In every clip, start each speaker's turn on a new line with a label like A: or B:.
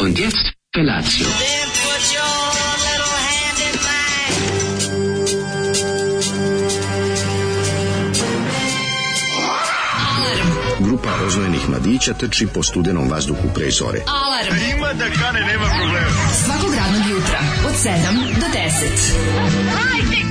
A: Und jetzt Felatio.
B: Then put your little hand in mine.
C: Grupa rozvojenih mladića trči po studenom vazduhu pre zore.
D: Alarm. E, Ima da kane, nema problema. Svakog radnog jutra, od 7 do 10.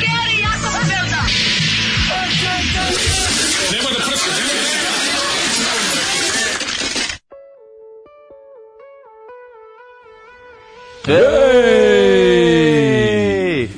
E: Ej!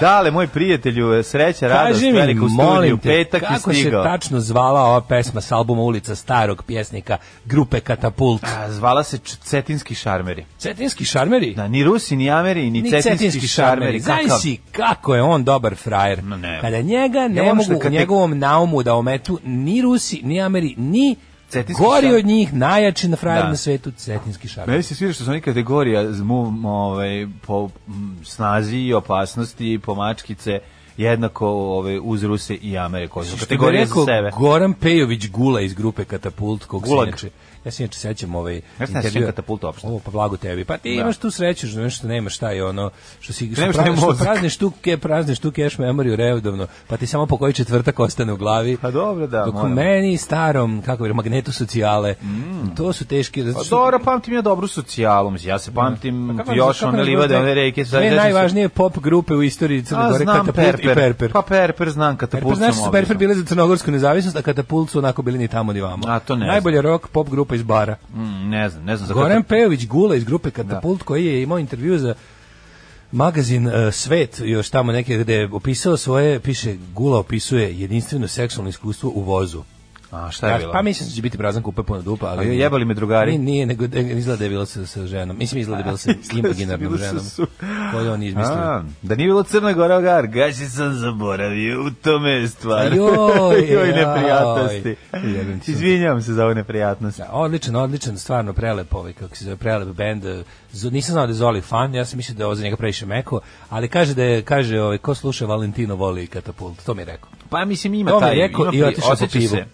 F: Dale, moj prijatelju, sreća, radost,
E: Kaži mi,
F: velika u studiju,
E: molim te,
F: petak je
E: kako se
F: stigao.
E: tačno zvala ova pesma s albuma Ulica starog pjesnika grupe Katapult?
F: A, Zvala se Č- Cetinski šarmeri.
E: Cetinski šarmeri?
F: Da, ni Rusi, ni Ameri, ni,
E: Ni
F: Cetinski, šarmeri.
E: Znaš
F: Kakav-
E: si kako je on dobar frajer.
F: Ma ne.
E: Kada njega ne
F: moram
E: mogu
F: što kad
E: u
F: te-
E: njegovom naumu da ometu ni Rusi, ni Ameri, ni
F: Cetinski
E: gori
F: šarmer.
E: od njih, najjači na frajer
F: Da.
E: na svetu, Cetinski šarmer.
F: Meni se svira što su oni kategorija z mu, ovaj, po m, snazi i opasnosti, po mačkice, jednako ovaj, uz Ruse i Amere, koji su
E: Što bi
F: kategorije za
E: rekao
F: sebe.
E: Goran Pejović Gula iz grupe Katapult, kog se
F: Gulag.
E: inače... Ja se inače sećam ovaj
F: ne sećam
E: intervjua-
F: Katapult uopšte.
E: Ovo pa blago tebi. Pa ti
F: Da.
E: imaš tu sreću, što nešto nemaš šta je ono što si što,
F: nemaš taj
E: prazni, što
F: mozak.
E: prazniš tu ke prazniš tu cash memoriju redovno, pa ti samo po koji četvrtak ostane u glavi.
F: Pa dobro, da,
E: Dok u
F: moram.
E: meni starom, kako bi rekao, magnetu socijale, to su teški zato
F: Pa
E: što-
F: dobro, pamtim ja dobru socijalu, mislim, ja se pamtim
E: Pa kako-
F: još
E: kako
F: one
E: ne
F: livade,
E: znaš
F: one reke. sad
E: Dve
F: sećam se-
E: najvažnije pop grupe u istoriji Crne
F: A,
E: Gore,
F: znam
E: Katapult i Perper.
F: Pa Perper znam
E: Perper,
F: katapult
E: znaš
F: sam
E: su Perper
F: obično.
E: bile za crnogorsku nezavisnost, a Katapult su onako bili ni tamo ni vamo.
F: A, to ne
E: Najbolja rock pop grupa iz bara.
F: Mm, ne znam, ne znam. za
E: Goran
F: Katapult.
E: Pejović Gula iz grupe Katapult koji je imao intervju za magazin e, Svet, još tamo neke gde je opisao svoje, piše Gula opisuje jedinstveno seksualno iskustvo u vozu.
F: A šta je
E: Ja-
F: bilo?
E: pa mislim da će biti prazan kupe puno dupa, ali...
F: Ali jebali me drugari.
E: Nije, nije nego da- izgleda da je bilo sa, sa ženom. Mislim, izgleda da je bilo sa imaginarnom
F: bilo sa
E: ženom.
F: su-
E: Koju on izmislio.
F: A, da nije bilo Crna Gora Ogar, gaši sam zaboravio, u tome je stvar.
E: Joj,
F: Joj, neprijatnosti.
E: jaj. Jebem ti se.
F: Izvinjavam se za ove neprijatnosti.
E: Da, odličan, odličan, stvarno prelep ovaj, kako se zove, prelep bend. Z- Nisam znao da je Zoli fan, ja sam mislio da je ovo za njega previše meko, ali kaže da je, kaže, ovaj, ko sluša Valentino voli katapult, to mi je rekao.
F: Pa mislim ima
E: To mi
F: taj,
E: je rekao
F: ima
E: i
F: pri-
E: otišao po
F: osjeća
E: pivu.
F: se-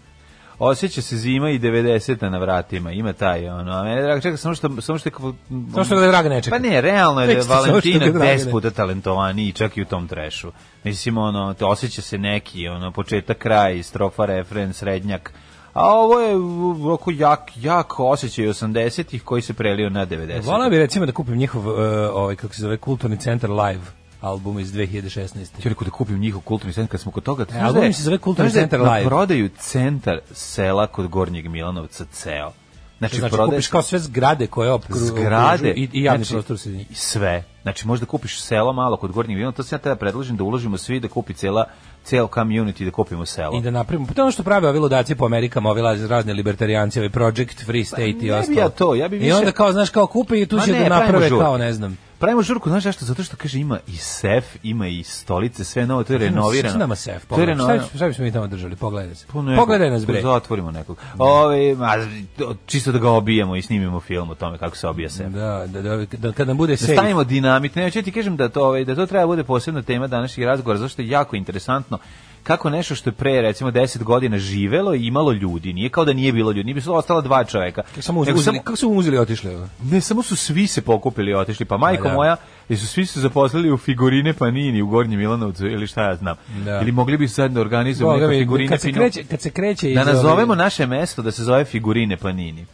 F: Osjeća se zima i 90-a na vratima, ima taj ono, a mene drago, čekaj, samo što, samo što je kao...
E: Samo što ga draga ne čeka.
F: Pa ne, realno je da je
E: Tek što- samo što
F: Valentina
E: ga Draga ne-
F: 10 puta talentovaniji, čak i u tom trešu. Mislim, ono, te osjeća se neki, ono, početak, kraj, strofa, refren, srednjak, a ovo je u- oko jak, jak osjećaj 80-ih koji se prelio na 90-ih.
E: Pa Volao bi recimo da kupim njihov, e, ovaj, kako se zove, kulturni centar live album iz 2016.
F: Ja rekao da kupim njihov kulturni centar, kad smo kod toga...
E: album im se zove Kulturni centar
F: live.
E: Live.
F: prodaju centar sela kod Gornjeg Milanovca ceo. Znači,
E: Znači,
F: prodaje
E: kupiš
F: se
E: kao sve zgrade koje opkru,
F: zgrade
E: i, i javni
F: znači,
E: prostor se njih.
F: i sve. Znači, možda kupiš selo malo kod Gornjeg Milanovca, to se ja tada predlažem da uložimo svi da kupi cela, ceo community da kupimo selo.
E: I da napravimo, pa to je ono što prave ovi ludaci po Amerikama, ovi laz- razni libertarijanci, ovi Project, Free State i
F: Pa ne bi
E: ostalo.
F: ja to, ja bi
E: I
F: više-
E: onda kao, znaš, kao kupe i tu
F: Ma
E: će
F: ne,
E: da
F: pravimo
E: naprave
F: žurke.
E: kao, ne znam,
F: Pravimo žurku, znaš zašto? Zato što kaže ima i sef, ima i stolice, sve novo, to je renovirano.
E: Pa, Šta nama
F: To
E: sef?
F: je
E: Pogledaj. Šta,
F: renovirano.
E: bi- šta bismo mi tamo držali? Pogledaj se.
F: Pa nego,
E: Pogledaj nas bre.
F: Zatvorimo nekog. Ove, ma, to- čisto da ga obijemo i snimimo film o tome kako se obija sef.
E: Da, da, da, da kad nam bude
F: Da
E: safe.
F: stavimo dinamit. Ne, ja ti kažem da to, ovaj, da to treba bude posebna tema današnjeg razgovora, zašto je jako interesantno kako nešto što je pre recimo 10 godina živelo i imalo ljudi, nije kao da nije bilo ljudi, nije bi ostala dva čoveka.
E: Kako Samo uz,
F: Nego
E: uzeli, kako su uzeli i otišli? ovo?
F: ne, samo su svi se pokupili i otišli, pa majko
E: Pa da.
F: moja, jer su svi se zaposlili u figurine Panini u Gornjem Milanovcu ili šta ja znam.
E: Da.
F: Ili mogli bi sad da organizujemo
E: Boga
F: neke
E: mi,
F: figurine
E: kad se
F: Pinu-
E: kreće, kad se kreće iz
F: Da
E: ove-
F: nazovemo naše mesto da se zove figurine Panini.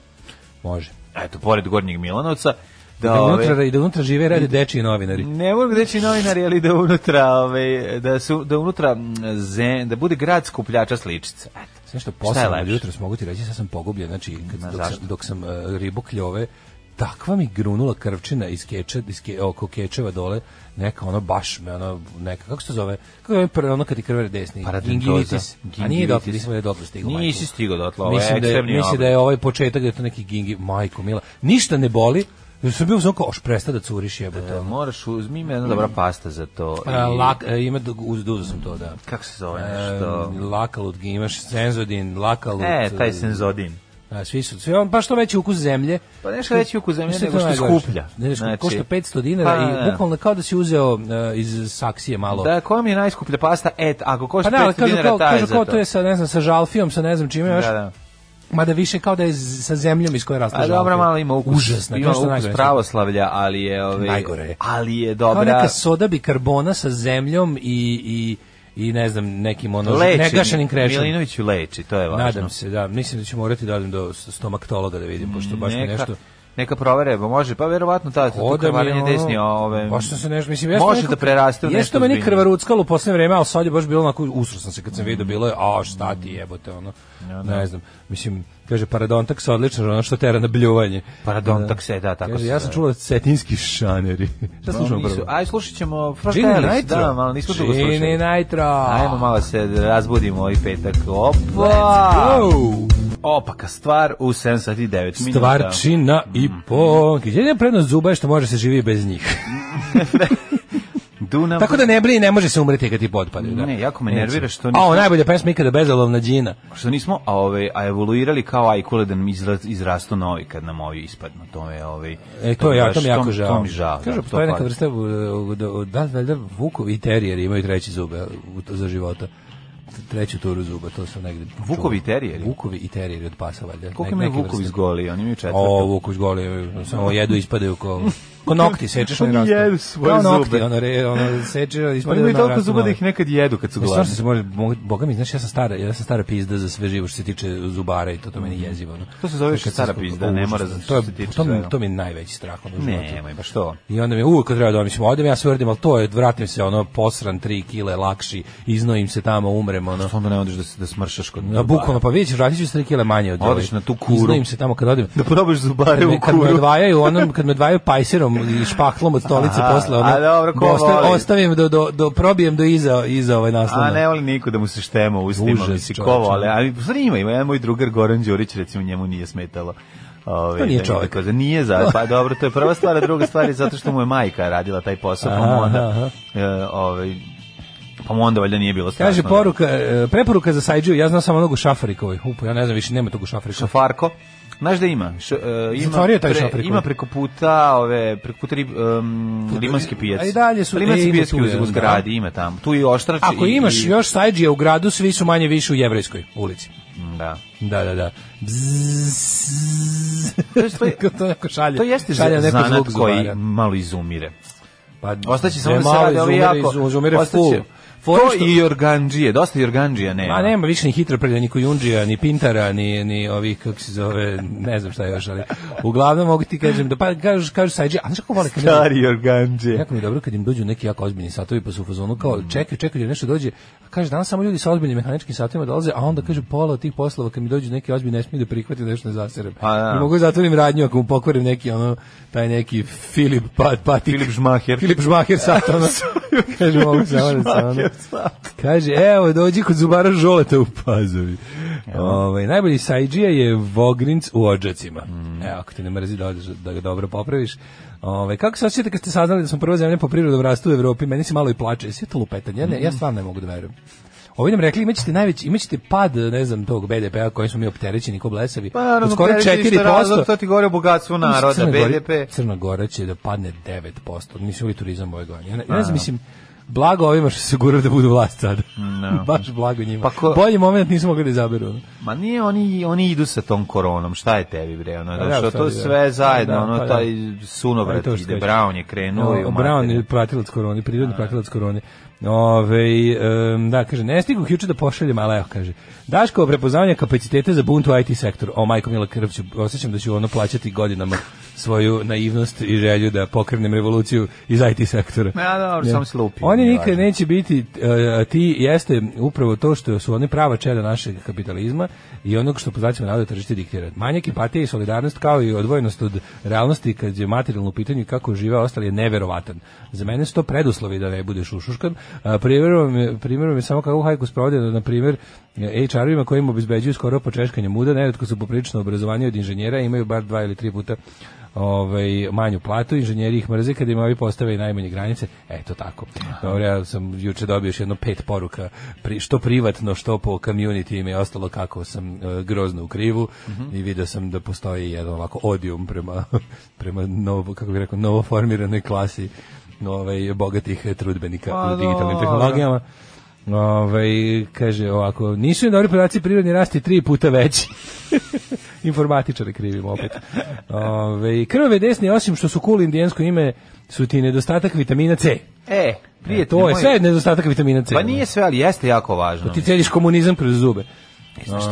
E: Može.
F: Eto, pored Gornjeg Milanovca. Da, ovaj,
E: Da
F: ove-
E: unutra, i da unutra žive i rade dečiji novinari.
F: Ne mogu da će novinari, ali da unutra, ove, da, su, da unutra mm, zen, da bude grad skupljača sličica. Eto.
E: Sve što
F: Šta je
E: posao
F: lepše?
E: jutro mogu ti reći, sad sam pogubljen, znači kad,
F: Ma,
E: dok, sam,
F: zašto?
E: dok sam e, ribu kljove, takva mi grunula krvčina iz keča, iz ke, oko kečeva dole, neka ono baš me ono neka kako se to zove kako je prvo ono kad ti krvari desni
F: Paradentoza.
E: gingivitis a nije
F: Gingivitis.
E: dotle nisam da je dotle stigao majko.
F: Pa Nisi stigao dotle, ovo je
E: mislim da je,
F: ekstremni
E: mislim
F: oblik.
E: da je ovaj početak da je to neki gingi majko mila ništa ne boli jer sam bio zonko oš presta da curiš jebote ono."
F: Da, moraš, uzmi mi jedna dobra pasta za to.
E: A,
F: i-
E: lak, e, ima da uzduzo sam to da
F: Kako se zove nešto?
E: E, lakalut imaš senzodin lakalut
F: E, taj senzodin.
E: A, svi su, svi on, pa što veći ukus zemlje.
F: Pa nešto veći ukus zemlje
E: Mislim,
F: nego
E: to je
F: što
E: najgore.
F: skuplja.
E: Ne, znači,
F: Znači-
E: košta 500 dinara
F: Pa,
E: i
F: da.
E: bukvalno kao da si uzeo e, iz saksije malo.
F: Da, koja mi je najskuplja pasta? Et, ako
E: pa
F: košta
E: ne, ali
F: 500
E: kažu
F: dinara,
E: kao,
F: taj je
E: kažu
F: za
E: kao to je sa, ne znam, sa žalfijom, sa ne znam čime još. Pa
F: Da, da.
E: Mada više kao da je z- sa zemljom iz koje raste
F: A dobro,
E: žalke.
F: malo ima ukus,
E: Užasno,
F: ima
E: to što je
F: ukus
E: najgore.
F: pravoslavlja, ali je, ove,
E: Najgore je.
F: ali je
E: Kao
F: dobra,
E: neka soda bikarbona sa zemljom i, i, i ne znam, nekim ono,
F: leči,
E: negašenim krešom.
F: Milinoviću leči, to je važno.
E: Nadam se, da. Mislim da ću morati da odem do stomaktologa da vidim, pošto baš mi
F: neka,
E: nešto...
F: Neka provere, pa može, pa verovatno ta to
E: Oda mi je
F: krvarenje
E: ono-
F: desni, ove.
E: Baš sam se nešto, mislim,
F: Može da preraste u
E: nešto.
F: nešto
E: Jeste meni
F: ozbiljnije.
E: krvaruckalo u poslednje vreme, ali sad je baš bilo onako, usro sam se kad sam vidio, bilo je, a šta ti jebote, ono, ne znam, mislim, kaže, paradontak se odlično, ono što tera na bljuvanje.
F: Paradontak se, da, tako
E: Kaže,
F: se
E: ja sam
F: zove.
E: čula cetinski šaneri. Šta slušamo
F: Nisu-
E: prvo?
F: Aj, slušat ćemo First
E: Gini
F: Alice,
E: Nitro.
F: da, malo nismo dugo slušali.
E: Gini Nitro.
F: Ajmo malo se razbudimo ovaj petak. Opa!
E: Let's go!
F: Opaka stvar u 7 sati i 9 minuta.
E: Stvarčina i
F: Mhm.
E: po. Jedina prednost zuba je što može se živi bez njih.
F: Dunav.
E: Tako da ne brini, ne može se umreti kad ti potpade. Da.
F: Ne, jako me nervira što
E: A,
F: nismo-
E: o, najbolja pesma ikada bezalovna džina.
F: što nismo a ovaj a evoluirali kao ajkule da nam izra- izrastu novi kad nam ovi ispadnu to je ovaj
E: E, to je, ja,
F: baš-
E: to mi jako žao.
F: to mi žao
E: Kažu,
F: da, to
E: postoje neka
F: fali.
E: vrsta, uh, da, da, valjda vukovi i terijeri imaju treći zube u- za života. Treću turu zuba, to sam negde čuo.
F: Vukovi i terijeri?
E: Vukovi i terijeri od pasa, valjda.
F: koliko
E: Nek-
F: imaju
E: neke
F: vukovi iz
E: vrste.
F: goli oni imaju
E: O,
F: četvrtu
E: vukovi iz gole, imaju, samo jedu i ispadaju ko... Ko nokti sečeš, oni
F: Oni
E: rastu.
F: jedu svoje
E: Kao nokti,
F: zube.
E: ono, re, ono sečeš,
F: oni
E: ispadaju
F: imaju
E: ono,
F: Pa toliko
E: rastu
F: zuba da
E: novi.
F: ih nekad jedu kad su
E: Stvarno
F: gladni
E: se može, mogu- boga mi, znaš, ja sam stara, ja sam stara pizda za sve živo što se tiče zubara i to to meni jezivo. ono.
F: Mhm. To se zove
E: Kad sam
F: stara
E: skupo-
F: pizda, ne mora za-
E: to je,
F: što se tiče
E: to, mi,
F: svega.
E: to mi je najveći strah ono, u životu.
F: nemoj pa što
E: I onda mi je uvek kad treba da odem, mislim, odem, ja se vrdim, ali to je, vratim se, ono, posran, tri kile, lakši, iznojim se tamo, umrem, ono.
F: onda ne odeš da se da smršaš kod
E: Na bukvalno, pa vidjet ćeš, vratit ću se tri kile manje od
F: Odeš
E: ovih.
F: na tu kuru.
E: Iznojim se tamo kad odem.
F: da probaš
E: Kad
F: zubare u
E: me, kad me
F: kuru
E: odvajaju onom kad me odvajaju pajserom i špaklom od stolice
F: Aha,
E: posle ono
F: a dobro, ko
E: da ostavim,
F: voli.
E: ostavim do, do, do probijem do iza iza ovaj naslona
F: A ne voli niko da mu se štema u ustima,
E: Užas,
F: misli ko
E: čoveče.
F: vole, ali stvarno ima, ima jedan moj drugar Goran Đurić, recimo njemu nije smetalo. Ove,
E: To nije
F: da mi
E: čovek.
F: tako za- nije za, pa dobro, to je prva stvar, a druga stvar je zato što mu je majka radila taj posao, pa mu
E: Aha,
F: onda,
E: aha.
F: e, ovaj, pa mu onda valjda nije bilo strašno.
E: Kaže poruka, e, preporuka za Sajđu, ja znam samo onog u Šafarikovoj. Upo, ja ne znam, više nema tog u Šafarikovoj.
F: Šafarko, Znaš da ima? Š, e, ima,
E: Zatvorio je taj Šafarikovi.
F: ima preko puta, ove, preko puta rib, em, limanske pijace.
E: A i dalje su- e,
F: limanske
E: ima
F: pijace
E: tu
F: u,
E: jedan,
F: u zgradi, ima tamo. Tu i oštrač.
E: Ako
F: i,
E: imaš
F: i-
E: još Sajđija u gradu, svi su manje više u Jevrejskoj ulici.
F: Da.
E: Da, da, da. Bzzz.
F: To je- to je-
E: Kako to neko šalje.
F: To jeste
E: šalje neko
F: zanat
E: zvuk
F: koji
E: zubara.
F: malo izumire.
E: Pa,
F: Ostaće samo da se
E: malo
F: radi ovi
E: izumire,
F: jako.
E: Izumire
F: ostaće-
E: full.
F: To
E: Fore što-
F: i organđije, dosta i organđija nema.
E: Ma nema više ni hitroprlja, ni kujundžija, ni pintara, ni, ni ovih, kako se zove, ne znam šta još, ali uglavnom mogu ti kažem, da pa kažu, kažu sajđe, a znaš kako vole kad
F: Stari organđije.
E: Jako mi je dobro kad im dođu neki jako ozbiljni satovi pa su u fazonu kao
F: Mhm.
E: čekaj, čekaj da nešto dođe. A kaže danas samo ljudi sa ozbiljnim mehaničkim satovima dolaze, a onda kaže pola od tih poslova kad mi dođu neki ozbiljni ne smiju da prihvatim da nešto ne zaserem.
F: Pa da.
E: I mogu da zatvorim radnju ako mu pokvarim neki ono taj neki Filip Pat Patik.
F: Filip Žmaher.
E: Filip Žmaher sat ono. kaže mogu samo da se ono. Kaže evo dođi kod zubara Žoleta u Pazovi. Ovaj najbolji sajđija je Vogrinc u Odžacima.
F: Mm.
E: E, ako ti ne mrzi da odeš da ga dobro popraviš. Ove, kako se osjećate kad ste saznali da smo prva zemlja po prirodnom rastu u Evropi? Meni se malo i plače. Sve to lupetanje. Ja, ne, ja stvarno ne mogu da verujem. Ovi nam rekli imaćete najveći imaćete pad ne znam tog BDP-a kojim smo mi opterećeni ko blesavi.
F: Pa naravno,
E: od skoro
F: opterećeni ste
E: 4%.
F: razlog, to ti govori o bogatstvu naroda,
E: Crna Gora-
F: BDP.
E: Crna Gora će da padne 9%. Mislim li turizam ove godine. Ja ne, ja ne znam, mislim, blago ovima što se guraju da budu vlast sada. Baš blago njima.
F: Pa ko-
E: Bolji moment nismo mogli da izaberu. ono.
F: Ma nije, oni, oni idu sa tom koronom, šta je tebi bre, ono,
E: da,
F: da, što to
E: stvari, da.
F: sve zajedno,
E: Da,
F: ono,
E: pa da.
F: taj
E: Pa i
F: sunovrat
E: to što
F: ide,
E: kažeš.
F: Brown je krenuo i u
E: Brown
F: materinu.
E: je pratilac korone, prirodni pratilac korone. Ove, em, da, kaže, ne stigu juče da pošaljem, ali evo, kaže, Daško, prepoznavanje kapacitete za bunt u IT sektoru. O, majko Mila Krvću, osjećam da ću ono plaćati godinama svoju naivnost i želju da pokrenem revoluciju iz IT sektora.
F: Ma, dobro,
E: Ne.
F: samo se lupi,
E: Oni
F: nije
E: nikad
F: važno.
E: neće biti e, ti jeste upravo to što su oni prava čeda našeg kapitalizma i onog što poznaćemo navode tržište diktira. Manjak empatije i solidarnost kao i odvojenost od realnosti kad je materijalno u pitanju i kako žive ostali je neverovatan. Za mene su to preduslovi da ne budeš ušuškan. A, primjerom je- Primjerom je samo kako hajku sprovode da, na primjer, HR-ovima kojim obezbeđuju skoro počeškanje muda, neretko su poprilično obrazovanje od inženjera, imaju bar dva ili tri puta ovaj manju platu, inženjeri ih mrze kada im ovi postave i najmanje granice. Eto tako. Dobro, ja sam juče dobio još jedno pet poruka, pri, što privatno, što po community ime i ostalo kako sam e, grozno u krivu
F: Mhm.
E: i video sam da postoji jedan ovako odium prema prema novo kako bih rekao novoformiranoj klasi ovaj bogatih e, trudbenika
F: Pa
E: u digitalnim
F: dobro.
E: tehnologijama. Ovaj kaže ovako, nisu im dobri podaci, prirodni rast je tri puta veći. Informatičare krivimo opet. Ove, krvave desni, osim što su cool indijansko ime, su ti nedostatak vitamina C.
F: E,
E: E,
F: prijatelj
E: to je
F: moj,
E: sve nedostatak vitamina C.
F: Pa nije sve, ali jeste jako važno. ono,
E: Ti cediš komunizam kroz zube.
F: Znaš ti,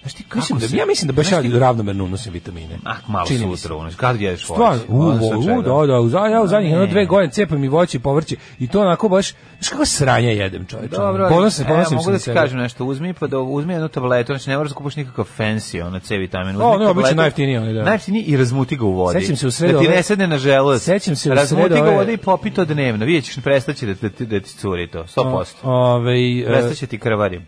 F: znaš ti kako
E: Mislim
F: se-
E: da, ja mislim da baš
F: znaš ti-
E: ja ravnomerno unosim vitamine.
F: Ah, malo
E: Čini mi se.
F: sutra, ono, kad jedeš
E: Stvarno, u,
F: ono,
E: u,
F: slučaj,
E: u, da, da, u, za- ja u zadnjih
F: Ne.
E: jedno dve godine cepam i voće i povrće i to onako baš, znaš kako sranja jedem čoveče.
F: Dobro, ali,
E: ponosim,
F: e,
E: ponosim se
F: mogu da
E: na
F: ti
E: sebe.
F: kažem nešto, uzmi pa da uzmi jednu tabletu, znači ne moraš da kupiš nikakav fancy, ono C vitamin, uzmi
E: O, ono je obično
F: tabletu,
E: najjeftiniji onaj, da.
F: Najjeftiniji i razmuti ga u vodi.
E: Sećam se u sredu
F: Da ti
E: ove-
F: ne sedne na želudac.
E: Sećam se u
F: Razmuti
E: sredu
F: ga u
E: ove-
F: vodi i popi to dnevno, vidjet ćeš, prestaće da, da, ti- da ti curi to, 100%.
E: Ovaj, e,
F: Prestaće ti krvarim.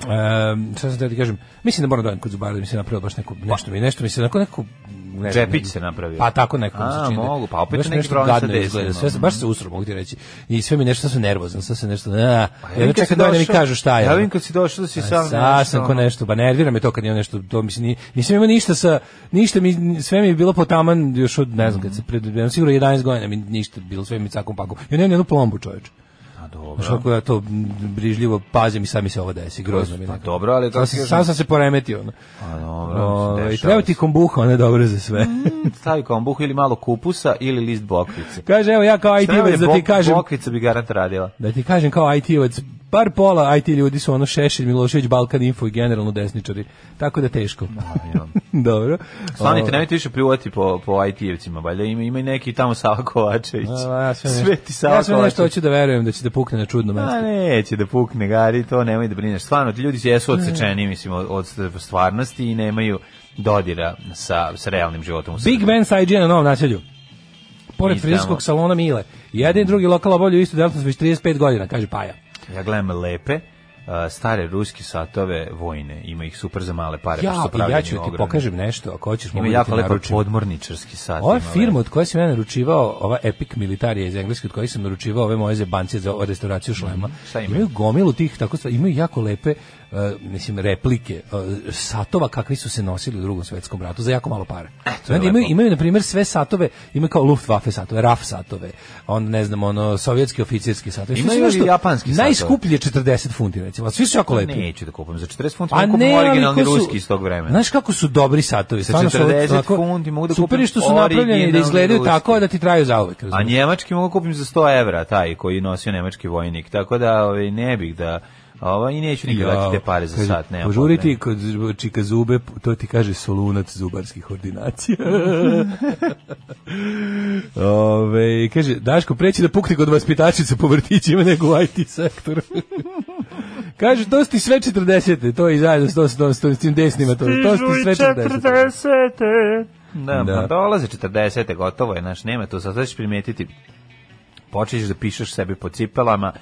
E: Ehm, šta sam teo da ti kažem, mislim da moram da odem kod zubara da mi se napravio baš neko, nešto mi, nešto mi se, onako neko, ne znam,
F: Pa. Džepić
E: ne-
F: se napravio.
E: Pa tako neko mi se
F: A,
E: čini. da-
F: mogu, pa opet
E: baš
F: neki
E: nešto
F: problem sa
E: gadno izgleda,
F: desnim,
E: Sve, se-
F: ono.
E: baš se usro, mogu ti reći. I sve mi nešto, sad sam nervozan, sad se nešto, a,
F: Ja
E: ja
F: vidim kad si
E: čekam da mi
F: Pa došao-
E: kažu šta je.
F: Ja
E: ono.
F: vidim kad si došao da si sam... ono.
E: Sad sam ko nešto, ba nervira me to kad imam nešto, to mislim, ni- nisam imao ništa sa, ništa mi, sve mi je bilo potaman još od, ne znam, kad se pred, ja sigurno 11 godina mi ništa bilo, sve mi cakom pakom. Ja nemam ni jednu plombu čoveče.
F: A, ono, dobro.
E: Znaš Pa kako ja to m, brižljivo pazim i sad mi se ovo desi, grozno mi je.
F: Pa
E: nekako.
F: dobro, ali kako ti
E: Sam, se-
F: kažem-
E: sam sam se poremetio. ono.
F: A, pa dobro, mislim,
E: Ovaj,
F: dešava
E: treba
F: se.
E: ti kombuha, ona je dobra za sve.
F: Stavi kombuh ili malo kupusa ili list bokvice.
E: Kaže, evo ja kao
F: ovaj
E: IT-ovac da ti kažem,
F: Bokvica bi garant radila.
E: da ti kažem kao IT-ovac, bar pola IT ljudi su ono Šešelj, Milošević, Balkan Info i generalno desničari. Tako da teško.
F: Ja.
E: Dobro.
F: Slanite,
E: Ovaj,
F: nemojte više pljuvati po, po IT-evcima, valjda ima, ima i neki tamo Sava Kovačević.
E: a, Ovaj, ja sve nešto-
F: Sveti Sava
E: Ja sve nešto
F: Kovačević.
E: hoću da verujem da će da pukne na čudno mesto.
F: A neće da pukne gari, to nemoj da brineš. Stvarno, ti ljudi jesu odsečeni, mislim, od, od stvarnosti i nemaju dodira sa, sa realnim životom. u
E: Big
F: Srbiji.
E: Ben sa IG na novom naselju. Pored
F: Iz tamo.
E: frizerskog salona Mile. Jedan i drugi lokal obavljaju istu delatnost već 35 godina, kaže Paja.
F: Ja gledam lepe, a, stare ruske satove vojne, ima ih super za male pare.
E: Ja,
F: pošto su
E: i ja
F: pravljeni
E: ću ti
F: ogromni.
E: pokažem nešto, ako hoćeš mogu
F: Ima
E: da ti
F: jako lepo
E: naručim.
F: podmorničarski sat.
E: Ova
F: ima
E: firma od koje sam ja naručivao, ova Epic Militarija iz Engleske, od kojih sam naručivao ove moje zebancije za restauraciju šlema,
F: Mhm. Šta imaju?
E: imaju gomilu tih, tako stvari, imaju jako lepe, uh, mislim, replike, uh, satova kakvi su se nosili u drugom svetskom ratu, za jako malo pare.
F: Eh, to je
E: Onda imaju,
F: lepo.
E: imaju, na primjer, sve satove, imaju kao Luftwaffe satove, RAF satove, onda, ne znam, ono, sovjetski oficirski satove. Sve su
F: Imaju i
E: nešto-
F: japanski satove.
E: Najskuplji je 40 funti, recimo, a svi su jako lepi.
F: Pa Neću da kupim za 40 funti,
E: Pa
F: mogu
E: ne,
F: kupim
E: ali
F: originalni
E: kako su-
F: ruski iz tog vremena.
E: Znaš kako su dobri satovi,
F: Sa
E: stvarno su
F: 40
E: onako-
F: funti mogu da
E: super
F: kupim
E: je što su napravljeni da
F: originalni
E: izgledaju
F: ruski.
E: tako da ti traju zauvek,
F: A
E: razumiješ?
F: njemački mogu kupim za 100 evra, taj koji je nosio nemački vojnik. Tako da ovaj, ne bih da... Ovaj, I neću nikad dati te pare za
E: Kaže,
F: sat, nema
E: Požuriti
F: problema.
E: kod čika zube, to ti kaže solunac zubarskih ordinacija. Ove, kaže, Daško, preći da pukne kod vaspitačica po vrtićima nego u IT sektoru. kaže, to su ti sve 40. To je i zajedno s, to, s, to, s, to, s tim desnima. To, to su ti sve 40.
F: Da,
E: Da.
F: da. Pa dolaze 40. gotovo je, znaš, nema tu. Sad sad ćeš primetiti, počeš da pišeš sebi po cipelama,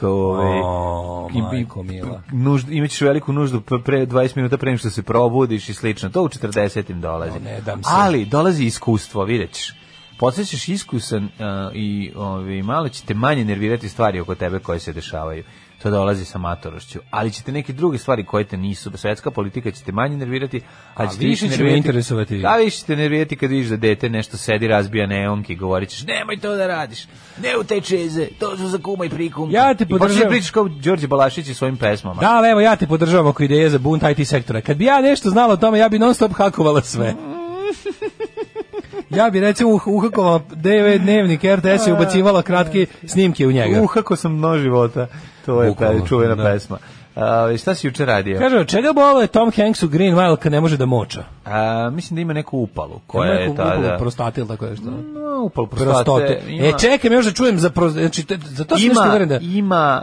F: kao, ovaj,
E: O,
F: i- i-
E: majko mila.
F: nužd, imaćeš veliku nuždu p- pre 20 minuta pre nego što se probudiš i slično. To u 40. dolazi.
E: O, ne dam se.
F: Ali dolazi iskustvo, vidjet ćeš. Postaćeš iskusan uh, i ovi, malo će te manje nervirati stvari oko tebe koje se dešavaju. To dolazi sa matorošću. Ali ćete neke druge stvari koje te nisu. Svetska politika će te manje nervirati. A,
E: A
F: će te
E: više će me
F: nervirati-
E: interesovati.
F: A više će te nervirati kad vidiš da dete nešto sedi, razbija neonke i govorit ćeš nemoj to da radiš. Ne u te čeze. To su za kuma i prikum.
E: Ja te
F: I počneš da
E: podržavam.
F: pričaš kao Đorđe Balašić i svojim pesmama.
E: Da, ali evo ja te podržavam oko ideje za bunt IT sektora. Kad bi ja nešto znala o tome, ja bi non stop hakovala sve. Ja bi recimo uh- uhakovala DV dnevnik RTS i ubacivala kratke snimke u njega.
F: Uhako sam mnogo života. To je
E: Bukvalno,
F: ta čuvena
E: da.
F: pesma. A, šta si juče radio?
E: Kaže, od čega bolo je Tom Hanks u Green Mile kad ne može da moča?
F: A, mislim da ima neku upalu koja je
E: Neku
F: ta
E: upalu
F: da.
E: Prostate ili tako nešto.
F: No, upalu prostate.
E: Prostote.
F: Ima,
E: E, čekaj, me još da čujem za pro... Znači, te- za to sam nešto
F: ima,
E: uveren da...
F: ima,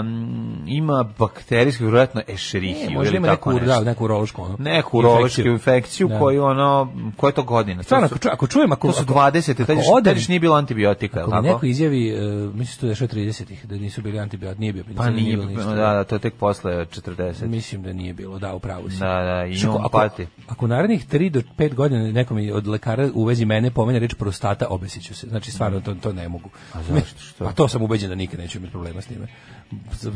F: um, ima bakterijsku, vjerojatno ešerihiju.
E: E,
F: ili
E: možda ima
F: tako
E: neku, da,
F: nešto.
E: neku urološku ono.
F: neku urološku
E: infekciju.
F: infekciju
E: Da.
F: koju ono, koje to godine? To
E: Stvarno,
F: su-
E: ako, ču, ako čujem, ako...
F: To su
E: ako-
F: 20. Tad još,
E: ako odem-
F: tad još nije bilo antibiotika,
E: Ako
F: jel
E: mi
F: tako?
E: neko izjavi, e, mislim to je što 30-ih, da nisu bili antibiotici, nije bio
F: Pa
E: penicilin,
F: nije,
E: bilo ništa.
F: da, da, to je tek posle 40.
E: Mislim da nije bilo, da, upravo si.
F: Da, da, i
E: Znaš, ako-
F: on
E: ako,
F: pati.
E: Ako u narednih 3 do 5 godina nekom je od lekara u vezi mene pomenja reč prostata, obesiću se. Znači, stvarno, to, to ne mogu. A
F: zašto? Što?
E: Pa to sam ubeđen da nikad neću imati problema s time.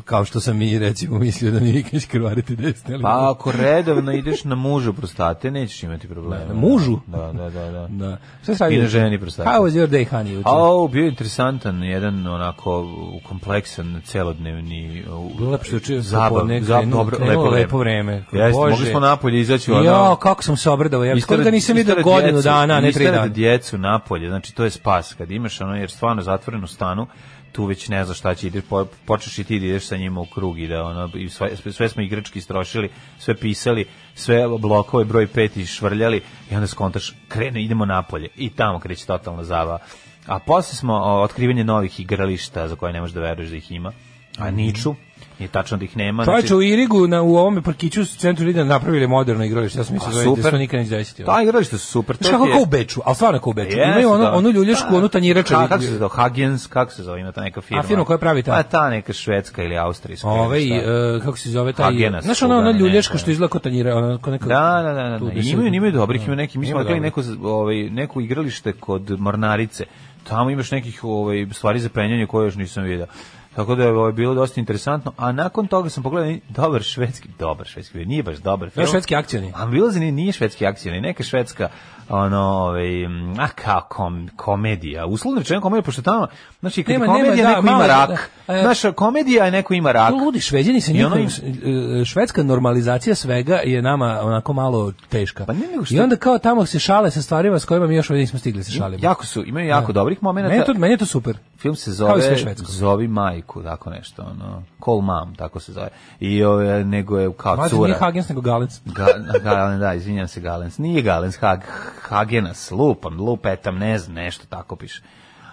E: Kao što sam i, recimo, mislio da mi nikad će krvariti desne. ali-
F: Pa ako redovno ideš na mužu prostate, nećeš imati problema.
E: Na mužu?
F: Da, da, da. da.
E: Da. Šta se radi?
F: I na ženi prostati.
E: How was your day, honey? juče?
F: A bio je interesantan, jedan onako kompleksan, celodnevni u-
E: Bilo lepo što je čuo
F: zabav,
E: popodne,
F: zabav,
E: krenulo-
F: dobro,
E: krenulo
F: lepo,
E: lepo vreme.
F: Jeste,
E: Bože.
F: mogli smo napolje izaći ono.
E: Jo, kako sam se obradao. Ja skoro
F: isterati-
E: da nisam vidio
F: isterati
E: godinu
F: djecu-
E: dana, a ne tri
F: isterati
E: dana.
F: djecu napolje, znači to je spas. Kad imaš ono, jer stvarno zatvoreno stanu, tu već ne znaš šta će, ideš, po- počneš i ti da ideš sa njima u krug i da ono, i sve, sve- sve smo igrački istrošili, sve pisali, sve blokove broj peti švrljali i onda skontaš, krene, idemo napolje i tamo kreće totalna zava. A posle smo o, otkrivanje novih igrališta za koje ne možeš da veruješ da ih ima, a niču, je tačno da ih nema.
E: Mhm.
F: znači,
E: Čovječe, u Irigu, na, u ovome parkiću u centru Lidena napravili moderno igralište, ja sam mislio
F: A,
E: da je- da
F: super.
E: se to nikad neće desiti.
F: Ta igrališta su super. to
E: Znaš kako
F: ti je-
E: kao u Beču, ali stvarno kao u Beču.
F: Jeste,
E: Imaju ono,
F: da.
E: onu ljuljašku, onu tanjiraču.
F: Ka- Kako se zove? Hagens, kako se zove ima ta neka firma?
E: A, firma koja pravi ta?
F: Pa ta neka švedska ili austrijska. ili
E: Ovaj,
F: šta.
E: e, kako se zove taj...
F: Hagena
E: Znaš
F: su,
E: ona, ona
F: da,
E: ljuljaška
F: neka.
E: što izgleda kao tanjira, ona kao neka...
F: Da, da, da, da.
E: tu
F: da.
E: gde se-
F: Imaju, imaju dobrih, ima neki, mi
E: Ima
F: smo odgledali
E: dobrih.
F: neko, z- ovaj, neko igralište kod Mornarice. Tamo imaš nekih ovaj, stvari za penjanje koje još nisam vidio. Tako da je ovaj, bilo dosta interesantno, a nakon toga sam pogledao i dobar švedski, dobar švedski, film, nije baš dobar film.
E: Znaš, švedski akcioni.
F: A bilo zani nije švedski akcija, ni neka švedska ono, ovaj, m, a kao kom, komedija. Uslovno rečeno komedija, pošto tamo, znači, kad
E: Nema,
F: je
E: nema,
F: komedija,
E: da,
F: neko ima
E: malo je,
F: rak.
E: da, e,
F: Naša komedija je neko ima rak.
E: To ludi, šveđani se
F: I ono
E: njihovim, e, švedska normalizacija svega je nama onako malo teška.
F: Pa ne, nego što-
E: I onda kao tamo se šale sa stvarima s kojima mi još ovdje nismo stigli se šalimo.
F: Jako su, imaju jako dobrih momenata.
E: meni, je to, meni je to super.
F: Film se
E: Kao i sve
F: zove
E: švedsko.
F: Zovi majku, tako nešto, ono, Call Mom, tako se zove. I ove, nego je kao
E: Mlađe
F: cura.
E: nije Hagens, nego Galec.
F: Ga- Galen, da, izvinjam se, Galens. Nije Galens, Hag, Hagenas, lupam, lupetam, ne znam, nešto tako piše.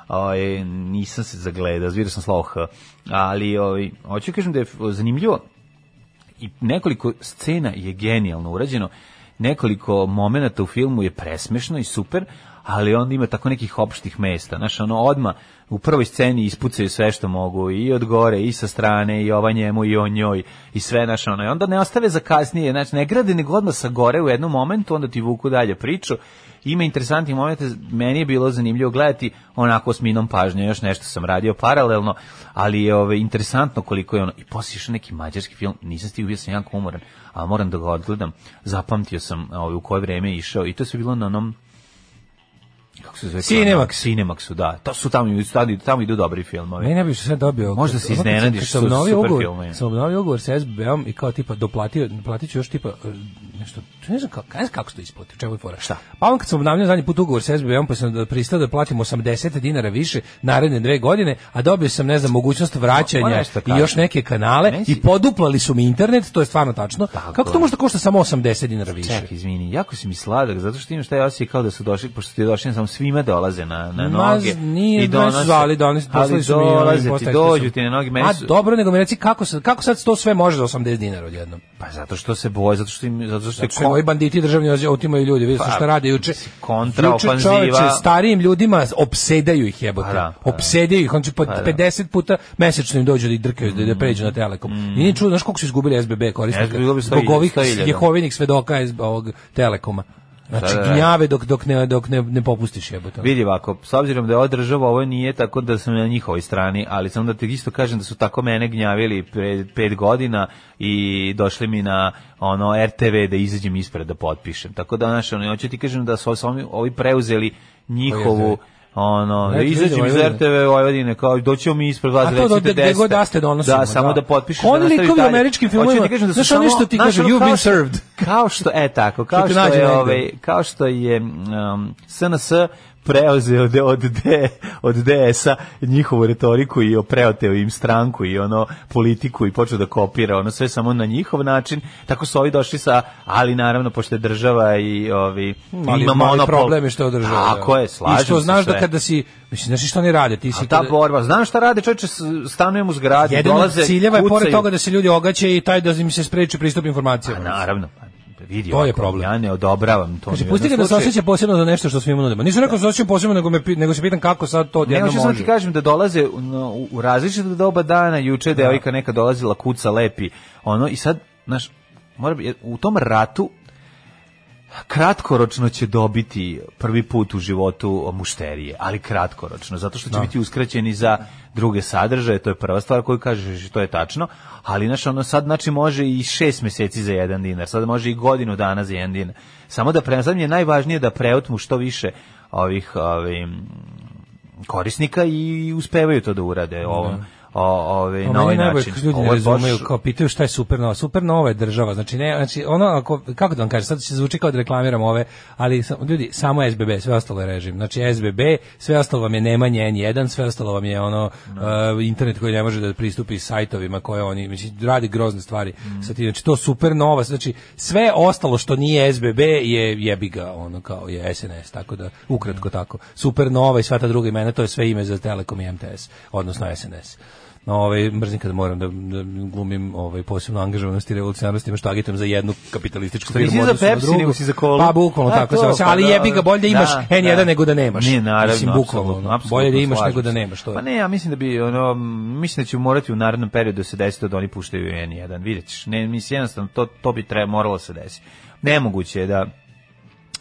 F: Oj, nisam se zagledao, zvirio sam slovo H. Ali, oj, hoću kažem da je f- zanimljivo i nekoliko scena je genijalno urađeno, nekoliko momenata u filmu je presmešno i super, ali onda ima tako nekih opštih mesta. Znaš, ono, odma u prvoj sceni ispucaju sve što mogu, i od gore, i sa strane, i ova njemu, i on njoj, i sve, znaš, ono, i onda ne ostave za kasnije, znači, ne grade nego odmah sa gore u jednom momentu, onda ti vuku dalje priču, ima interesantnih momenta, meni je bilo zanimljivo gledati onako s minom pažnje, još nešto sam radio paralelno, ali je ove, interesantno koliko je ono, i poslije još neki mađarski film, nisam stigao, bio sam jako umoran, a moram da ga odgledam, zapamtio sam ove, u koje vreme je išao i to je sve bilo na onom kako se zove?
E: Cinemax.
F: Cinemaxu, da. To su tamo, tamo, tamo idu dobri filmovi.
E: Ne, ne bih sve dobio.
F: Možda se
E: Ono kad sam-
F: iznenadiš,
E: kad sam
F: su
E: obnovio
F: super
E: ugovor,
F: filmovi.
E: Sam obnovio ugovor sa SBB-om i kao tipa doplatio, platit ću još tipa e, nešto, ne znam kako, ne znam kako se to isplati, u čemu je fora. Šta? Pa on kad sam obnavljao zadnji put ugovor sa SBB-om, pa sam da pristao da platim 80 dinara više naredne dve godine, a dobio sam, ne znam, mogućnost
F: Ma, ma
E: vraćanja
F: Pa, nešto
E: i
F: kažem.
E: još neke kanale
F: Nesi-
E: i poduplali su mi internet, to je stvarno tačno. Kako to
F: je.
E: možda košta samo 80 dinara više?
F: Ček, izvini, jako si mi sladak, zato što imaš taj osjećaj kao da su došli, pošto ti je došli, samo svima dolaze na, na
E: Ma,
F: noge.
E: nije,
F: i
E: bre,
F: donose-
E: zvali, donesi, poslali
F: ali
E: su mi i oni
F: dolaze ti,
E: postavili su.
F: dođu ti na noge, meni
E: A
F: su-
E: dobro, nego mi reci kako, sad- kako sad to sve može za 80 dinara odjednom?
F: Pa zato što se boje, zato što im, zato što je
E: Znači, ovi banditi državni ozi- otimaju ljudi, vidi
F: Pa,
E: šta rade juče.
F: kontra
E: Juče
F: ofanziva.
E: čoveče, starijim ljudima opsedaju ih jebote.
F: Pa da, pa da. Mm.
E: opsedaju ih, on će po 50 puta mesečno im dođu da ih drkaju, da, da pređu na Telekom. I nije čudo, znaš koliko su izgubili SBB korisnika?
F: SBB izgubili sto
E: Zbog
F: hilj-
E: ovih
F: sto hiljada.
E: jehovinih svedoka iz ovog Telekoma. Znači,
F: Da, da, da.
E: gnjave dok, dok, ne, dok ne, ne popustiš jebote.
F: Vidi ovako, s obzirom da je ova država, ovo nije tako da sam na njihovoj strani, ali samo da ti isto kažem da su tako mene gnjavili pre pet godina i došli mi na ono RTV da izađem ispred da potpišem. Tako da, znaš, ono, hoću ti kažem da su ovi- sami ovi preuzeli njihovu ono,
E: Ne,
F: ne, izađem iz
E: Vojvodine.
F: RTV Vojvodine, kao doći mi ispred vas,
E: A to da
F: recite
E: gde
F: gde
E: god
F: ste.
E: da ste donosimo,
F: Da, samo
E: da.
F: da, potpišeš
E: Oni
F: da nastaviš
E: likovi u
F: dalje.
E: američkim
F: Hoću ti
E: filmovima,
F: kažem da su
E: znaš,
F: samo-
E: oni što ti
F: znaš,
E: kažu,
F: ono,
E: "You've
F: kao
E: been
F: što-
E: served."
F: Kao što, e tako, kao
E: Što te
F: što
E: nađe
F: je,
E: negde.
F: ovaj, kao što je um, SNS preuzeo od od, D, od DS-a njihovu retoriku i preoteo im stranku i ono politiku i počeo da kopira ono sve samo na njihov način tako su ovi došli sa ali naravno pošto je država i ovi
E: Hmm, Mali,
F: ima
E: mali
F: monopol
E: problem je što održava.
F: ono tako je slažem
E: I što
F: se
E: znaš da
F: sve.
E: kada si, mislim, znaš i što oni rade, ti
F: A
E: si
F: ta
E: kada-
F: borba znaš šta rade čoveče s- stanujem u zgradi
E: Jedan od
F: dolaze
E: ciljeva je pored
F: kucaju.
E: toga da se ljudi ogaće i taj da im se spreči pristup
F: Pa
E: informacijama.
F: naravno pa vidi
E: To je
F: ovako,
E: problem.
F: ja ne odobravam to
E: Kaže,
F: ni u
E: pusti ga
F: jednom
E: da se
F: slučaju.
E: osjeća posebno za nešto što svima nudimo. Nisam rekao da se osjećam posebno, nego, me, pi- nego se pitam kako sad to
F: Ne,
E: odjedno
F: hoću
E: može.
F: samo ti kažem da dolaze u, na- u, u različite doba dana, juče da. devojka neka dolazila kuca lepi, ono, i sad, znaš, mora, bi- u tom ratu kratkoročno će dobiti prvi put u životu mušterije, ali kratkoročno, zato što će biti uskraćeni za druge sadržaje, to je prva stvar koju kažeš i to je tačno, ali znaš, ono sad znači može i šest meseci za jedan dinar, sad može i godinu dana za jedan dinar. Samo da pre, sad mi je najvažnije da preotmu što više ovih, ovih korisnika i uspevaju to da urade ovom o, ove, na
E: A meni
F: ovaj
E: je najbolje
F: način.
E: kad Ljudi ne
F: Ovo je baš-
E: razumeju, kao pitaju šta je supernova. Supernova je država. Znači, ne, znači ono, ako, kako da vam kažem, sad se zvuči kao da reklamiram ove, ali sam, ljudi, samo SBB, sve ostalo je režim. Znači, SBB, sve ostalo vam je nemanje N1, sve ostalo vam je ono, uh, internet koji ne može da pristupi sajtovima koje oni, mislim, radi grozne stvari.
F: Mm.
E: sa tim. znači, to supernova, znači, sve ostalo što nije SBB je jebi ga, ono, kao je SNS, tako da,
F: Mm.
E: ukratko tako. Supernova i sva ta druga imena, to je sve ime za Telekom i MTS, odnosno SNS. No, ovaj mrzim kad moram da, da glumim ovaj posebno angažovanost i revolucionarnost, ima što agitujem za jednu kapitalističku
F: Što nisi
E: firmu
F: za
E: odnosno na
F: Pepsi,
E: drugu.
F: nego si za kolu.
E: Pa bukvalno
F: A,
E: tako
F: to,
E: se osjeća,
F: pa
E: ali
F: da,
E: jebi ga bolje da imaš
F: da,
E: N1
F: da.
E: nego da nemaš.
F: Ne, naravno,
E: Mislim, bukvalno,
F: apsolutno,
E: ono,
F: apsolutno,
E: bolje da imaš
F: slažem
E: nego da
F: se.
E: nemaš, to je.
F: Pa ne, ja mislim da bi ono mislim da ćemo morati u narednom periodu da se desi to da oni puštaju N1, videćeš. Ne, mislim jednostavno to to bi trebalo moralo se desi. Nemoguće je da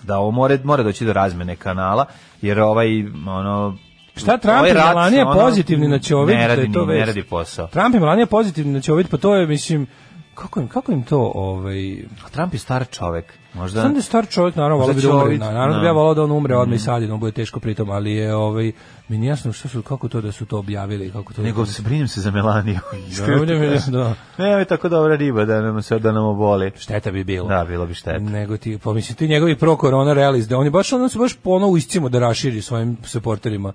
F: da ovo more, mora doći do razmene kanala, jer ovaj, ono...
E: Šta Trump i
F: rat,
E: Melanija
F: ono,
E: pozitivni na Ćović,
F: Ne
E: da
F: radi,
E: je to
F: ni- ne
E: vest.
F: radi posao.
E: Trump i Melania pozitivni na Ćovid, pa to je mislim kako im kako im to ovaj
F: A Trump je star čovek. Možda...
E: Znam da je star čovjek, naravno, volao bi
F: Možda
E: da umre.
F: Ćović,
E: na- Naravno,
F: da. Mm.
E: bi ja volao da on umre odmah i sad, on bude teško pritom, ali je, ovaj, mi nije jasno što su, kako to da su to objavili, kako to...
F: Nego se brinem se za Melaniju. Iskreno ti
E: Da,
F: kažem.
E: da.
F: Ne, ovo je tako dobra riba da nam se da nam oboli.
E: Šteta bi bilo.
F: Da, bilo bi šteta.
E: Nego ti, pa mislim, ti njegovi pro korona realiz, da oni baš ono su baš ponovo uiscimo da raširi svojim supporterima.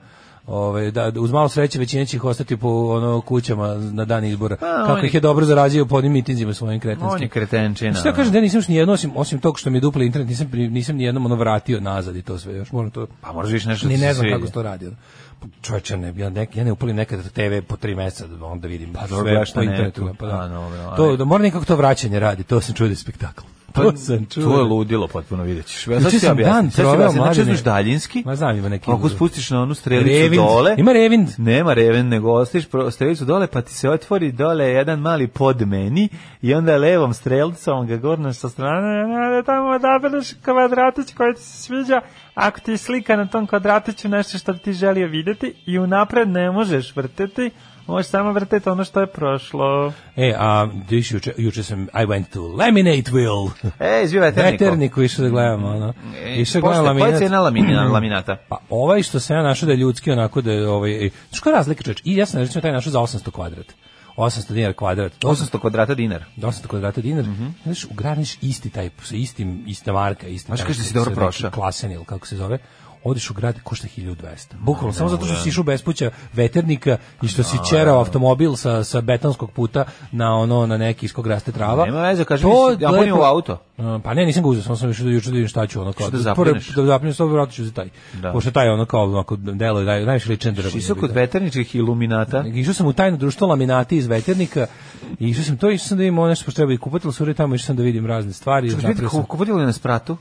E: Ove, da, da uz malo sreće većina će ih ostati po ono kućama na dan izbora. Kako
F: on je-
E: ih je dobro zarađio po onim mitinzima svojim kretinskim.
F: On je kretenčina.
E: Šta ja kažem da nisam još nijedno, osim, osim tog što mi je dupli internet, nisam, pri- nisam nijednom ono vratio nazad i to sve još. Moram to...
F: Pa moraš više nešto
E: Ni
F: da
E: ne
F: se
E: znam
F: svidi.
E: kako se to radi. ono. Pa, Čovječe, ne, ja, ne, ja ne upalim nekad TV po tri meseca, da onda vidim pa,
F: dobro,
E: sve
F: gledaš
E: po
F: na
E: internetu.
F: netu.
E: Pa, da.
F: A, dobro, ali-
E: to, da mora nekako to vraćanje radi, to sam čuo da je spektakl. To sam čuo.
F: Pa To je ludilo potpuno, vidjet ćeš. Ja
E: Juče
F: sad ću
E: sam
F: objasniti.
E: dan
F: Sad ću
E: proveo,
F: objasniti. Znači,
E: mladine.
F: uzmeš daljinski.
E: Ma znam, ima neki
F: Ako
E: uzor.
F: spustiš na onu strelicu
E: Revind.
F: dole.
E: Ima revind.
F: Nema revind, nego ostaviš pro- strelicu dole, pa ti se otvori dole jedan mali pod meni i onda levom strelicom ga gornaš sa strane, onda tamo odabereš kvadratić koji ti se sviđa, ako ti je slika na tom kvadratiću nešto što bi ti želio vidjeti i unapred ne možeš vrteti, možeš samo vrteti ono što je prošlo.
E: E, a diš, juče, juče sam, I went to Laminate Will.
F: E, izbivajte
E: Veterniku išao da gledamo, ono. Išao gledam
F: Koja E, je
E: laminat.
F: cena lamina- laminata?
E: Pa ovaj što sam ja našao da je ljudski onako da je ovaj znaš koja je razlika čoveč? I ja sam recimo taj našao za 800 kvadrat. 800 dinara kvadrat. To
F: 800 kvadrata dinar.
E: do 800 kvadrata dinar, znaš, ugraniš isti taj, sa istim, ista marka, isti
F: Znaš,
E: taj,
F: kažeš da si
E: sa
F: dobro
E: neki
F: prošao.
E: Klasen ili kako se zove, odeš u grad, košta 1200. Bukvalno, samo zato što si išao bez puća veternika i što si čerao automobil sa, sa betonskog puta na ono, na neki iskog raste trava.
F: Nema veze, kaži
E: To
F: mi, si- ja
E: lepo-
F: punio u auto.
E: Uh, Pa ne, nisam ga uzeo, samo sam išao da juče da vidim šta ću ono kao.
F: Što da
E: prvo-
F: zapuneš?
E: Da zapuneš, to vratno ću za taj.
F: Da.
E: Pošto taj ono kao, onako, delo je, najviše ličen drvo.
F: Išao kod veterničkih iluminata.
E: Išao sam u tajno društvo laminati iz veternika i išao sam to, išao sam da vidim ono nešto što treba i kupati, ali suri tamo išao sam da vidim razne stvari.
F: Čuš,
E: napravio
F: vidi,
E: sam,
F: ko- kupovali na spratu?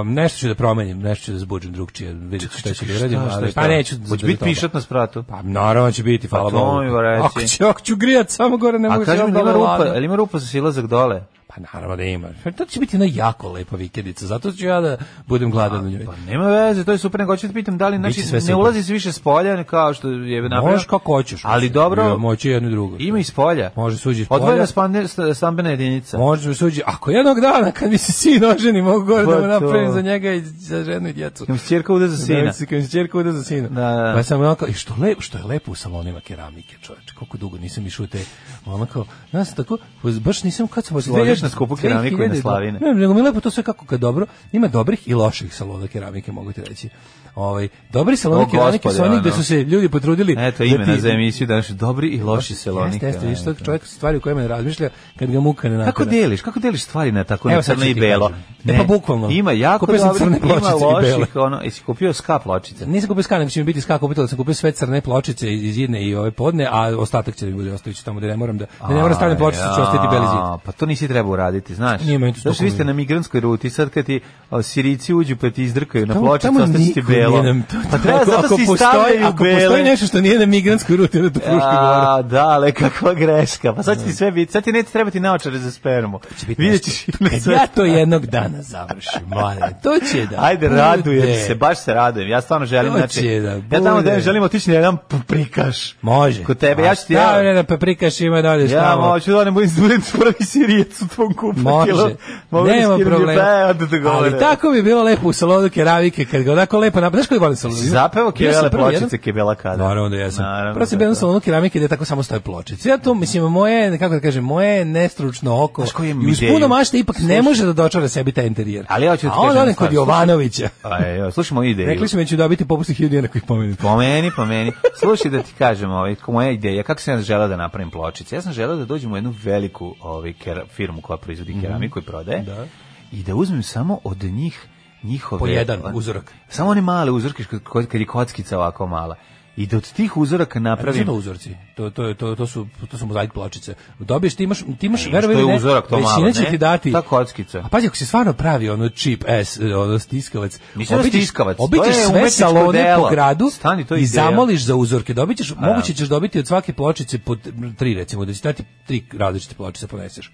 E: um, nešto ću da promenim, nešto ću da zbuđem drugčije, vidjet ću šta ću da uradim, ali pa neću.
F: Hoće
E: za
F: biti
E: toga.
F: pišat na spratu?
E: Pa naravno će biti, hvala
F: to mi
E: Bogu.
F: ga reci.
E: Ako ću, ako ću grijat, samo gore ne mogu
F: A
E: se
F: kaži mi,
E: javno
F: da ima
E: da
F: rupa,
E: vlada.
F: ali ima rupa za silazak dole?
E: Pa naravno da ima. To će biti jedna jako lepa vikendica, zato ću ja da budem gladan u njoj.
F: Pa nema veze, to je super, nego hoću da pitam da li, znači,
E: Biće sve
F: ne
E: super.
F: ulazi se više s polja ne kao što je napravljeno.
E: Možeš kako hoćeš.
F: Ali
E: mislim. Ja,
F: dobro,
E: moći jedno i drugo.
F: ima iz polja.
E: Može suđi iz polja.
F: Odvojena spande- st- stambena jedinica.
E: Može mi suđi, ako jednog dana kad mi se sin oženi, mogu gore da
F: Pa
E: mu
F: to.
E: napravim za njega i za ženu i djecu.
F: Ima sirka uda za
E: Da,
F: sina.
E: se- kad se ćerka uda za sina.
F: Da, da, da.
E: Pa sam onako, i što, lep, što je lepo u salonima keramike, čoveče, koliko dugo nisam išao u te, onako, nas tako, baš nisam, kad sam...
F: Izgledaš na skupu keramiku i na
E: 2000
F: slavine.
E: Ne, nego mi je lepo to sve kako kad dobro, ima dobrih i loših salona keramike, mogu ti reći. Ovaj, dobri saloni
F: O,
E: keramike su
F: gospode,
E: oni gde
F: ono.
E: su se ljudi potrudili...
F: Eto
E: da
F: imena
E: ti-
F: za emisiju danas dobri i loši selonika.
E: Jeste, jeste, viš to čovjek stvari o kojima ne razmišlja kad ga muka ne
F: Kako
E: natera.
F: deliš? Kako deliš stvari na tako
E: Evo
F: na
E: sad
F: crno
E: ću
F: i
E: ti
F: belo?
E: kažem. E, pa bukvalno.
F: Ima jako
E: Kupio sam
F: dobri,
E: crne
F: ima
E: pločice i
F: loših, ono, jesi kupio ska pločice.
E: Nisam kupio skane, će mi biti skako kupila, sam kupio sve crne pločice iz jedne i ove podne, a ostatak će mi bude ostavit ću tamo da ne moram da, da ne moram stavljam pločice, ću ostaviti beli zid.
F: A, Pa to nisi trebao uraditi, znaš.
E: Nije meni to
F: Znaš, vi ste
E: toliko-
F: na migrantskoj ruti, sad kad ti a, Sirici uđu pa ti izdrkaju na
E: Tamo-
F: pločicu,
E: tamo
F: ostaće ti
E: niko nije
F: belo.
E: nam to-
F: Pa treba,
E: Ako-
F: zato
E: ako
F: si
E: postoji-
F: stavljaju
E: Ako postoji
F: bele.
E: nešto što nije na migrantskoj ruti, onda je to Fruška gora.
F: A, da, ale kakva greška. Pa sad će ti sve biti, sad ti neće trebati naočare za spermu. Vidjet ćeš na
E: Kad
F: sve.
E: ja to jednog dana završim, mladen, to će da...
F: Ajde,
E: bude.
F: radujem se, baš se radujem. Ja stvarno želim,
E: To
F: znači,
E: će da
F: ja tamo da
E: bude.
F: želim otići na jedan p- prikaš.
E: Može.
F: Kod tebe,
E: A
F: ja ću ti,
E: Šta bre
F: ja,
E: da paprikaš ima da odeš
F: ja
E: tamo?
F: moću da ne budem, budem prvi sirijec u tvom kupatilu.
E: Može. Nema problema. Ali
F: Ali
E: tako bi bilo lepo u salonu keravike kad ga onako lepo napravi. Znaš koji volim salon?
F: Zapeo
E: Ja sam
F: kebele
E: prvi jedan-
F: pločice kebela kada.
E: Naravno da jesam.
F: Naravno
E: Prvo sam
F: da
E: bio na
F: da.
E: salonu keramike gde tako samo stoje pločice. Ja to, mislim, moje, kako da kažem, moje nestručno oko.
F: Znaš koju
E: I
F: imam
E: uz
F: ideju?
E: puno mašte ipak ne može da dočara sebi taj interijer.
F: Ali ja hoću da ti
E: A onda
F: kažem
E: odem
F: stvar.
E: kod Jovanovića.
F: Aj, evo, slušaj moju ideju.
E: Rekli su mi da ću dobiti popust od 1000 dinara koji pomenim.
F: Po meni, po meni. Slušaj da ti kažem, ovaj, ko- moja ideja, kako sam ja želeo da napravim pločice? Ja sam želeo da dođem u jednu veliku ovaj, kera- firmu koja proizvodi keramiku i prodaje
E: Mhm. Da.
F: i da uzmem samo od njih njihove...
E: Po jedan
F: on-
E: uzorak.
F: Samo one male uzorke ško- ko- kad je kockica ovako mala. I da od tih uzoraka
E: Pravi
F: napravim...
E: to uzorci. To to je- to to su to su mozaik pločice. Dobiješ ti imaš ti imaš
F: E,
E: verovatno
F: što je uzorak, to malo,
E: će
F: ne?
E: ti dati.
F: Ta kockica.
E: A pazi ako si stvarno pravi ono čip S, e, ono stiskavac.
F: Nisam ja stiskavac, to
E: Obiđeš
F: je
E: sve
F: umetničko
E: salone
F: delo.
E: po gradu
F: Stani, to je
E: i
F: ideja.
E: zamoliš za uzorke. Dobićeš, moguće ćeš dobiti od svake pločice po t- tri recimo, da će dati tri različite pločice poneseš.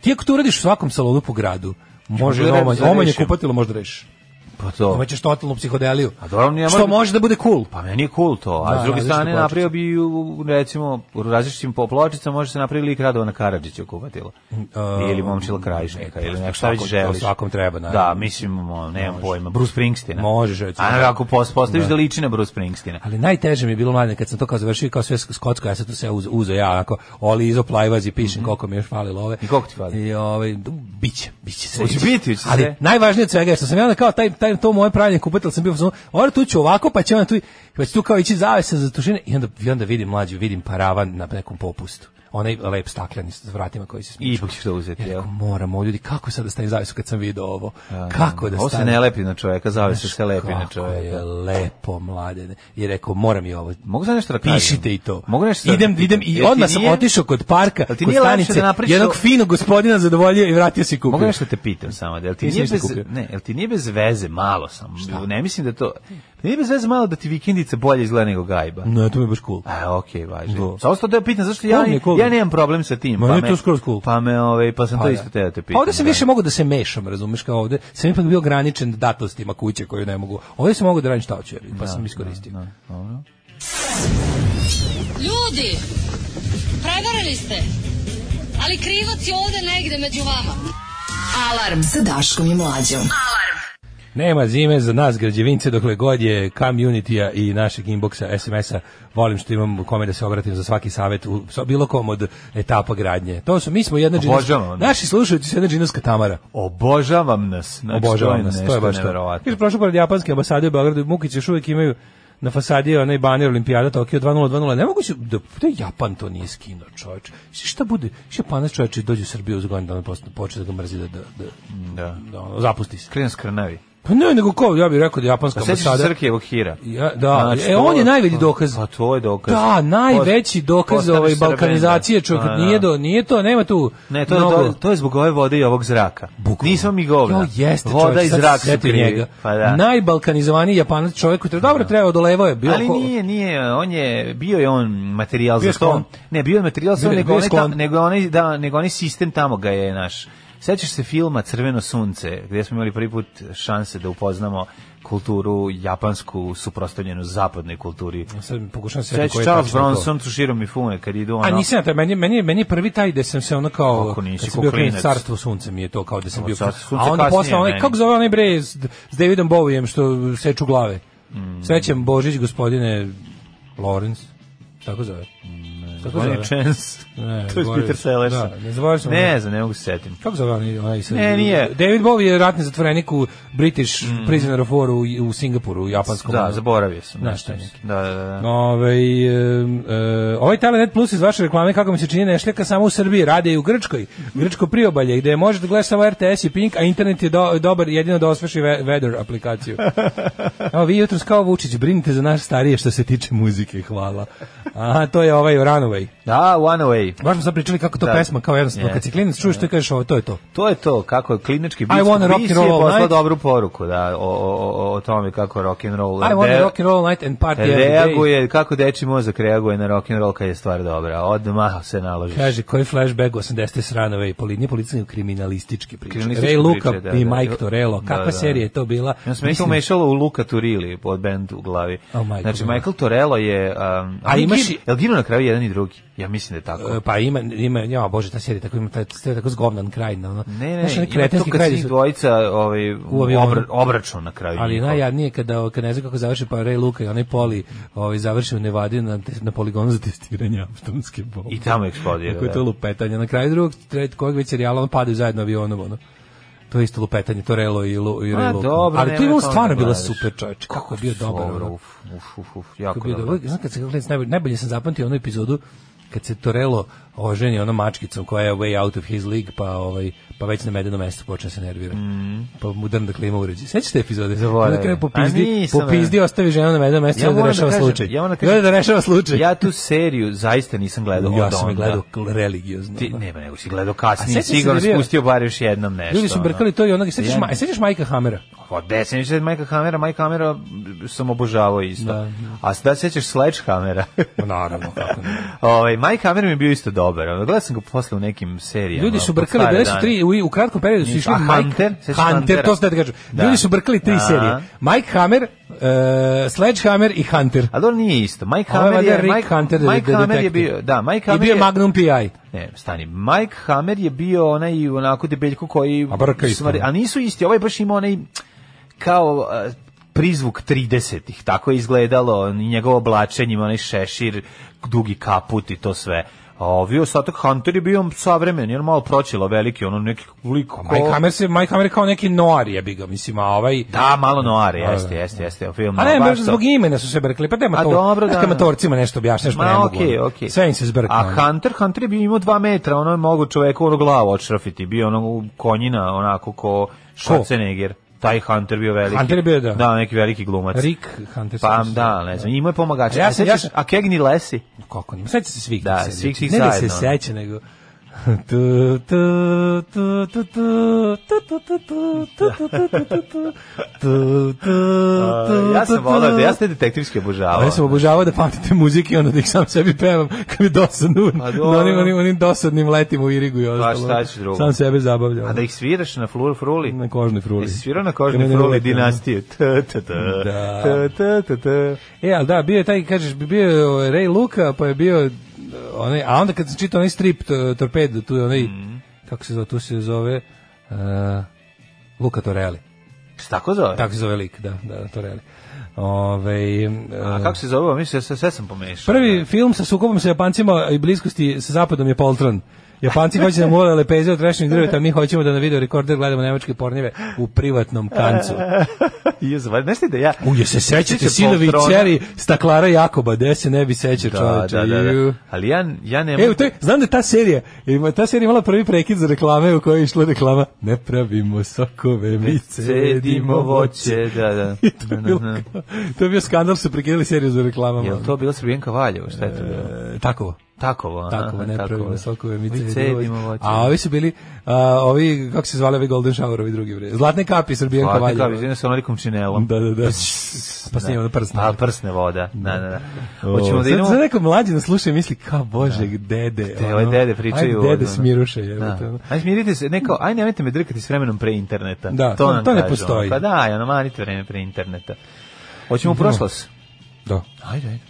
E: Ti ako to uradiš u svakom salonu po gradu, može
F: mogu da
E: omanje,
F: rešim.
E: omanje kupatilo možda rešiš.
F: Pa to.
E: Omećeš totalnu psihodeliju.
F: A dobro, nije
E: Što
F: možda-
E: može da bude cool.
F: Pa meni je cool to, a
E: Da,
F: s druge
E: različite
F: strane
E: pločice.
F: napravio bi, u- recimo, u različitim po pločicama može se napraviti lik Radovana Karadžića kupatilo.
E: Mm, um,
F: ili Momčila
E: e,
F: Krajišnika, ili nešto šta već
E: svakom-
F: želiš.
E: pa svakom treba, naravno.
F: Da, mislim, o, nemam pojma, Bruce Springsteena.
E: Možeš, recimo. E,
F: A ako pos- postaviš da liči na Bruce Springsteena.
E: Ali najteže mi je bilo mladen kad sam to kao završio kao sve skotsko, ja sam to sve uz- uzeo ja onako oli izo plajvaz i pišem koliko mi još fali love.
F: Mhm. I koliko ti fali?
E: I ovaj du- biće, biće sve.
F: Hoće biti, hoće
E: Ali
F: sve.
E: najvažnije od svega je što sam ja onda kao taj taj to moje pravljenje kupitelj sam bio samo ora tu ću ovako pa će onda tu i- pa će tu kao ići zavesa za tušine i onda i onda vidim mlađu, vidim paravan na nekom popustu. Onaj lep stakleni s vratima koji se
F: I
E: smiče.
F: ipak ćeš to
E: e,
F: uzeti, jel?
E: Moram, o ljudi, kako sad da stavim zavesu kad sam video ovo? Kako da
F: Ovo se
E: stavim?
F: ne lepi na čoveka, zave se
E: Znaš
F: se lepi ovaj, na
E: Kako je
F: čoveka.
E: lepo, mladene. I rekao, moram i ovo.
F: Mogu sad nešto da kažem?
E: Pišite i to.
F: Mogu nešto sad da
E: idem,
F: pitam?
E: idem i
F: Jel ti
E: odmah sam
F: nije-
E: otišao kod parka,
F: Jel ti
E: kod
F: nije lakše
E: stanice,
F: da napraviš
E: jednog
F: ovo?
E: finog gospodina zadovoljio i vratio se i kupio.
F: Mogu nešto te pitam samo, da jel ti
E: Nisi
F: nije
E: ništa
F: bez,
E: kupio.
F: ne, jel ti nije bez veze malo sam. Ne mislim da to nije bez veze malo da ti vikendica bolje izgleda nego gajba.
E: No, to mi je baš cool.
F: A, okej, važi.
E: Da.
F: Samo sam te pitam zašto ja
E: Cool mi je, cool mi je.
F: ja nemam problem sa tim.
E: Ma,
F: pa
E: meni
F: me-
E: je to skroz cool.
F: Pa me, ovaj, pa sam to isto te da te pitam.
E: Ovde sam
F: da.
E: više mogu da se mešam, razumeš, kao ovde. Sam ipak bio ograničen datostima kuće koju ne mogu. Ovde sam mogu da radim šta hoću, jer- pa sam iskoristio.
D: Ljudi, prevarili ste. Ali krivac je ovde negde među vama.
A: Alarm sa Daškom i Mlađom.
E: Nema zime za nas građevince dokle god je community-a i našeg inboxa, SMS-a. Volim što imam kome da se obratim za svaki savjet u sa bilo kom od etapa gradnje. To su, mi smo jedna
F: Pa Obožavam. ono.
E: džinovska, naši slušajući su jedna džinovska Tamara.
F: Obožavam nas. Znači,
E: Obožavam nas, to
F: nešto
E: je baš to.
F: neverovatno.
E: Kaže, prošlo pored japanske ambasade u Beogradu, Mukić još uvijek imaju na fasadi onaj baner Olimpijada Tokio 2020. Nemoguće da, da Japan to nije skinuo, čoveč. Šta bude? Šta Japanac čoveč dođe u Srbiju za godinu dana posle počne da ga mrzi da, da, da,
F: Da.
E: da ono, zapusti se.
F: Krenu skrnavi.
E: Pa ne, nego ko, ja bih rekao da japanska
F: Pa sećaš se
E: ambasada...
F: Srkijevog hira?
E: Ja, da,
F: Znači,
E: e,
F: to-
E: on je najveći dokaz.
F: Pa to je dokaz.
E: Da, najveći
F: Post-
E: dokaz
F: postaneš
E: ovaj
F: Srbenda.
E: balkanizacije čovjek
F: Pa, da.
E: nije do nije to nema tu.
F: Ne, to, je- to, je- to je zbog ove vode i ovog zraka.
E: Bukvalno.
F: Nismo mi govna.
E: Jo, jeste,
F: Voda
E: čovjek,
F: i
E: sad
F: zrak su
E: se setio
F: krivi.
E: njega.
F: Pa da.
E: Najbalkanizovaniji Japanac čovjek koji treba dobro treba odolevao je bio.
F: Ali
E: ko-
F: nije, nije, on je, bio je on materijal
E: Bio je
F: za to.
E: sklon.
F: Ne, bio je materijal za to,
E: Bio je-
F: nego,
E: bio je
F: onaj tam-
E: sklon.
F: nego, onaj, da, nego onaj sistem tamo ga je naš. Sećaš se filma Crveno sunce, gdje smo imali prvi put šanse da upoznamo kulturu japansku suprostavljenu zapadnoj kulturi.
E: Sad pokušavam se
F: Sećaš
E: setiti koji je
F: Charles
E: tačno to.
F: Bronson, Tsushiro Mifune, kad idu ono...
E: A nisam ja taj, meni, meni, meni je prvi taj gde sam se ono kao,
F: Kako nisi,
E: kad
F: ko
E: sam bio
F: klinac.
E: klinac, carstvo sunce mi je to kao da sam
F: O,
E: bio,
F: Carstvo sunce
E: a onda
F: kasnije
E: posle onaj,
F: meni.
E: kako zove onaj bre s, s Davidom Bovijem što seču glave,
F: Mm.
E: srećem Božić gospodine Lawrence, tako zove, tako
F: On
E: zove,
F: je Chance.
E: Ne,
F: to je
E: zaboravio
F: Peter
E: sam.
F: Sellerson.
E: Da, ne, zaboravio sam.
F: Ne znam, ne mogu se setim.
E: kako zove onaj, onaj sa-
F: Ne, nije. Mm.
E: David Bowie je ratni zatvorenik u British prisoner of war u, u Singapuru, u japanskom,
F: Da,
E: ono.
F: zaboravio sam. znači,
E: Znaš šta je.
F: Da, da, da.
E: Ove, e, ovaj Telenet Plus iz vaše reklame, kako mi se čini, ne šljaka samo u Srbiji, rade i u Grčkoj, Grčko priobalje, gde možete gledati samo RTS i Pink, a internet je do- dobar jedino da osveši ve- weather aplikaciju. Evo, vi jutros kao Vučić brinite za naš starije što se tiče muzike, hvala. A, to je ovaj rano Away.
F: Da, One Away.
E: Baš smo sad pričali kako to
F: Da.
E: pesma kao jednostavno.
F: Yes.
E: Kad si klinac čuješ to i kažeš ovo, to je to.
F: To je to, kako je klinički bit.
E: wanna rock and roll all
F: poslao
E: night.
F: dobru poruku, da, o, o, o, o tome kako rock and roll.
E: I want
F: re-
E: to rock and roll night and party every day.
F: reaguje, kako deči mozak reaguje na rock and roll kad je stvar dobra. Odmah se naložiš.
E: Kaže, koji flashback 80. srana Way, poli, nije policijski kriminalističke priče.
F: Kriminalističke
E: Ray Luka
F: priče, da,
E: i
F: da.
E: Mike Torello, kakva
F: Da, da.
E: serija je to bila?
F: Ja sam to
E: Mislim-
F: umešalo u Luka Turilli od band u glavi.
E: Oh, Michael
F: znači,
E: Torello.
F: Michael Torello je... Um,
E: A
F: ali
E: imaš
F: gin-
E: i-
F: Jel ginu na kraju jedan i drugi? Ja mislim da je tako.
E: E, pa ima ima ja bože ta serija tako ima taj taj tako zgovnan kraj na ono.
F: Ne, ne,
E: Znaš,
F: ne,
E: oni
F: ima to
E: kretenski
F: kad
E: kraj
F: njih dvojica ovaj,
E: avionu.
F: obra, obračun na kraju.
E: ali
F: njihov.
E: najjadnije kada kad ne znam kako završi pa Ray Luka i onaj Poli ovaj završi u Nevadi na na poligonu za testiranje atomske bombe.
F: I tamo eksplodira.
E: Kako je
F: da.
E: to lupetanje. Na kraju drugog, trećeg kojeg već serijala, on padaju zajedno avionom, ono. To je isto lupetanje, to Relo i, Lu, i
F: Ma,
E: Relo.
F: dobro,
E: Ali to
F: nema
E: je
F: tome
E: stvarno
F: da
E: bilo
F: gledaš.
E: super, čovječ. Kako je bio dobar.
F: Dobro,
E: ono.
F: uf, uf, uf, uf,
E: Kako
F: jako
E: je bio
F: dobro.
E: dobar. Znaš kad se gledam, najbolje, najbolje sam zapamtio onu epizodu kad se Torello oženi onom mačkicom koja je way out of his league, pa, ovaj, pa već na medenom mesecu počne se nervira. Pa mu drnda klima uređe. Sećaš te epizode?
F: Mm. Zaboravio.
E: Na kraju
F: A
E: popizdi,
F: nisam,
E: popizdi ostavi ženu na medenom mesecu
F: Ja
E: da
F: moram da
E: rešava
F: kažem,
E: slučaj.
F: ja moram da
E: I onda
F: kažem-
E: da rešava slučaj.
F: Ja tu seriju zaista nisam gledao
E: Ja
F: od
E: sam je
F: onda.
E: gledao religiozno.
F: Ti,
E: ono.
F: nema, nego si gledao
E: A
F: kasnije,
E: sjećaš se
F: sigurno
E: da je bio-
F: spustio bar još jednom nešto.
E: Ljudi su
F: ono.
E: brkali to i onoga, sećaš,
F: Jedan-
E: ma, sećaš Majka Hamera?
F: Pa desetim se Majka Hamera, Majka Hamera m, sam obožavao isto.
E: Da.
F: A da sećaš Sledgehammera?
E: Naravno, kako ne.
F: ovaj, Majka Hammer mi je bio isto dobar. Ono, Gledao sam ga posle u nekim serijama.
E: Ljudi su
F: po
E: brkali,
F: stare
E: bili su
F: dane.
E: tri, u, u kratkom periodu su
F: Nisu.
E: išli
F: A
E: Mike,
F: Hunter? Sećaš
E: Hunter,
F: Huntera?
E: to ste da kažu.
F: Da.
E: Ljudi su brkali tri
F: Da.
E: serije. Mike Hammer, uh, Sledgehammer i Hunter.
F: A dobro nije isto. Mike
E: Ovo je
F: Hammer
E: valjda
F: je,
E: ovaj Rick
F: Mike,
E: Hunter,
F: Mike
E: de-
F: Hammer je
E: detektiv.
F: bio, da, Mike
E: I
F: Hammer
E: bio je
F: je,
E: Magnum P.I.
F: ne, stani, Mike Hammer je bio onaj onako debeljko koji...
E: A brka isto.
F: smrdi- a nisu isti, ovaj baš ima onaj kao a, prizvuk 30-ih, tako je izgledalo, njegovo oblačenje, ima onaj šešir, dugi kaput i to sve. A ovi ostatak Hunter je bio savremen, jer malo proćilo veliki, ono neki lik ko...
E: Mike Hammer, se, Mike Hammer je kao neki noir, jebi ga, mislim, a ovaj...
F: Da, malo noare, jeste,
E: da.
F: jeste, jeste, film.
E: A ne,
F: baš
E: baš
F: to.
E: zbog imena su se brkali, pa nema
F: A
E: to.
F: dobro,
E: znaš
F: da,
E: kad
F: da.
E: matorcima nešto objašnjaš, pa ne
F: Ma,
E: mogu.
F: okej,
E: ono.
F: okej.
E: Sve im se ono. zbrkalo.
F: A Hunter, Hunter je bio imao dva metra, ono je mogo čoveku ono glavu odšrafiti, bio ono konjina, onako ko Schwarzenegger. Taj Hunter bio veliki.
E: Hunter je bio, da.
F: Da, neki veliki glumac.
E: Rick Hunter.
F: Pa,
E: sam se-
F: da, ne znam, imao je pomagača.
E: A ja
F: A
E: sam-
F: sećaš-
E: ja sam-
F: a Cagney Lesi?
E: Kako ne? Seća se svih
F: Da,
E: tih serija.
F: svih tih
E: ne da se
F: zajedno.
E: seća, nego... Tu, tu, tu, tu, tu, tu, tu, tu, tu, tu, tu, tu, tu, tu, tu, tu, tu, tu,
F: ja sam
E: tu,
F: volao, da, ja sam
E: tu.
F: te detektivski obožavao.
E: A ja sam obožavao da pamtite muzike i onda da ih sam sebi pevam kad mi je dosadno,
F: Pa
E: na
F: dobro. Pa
E: onim, onim, onim dosadnim letim u Irigu i ostalo.
F: šta ću drugo?
E: Sam sebe zabavljao.
F: A da ih sviraš na flur, fruli?
E: Na kožnoj fruli.
F: Jesi svirao na
E: Kad
F: kožnoj
E: mene
F: fruli
E: uvek, ono.
F: dinastije? Ta, ta, ta.
E: Da.
F: Ta, ta, ta, ta.
E: E, ali da, bio je taj, kažeš, bio je ovaj, Ray Luka, pa je bio eh, onaj, a onda kad sam čitao onaj strip to, torpedo, tu je onaj,
F: Mhm.
E: kako se zove, tu se zove, uh, Luka Torelli,
F: Se tako zove?
E: tako se zove lik, da, da, Torelli. Ove,
F: A kako se zove? Mislim, sve, sve sam pomešao.
E: prvi film sa sukobom sa Japancima i bliskosti sa Zapadom je Poltron. Japanci hoće da mole lepeze od rešenih drveta, a mi hoćemo da na video rekorder gledamo nemačke pornjeve u privatnom kancu.
F: Jezu, ba- znaš ti da ja...
E: Uje se sećate
F: Sjećate
E: sinovi i
F: Poltrona?
E: ćeri staklara Jakoba, gde se ne bi sećao
F: Da,
E: čoveče.
F: da, da,
E: ju.
F: da. Ali ja, ja ne mogu...
E: E, u toj, znam da je ta serija, ima, ta serija imala prvi prekid za reklame u kojoj je išla reklama ne pravimo sokove, mi cedimo voće.
F: Da, da.
E: I to je, bilo, kao- to je bio skandal, su prekidali seriju za reklamama.
F: Je li to bilo Srbijenka Valjevo? Šta je to bilo?
E: E, Takovo.
F: Takovo, aha,
E: Takovo, ne pravimo sokove, mi cedimo
F: cedimo
E: voće.
F: voće.
E: A ovi su bili, a, ovi, kako se zvali ovi Golden Shower, ovi drugi bre. Zlatne kapi, Srbijenka
F: Hvala, kao
E: Valjevo.
F: vidim sa onolikom činelom.
E: Da, da, da. Pa s njim ono prsne.
F: A, prsne voda. Da, da, da. Hoćemo
E: Hoćemo
F: da idemo...
E: Sad neko mlađi nas sluša i misli, kao bože, dede.
F: Te, ove dede pričaju.
E: Ajde, dede
F: ono.
E: smiruše, jebote.
F: Da.
E: ono.
F: Ajde, smirite se, neko, ajde, nemojte me drkati s vremenom pre interneta.
E: Da, to-
F: to, nam
E: to ne
F: kažu, ono.
E: postoji.
F: Pa da, ja namanite vreme pre interneta. Hoćemo u prošlost.
E: Da.
F: Ajde, ajde.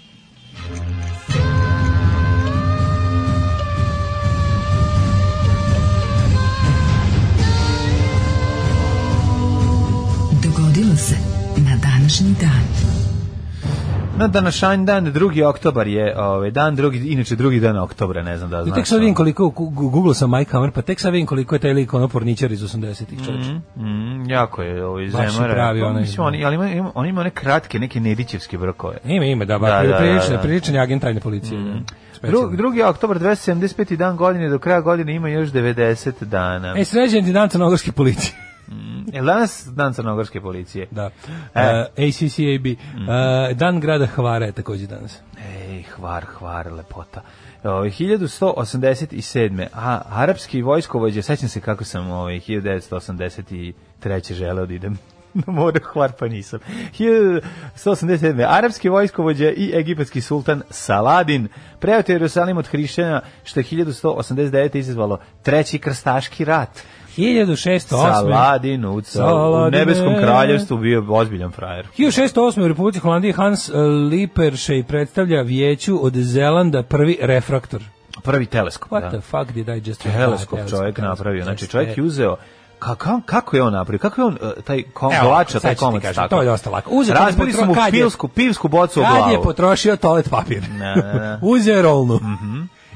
A: Dogodilo se na današnji dan.
F: Na današanj dan, 2. oktobar je ovaj, dan, drugi, inače drugi dan oktobra, ne znam da
E: I
F: znaš.
E: tek sad vidim koliko, gu- gu- googlao sam Mike Hammer, pa tek sad vidim koliko je taj lik ono porničar iz 80-ih čovječ.
F: Mm, jako je ovaj,
E: Baš je
F: zemara.
E: pravi
F: Pa,
E: onaj,
F: Mislim, on, ali ima, ima, on ima one kratke, neke nedićevske brkove.
E: Ima, ima, da, ba,
F: Da, da, da,
E: priličan,
F: da. Mhm.
E: priličan je agent tajne policije. Da.
F: Dru,
E: Specijalno.
F: drugi oktobar, 275. dan godine, do kraja godine ima još 90 dana. Mm,
E: E, sređen ti dan crnogorske policije.
F: Jel danas dan crnogorske policije?
E: Da.
F: E. Mhm.
E: E. ACCAB. E, dan grada Hvara je takođe danas.
F: Ej, hvar, hvar, lepota. Ovaj, Ove, 1187. A, arapski vojskovođe, sećam se kako sam ovaj, ove, 1983. želeo da idem na more hvar, pa nisam. 1187. Arapski vojskovođe i egipatski sultan Saladin preoteo Jerusalim od hrišćana, što je 1189. izazvalo treći krstaški rat.
E: 1608.
F: Saladin u, Saladin, u
E: Saladine.
F: nebeskom kraljevstvu bio ozbiljan frajer.
E: 1608. u Republici Holandiji Hans e, Lippershey predstavlja vijeću od Zelanda prvi refraktor.
F: Prvi teleskop.
E: What
F: da.
E: the fuck did I just...
F: teleskop
E: Ah,
F: čovjek
E: teleskop,
F: napravio. Znači
E: teleskop.
F: čovjek je uzeo Ka, ka, kako je on napravio? Kako je on uh, taj kom,
E: Evo,
F: glača,
E: sad
F: taj
E: ću ti
F: komad
E: kažem,
F: stakla?
E: to je dosta lako. Uzeo kad je
F: Razbili su
E: potro-
F: mu
E: kad je-
F: pilsku, pivsku bocu u
E: Kad je
F: glavu.
E: potrošio toalet papir.
F: Ne, ne, ne. Mhm.
E: Uzeo je rolnu.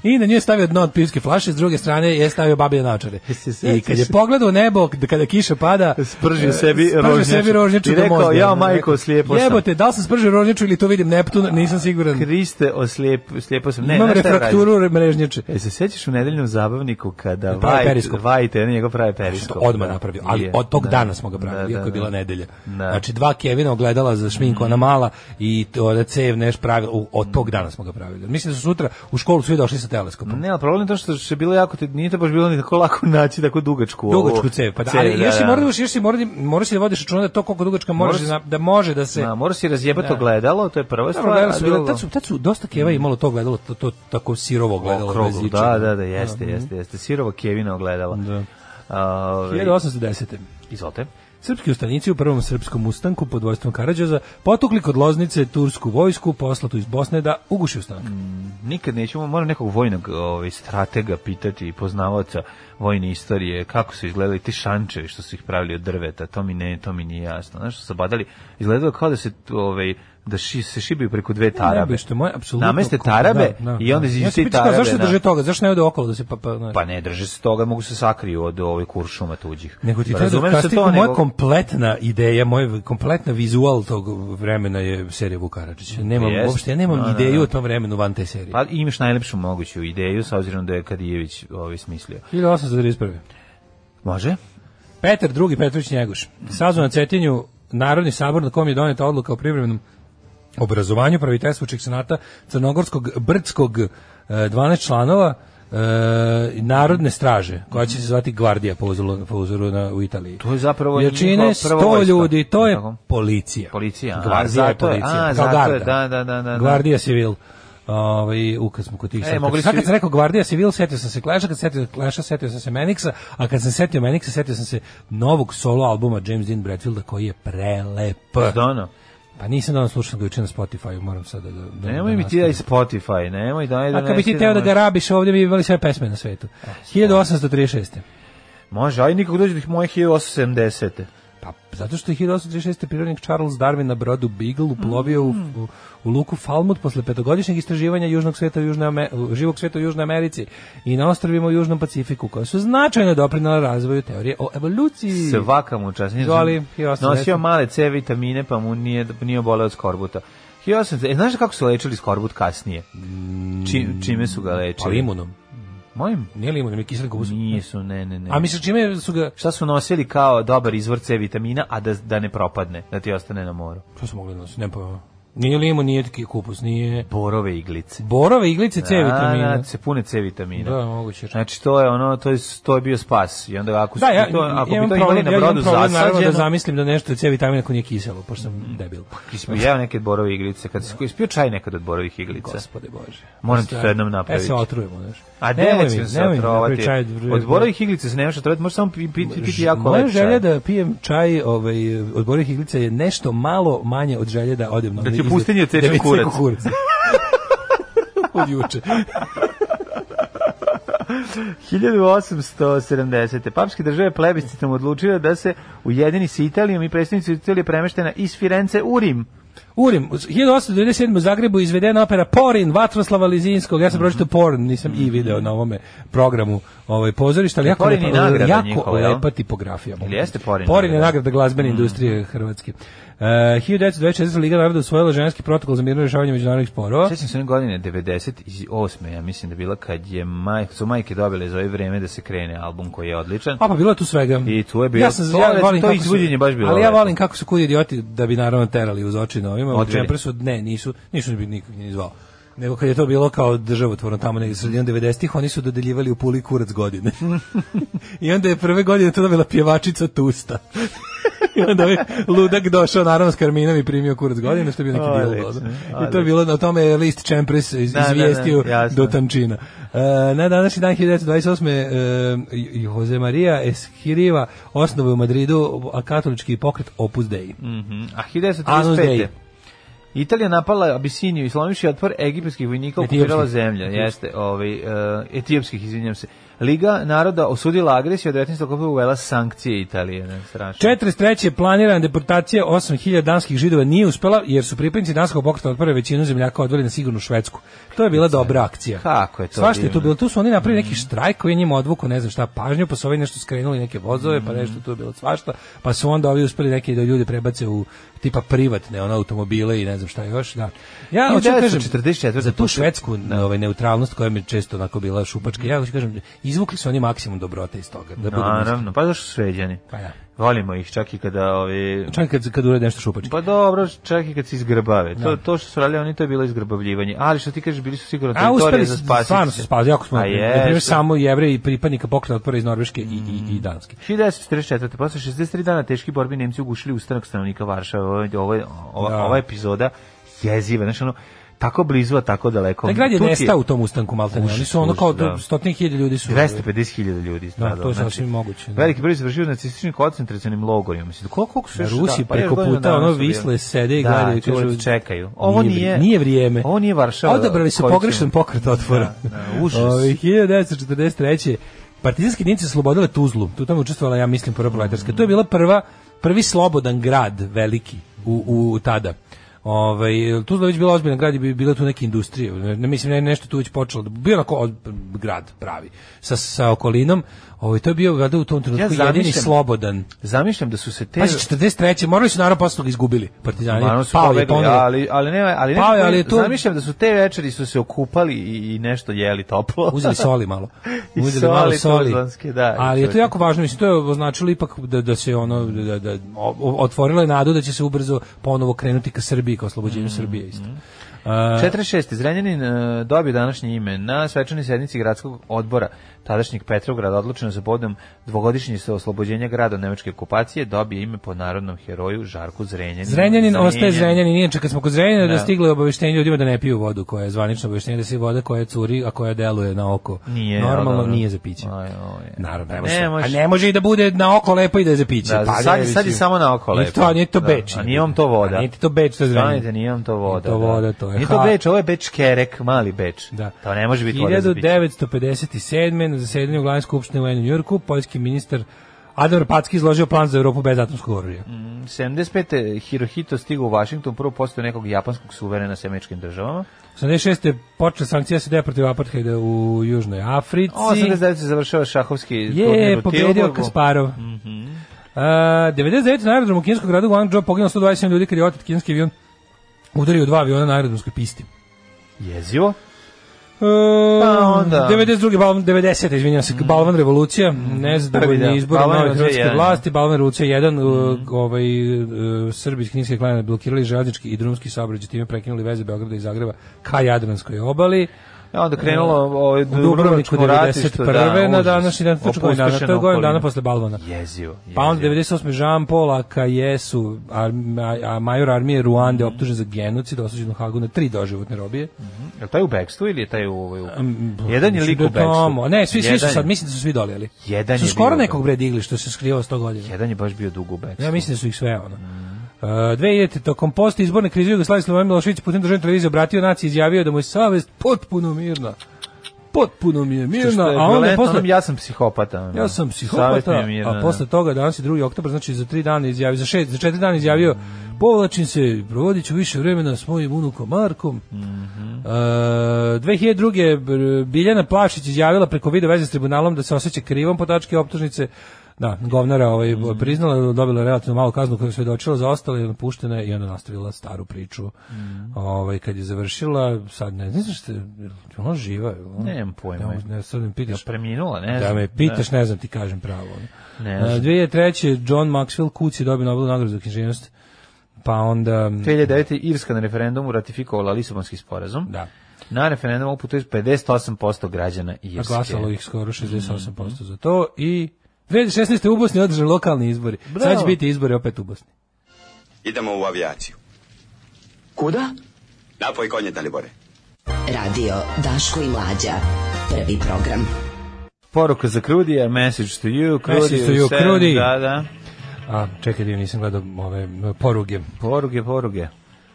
E: I na nju je stavio dno od pivske flaše, s druge strane je stavio babije naočare.
F: Jesi se
E: I kad je
F: sećaš?
E: pogledao u nebo, k- kada kiša pada, e,
F: Spržio sebi
E: spržio
F: rožnjaču.
E: sebi rožnjaču
F: I
E: do
F: rekao,
E: mozga.
F: "Jao, majko, slijepo sam."
E: Jebote, da li sam spržio rožnjaču ili to vidim Neptun, nisam siguran.
F: Kriste, oslijep, slijepo sam. Ne,
E: Imam
F: znaš šta je radio?
E: refrakturu mrežnjače.
F: E, se sećaš u nedeljnom zabavniku kada
E: Pravi
F: Vajte,
E: periskop.
F: Vajte, on je njegov pravi periskop.
E: To odmah
F: da.
E: napravio, ali
F: Je,
E: od tog
F: da.
E: dana smo ga
F: Da,
E: pravili,
F: da,
E: iako je bila
F: da.
E: nedelja.
F: Da. Mhm.
E: Znači, dva Kevina ogledala za šminku, ona mala, i to da cev neš pravila, u- od tog dana smo ga pravili. Mislim da su sutra u školu svi došli sa teleskopom.
F: Ne, ali problem je to što je bilo jako, te- nije to baš bilo ni tako lako naći tako dugačku. ovu-
E: dugačku cev, pa da, ali još si moraš, još si moraš, moraš da vodiš računa da to koliko dugačka moraš
F: Moraš-
E: da, da može da se
F: Da, moraš si razjebati
E: Da.
F: ogledalo, to je prva
E: Dobro,
F: stvar.
E: gledala
F: a
E: su bile,
F: drugo-
E: tad su, tad su dosta keva imalo to gledalo, to, to tako sirovo gledalo. bez
F: Okruglo,
E: ičega.
F: da, da, da, jeste, jeste, jeste. Sirovo Kevina ogledala.
E: Da. mhm.
F: Ove,
E: 1810.
F: Izvolite.
E: Srpski ustanici u prvom srpskom ustanku pod vojstvom Karadžoza potukli kod Loznice tursku vojsku poslatu iz Bosne da
F: Mm,
E: uguši ustanak.
F: Nikad nećemo, moram nekog vojnog ovaj, stratega pitati i poznavaoca vojne istorije, kako su izgledali ti šančevi što su ih pravili od drveta, to mi ne, to mi nije jasno. Znaš, što su badali, izgledalo je kao da se, ovaj, da ši, se šibaju preko dve
E: Ne,
F: tarabe.
E: bre, što je moje apsolutno...
F: Nameste tarabe
E: Da, da,
F: i onda
E: da.
F: iz
E: Ja sam
F: te
E: pričao,
F: tarabe.
E: Zašto
F: na-
E: drže toga? Zašto ne ode okolo da se pa... Pa, znaš.
F: Pa ne, drže se toga, mogu se sakriju od ovih kuršuma tuđih.
E: Nego ti treba
F: Razumem
E: da
F: Pa se
E: kažem,
F: to,
E: moja
F: nego-
E: kompletna ideja, moj kompletna vizual tog vremena je serija Vukaračić. Nemam,
F: Pa Jest.
E: uopšte, ja nemam
F: Da, da,
E: ideju
F: da.
E: o tom vremenu van te serije.
F: Pa imaš najlepšu moguću ideju, sa obzirom da je Kadijević ovaj smislio.
E: 1831.
F: Može?
E: Petar II. Petrović Njegoš. Sazvan na Cetinju Narodni sabor na kom je doneta odluka o privremenom obrazovanju praviteljstvu senata Crnogorskog Brdskog e, 12 članova e, narodne straže koja će se zvati Gvardija po uzoru, po uzoru na, u Italiji.
F: To je zapravo
E: Jer čine
F: njihova
E: 100
F: prva vojska.
E: ljudi, to je
F: Tako.
E: policija.
F: Policija, a,
E: Gvardija je
F: zato je-
E: policija.
F: a,
E: kao
F: zato je,
E: garda.
F: da, da, da, da, da.
E: Gvardija civil. Ovaj ukaz smo kod tih.
F: E,
E: sad kad-
F: mogli
E: sad
F: su-
E: kad sam rekao Gvardija Civil, setio sam se Clash-a, kad sam setio Clash-a, setio sam se Manixa, a kad sam se setio Manixa, setio sam se novog solo albuma James Dean Bradfielda koji je prelep.
F: Dono.
E: Pa nisam danas slušao ga juče na Spotify, moram sad da... da- da
F: Nemoj mi ti daj
E: nastavim.
F: Spotify, nemoj daj da ono-
E: A kad bi ti
F: nesti
E: teo da ga
F: nam-
E: rabiš ovdje bi imali sve pesme na svetu.
F: E,
E: 1836.
F: Može, aj nikako dođe do moje 1870.
E: Pa, zato što je 1836. prirodnik Charles Darwin na brodu Beagle uplovio u, u, u luku Falmouth posle petogodišnjeg istraživanja južnog sveta u Južnoj Ame- u- živog sveta u Južnoj Americi i na ostrovima u Južnom Pacifiku, koja su značajno doprinala razvoju teorije o evoluciji.
F: Svaka mu čast. Nije
E: Izvoli,
F: znam,
E: 1870.
F: Nosio male C vitamine, pa mu nije, nije oboleo od skorbuta. 1800, e, znaš kako su lečili skorbut kasnije?
E: Mm.
F: Či, čime su ga
E: Pa
F: lečili?
E: limunom.
F: Mojim?
E: Nije limunom, je kiselnik kupus.
F: Nisu, ne, ne, ne.
E: A misliš čime su ga...
F: Šta su nosili kao dobar izvor C vitamina, a da, da ne propadne, da ti ostane na moru?
E: Što su mogli da nosi? Ne pa... Nije limun, nije ki- kupus, nije...
F: Borove iglice.
E: Borove, iglice, C
F: Da,
E: vitamina.
F: da, se pune C vitamina.
E: Da, moguće.
F: Znači to je ono, to je to je bio spas. I onda ako su
E: Da, ja,
F: ti to, ako bi
E: imam
F: to imali
E: problem,
F: na
E: ja imam
F: brodu
E: problem naravno da
F: zasađeno, Mm.
E: zamislim da nešto je C vitamina ako nije kiselo, pošto sam debil.
F: Ti si jeo neke borove iglice, kad si ispio čaj nekad od borovih iglica.
E: Gospode Bože.
F: Moram ti to jednom
E: Ja
F: napraviti.
E: se otrujemo, znaš.
F: A
E: Nemoj
F: ne,
E: mi,
F: ću se
E: nemoj mi napravi
F: otrovati.
E: čaj
F: Od borovih iglica se nemaš otrovati, možeš samo pi- piti, piti jako
E: Moja
F: lep čaj.
E: želja da pijem čaj ovaj, od borih iglica je nešto malo manje od želje da odem na
F: Da
E: onaj
F: ti
E: izlet-
F: pustinje
E: da
F: ceče
E: mi
F: kurac.
E: kurac. od juče.
F: 1870. Papske države plebiscitom odlučile da se ujedini sa Italijom i predstavnici Italije premeštena iz Firence u Rim.
E: Urim, 1897. u Zagrebu izvedena opera Porin Vatroslava Lizinskog. Ja sam pročitao Porin, nisam i video na ovome programu ovaj pozorišta, ali jako,
F: Porin je nagrada
E: jako
F: njihova, jel?
E: lepa tipografija.
F: Ili jeste Porin
E: Porin je
F: nagrada? Mm.
E: nagrada glazbene industrije Hrvatske. Uh, 1924. Liga naroda usvojila ženski protokol za mirno rešavanje međunarodnih sporova.
F: Sjećam se one godine 98. ja mislim da bila kad je maj, su majke dobile za ovo vreme da se krene album koji je odličan.
E: A pa bilo je tu svega.
F: I tu je bilo- to je- to
E: kako su-
F: izvođenje baš bilo
E: Ali ja
F: lepo.
E: volim kako su koji idioti da bi naravno terali uz oči novima. U
F: Odveli.
E: Čempresu, ne, nisu, nisu bi nikog nije zvao. Nego kad je to bilo kao državotvorno tamo negdje sredinom 90-ih, oni su dodeljivali u puli kurac godine. I onda je prve godine to dobila pjevačica Tusta. I onda ovaj ludak došao naravno s Karminom i primio kurac godine, što je bio neki
F: Odlično,
E: djelo. I to je bilo, na tome je list Čempres iz,
F: Da, da, da,
E: izvijestio
F: jasno.
E: do tančina. E, na današnji dan 1928. E, Jose Maria Esquiriva osnovu u Madridu a katolički pokret Opus Dei.
F: Mhm. A
E: Anus Dei.
F: 1935. Italija napala Abisiniju i slomivši otpor egipatskih vojnika okupirala
E: Etiopskih.
F: zemlja. Jeste, ovaj, uh, etiopskih, izvinjam se. Liga naroda osudila agresiju, a 19. oktobra uvela sankcije Italije. Ne, strašno.
E: 43. planirana deportacija 8000 danskih židova nije uspela jer su pripadnici danskog pokreta otpore većinu zemljaka odveli na sigurnu Švedsku. To je bila dobra akcija.
F: Kako je to
E: Svašta je tu
F: divno. Mm.
E: bilo. Tu su oni napravili neki štrajk koji je njima odvuko, ne znam šta, pažnju, pa su ovi nešto skrenuli neke vozove,
F: Mm.
E: pa nešto tu je bilo svašta, pa su onda ovi uspeli neke da ljudi prebace u tipa privatne ono, automobile i ne znam šta još. Da. Ja hoću da kažem,
F: 1944
E: za tu
F: počet-
E: švedsku ovaj, neutralnost koja mi je često onako bila šupačka, ja hoću kažem, izvukli su oni maksimum dobrote iz toga. Da budem iskren.
F: Naravno, pa zašto su sveđani?
E: Pa da.
F: Volimo ih čak i kada... Ovi,
E: Čak kad, kad urade nešto šupački.
F: Pa dobro, čak i kad se izgrbave. To, to što su radili oni, to je bilo izgrbavljivanje. Ali što ti kažeš, bili su sigurno
E: A
F: teritorije
E: uspeli
F: za
E: su,
F: spasiti.
E: stvarno su spasili, jako smo,
F: A
E: na primjer,
F: jesu.
E: samo jevreji i pripadnika pokreta otpora iz Norveške i, i, i Danske.
F: 1944. Posle 63 dana teški borbi Nemci ugušili ustanak stanovnika Varšave. Ovo, je- ovo, je- ova,
E: Da.
F: ova epizoda jeziva. Znači, ono, tako blizu, a tako daleko.
E: Taj grad je
F: Tu ti
E: nestao u tom ustanku Maltene, oni su ono
F: Pa, užas,
E: kao
F: da.
E: da. stotnih hiljada ljudi su...
F: 250.000 ljudi stradalo. znači,
E: to je sasvim moguće, da.
F: Veliki broj završio u nacističnim koncentracionim logorima. Mislim, koliko, koliko su
E: Na
F: još-
E: Rusi
F: pa još
E: preko
F: godinu
E: puta,
F: dana
E: ono,
F: su bili.
E: visle, sede i
F: Da,
E: gledaju,
F: čuvaju,
E: kažu,
F: čekaju. Ovo
E: nije vri-
F: nije,
E: nije vrijeme.
F: Ovo nije Varšava.
E: Odabrali su
F: koju ćemo-
E: pogrešan pokret otvora.
F: Da, da, užas.
E: Ovaj, 1943. Partizanski jedinice slobodile Tuzlu. Tu tamo je učestvovala, ja mislim, prva proletarska. To je bila prva, prvi slobodan grad veliki u, u tada. Ovaj Tuzla je već bila ozbiljan grad i bi bilo tu neke industrije. Ne, ne mislim ne, nešto tu već počelo. da- Bio onako od- grad pravi sa sa okolinom. Ovaj to je bio valjda u tom trenutku jedini
F: zamišljam-
E: slobodan.
F: Zamišljam da su se te...
E: Pazi, 43. morali su naravno posle toga izgubili partizani.
F: Naravno su
E: Pao je
F: pobegli,
E: ponovo.
F: ali, ali ne, ali ne,
E: Pao je, ali je to-
F: zamišljam da su te večeri su se okupali i, i nešto jeli toplo.
E: uzeli soli malo.
F: I
E: Uzeli
F: soli
E: malo soli.
F: tuzlanske, da.
E: Ali je to
F: Čovječe.
E: jako važno, mislim to je označilo ipak da da se ono da da o- o- otvorilo je nadu da će se ubrzo ponovo krenuti ka Srbiji, ka oslobođenju
F: Mhm,
E: Srbije isto. A,
F: 46. Zrenjanin e, dobio današnje ime na svečanoj sednici gradskog odbora tadašnjeg Petrovgrada odlučeno za bodom dvogodišnje se oslobođenja grada od nemačke okupacije dobije ime po narodnom heroju Žarku Zrenjaninu.
E: Zrenjanin
F: Zamijenjen.
E: ostaje Zrenjanin, inače kad smo kod Zrenjanina
F: Da.
E: da stigle obaveštenje ljudima da ne piju vodu koja je zvanično obaveštenje da se voda koja curi, a koja deluje na oko.
F: Nije, ali
E: Normalno
F: dobro.
E: nije za piće.
F: Aj, oj.
E: Naravno, ne
F: Pa Ne
E: može.
F: može.
E: A ne može i da bude na oko lepo i da je za piće.
F: Da,
E: Pa,
F: sad,
E: ne,
F: sad je
E: mislim.
F: samo na oko
E: Nije
F: lepo.
E: to, a nije to
F: Da,
E: beč.
F: a nije vam to voda.
E: A nije ti to beč, to je Zrenjanin.
F: Stanite, nije vam to voda.
E: to
F: da.
E: voda, to je
F: Nije to
E: ha-
F: beč, ovo je beč kerek, mali beč.
E: Da.
F: To Pa ne može biti voda za piće.
E: 1957. na zasedanju glavne skupštine u Njujorku poljski ministar Adam Packi izložio plan za Europu bez atomskog oružja.
F: Mm. 75. Hirohito stigao u Vašington, prvo postao nekog japanskog suverena s američkim državama.
E: 86. je počela sankcija SED protiv apartheida u Južnoj Africi.
F: 89. se završava šahovski turnir u
E: Je, pobedio
F: Tilburgu.
E: Kasparov. Mm
F: Mhm.
E: Uh, 99. na aerodromu kineskog grada Guangzhou poginulo 127 ljudi kad je otet kineski avion udario dva aviona na aerodromskoj pisti.
F: Jezivo.
E: Pa
F: onda-
E: 92. Balvan, 90. izvinjam se, Balvan revolucija,
F: Prvi, da.
E: nezadovoljni izbor
F: Balvan
E: nove
F: revolucija
E: hrvatske
F: jedan. Mhm.
E: vlasti, Balvan revolucija 1, ovaj, e, Srbi iz Kninske klane blokirali željeznički i drumski saobrađaj, time prekinuli veze Beograda i Zagreba ka Jadranskoj obali.
F: A onda krenulo ovaj
E: U Dubrovniku
F: Dubrovačko ratište,
E: 91.
F: da,
E: na
F: užas.
E: današnji dan, to je godin dana, to je
F: Opustošena
E: godin dana
F: okolina.
E: posle Balvana.
F: Jezivo.
E: Pa onda
F: jezivo.
E: 98. Jean Paul Akajesu, arm- a- a major armije Ruande, optužen za genocid, osuđen u Hagu na tri doživotne robije.
F: Jel taj u bekstvu ili je taj u... Ovaj, u...
E: Um,
F: Jedan je lik u
E: Mislim da je tamo.
F: bekstvu.
E: Ne, svi, svi su
F: Jedan
E: sad,
F: je-
E: mislim da su svi dolijeli.
F: Jedan
E: su
F: je
E: skoro
F: bio-
E: nekog bre digli što se skrivao 100 godina.
F: Jedan je Mm. baš bio dugo u bekstvu.
E: Ja mislim da su ih sve ono. Uh, 2000. tokom posta izborne krize Jugoslavije Slobodan Milošević putem državne televizije obratio naciji i izjavio da mu je savest potpuno mirna. Potpuno mi je
F: Što
E: mirna,
F: što je
E: a onda je
F: ekvivalentno
E: posle
F: onom, ja sam psihopata. ono.
E: ja sam
F: Savjet mi
E: psihopata,
F: je miran,
E: a
F: da.
E: posle toga danas je 2. oktobar, znači za 3 dana izjavio, za 6, za 4 dana izjavio povlačim se, provodit ću više vremena s mojim unukom Markom. Mm -hmm.
F: Mhm.
E: e, 2002. je Br- Biljana Plavšić izjavila preko video veze s tribunalom da se osjeća krivom po tačke optužnice. Da, govnara ovaj,
F: Mhm.
E: priznala, dobila relativno malu kaznu koju je svedočila za ostale, puštena je i onda nastavila staru priču.
F: Mhm.
E: Ovaj, kad je završila, sad ne znam što je, ona živa? je li ona?
F: Nemam pojma.
E: Ne, ne, sad me
F: Ja
E: pitaš.
F: preminula, ne
E: Da
F: znam.
E: me pitaš, ne znam ti kažem pravo. ono.
F: Ne
E: A,
F: znam.
E: 2003. John Maxwell Kuc je dobio Nobelu nagradu za književnost. Pa onda...
F: 2009. Irska na referendumu ratifikovala Lisabonski sporazum.
E: Da.
F: Na referendumu uputuje 58% građana
E: A
F: Irske.
E: glasalo ih skoro 68%
F: Mhm.
E: za to i 2016. u Bosni održani lokalni izbori. Sad će
F: Bravo.
E: biti izbori opet u Bosni.
G: Idemo u avijaciju.
A: Kuda?
G: Napoj konje, Dalibore.
A: Radio Daško i Mlađa. Prvi program.
F: Poruka za Krudija, message to you, Krudi.
E: Message to you,
F: sve,
E: Krudi.
F: Da, da.
E: A, čekaj, dio, nisam gledao ove poruge.
F: Poruge, poruge.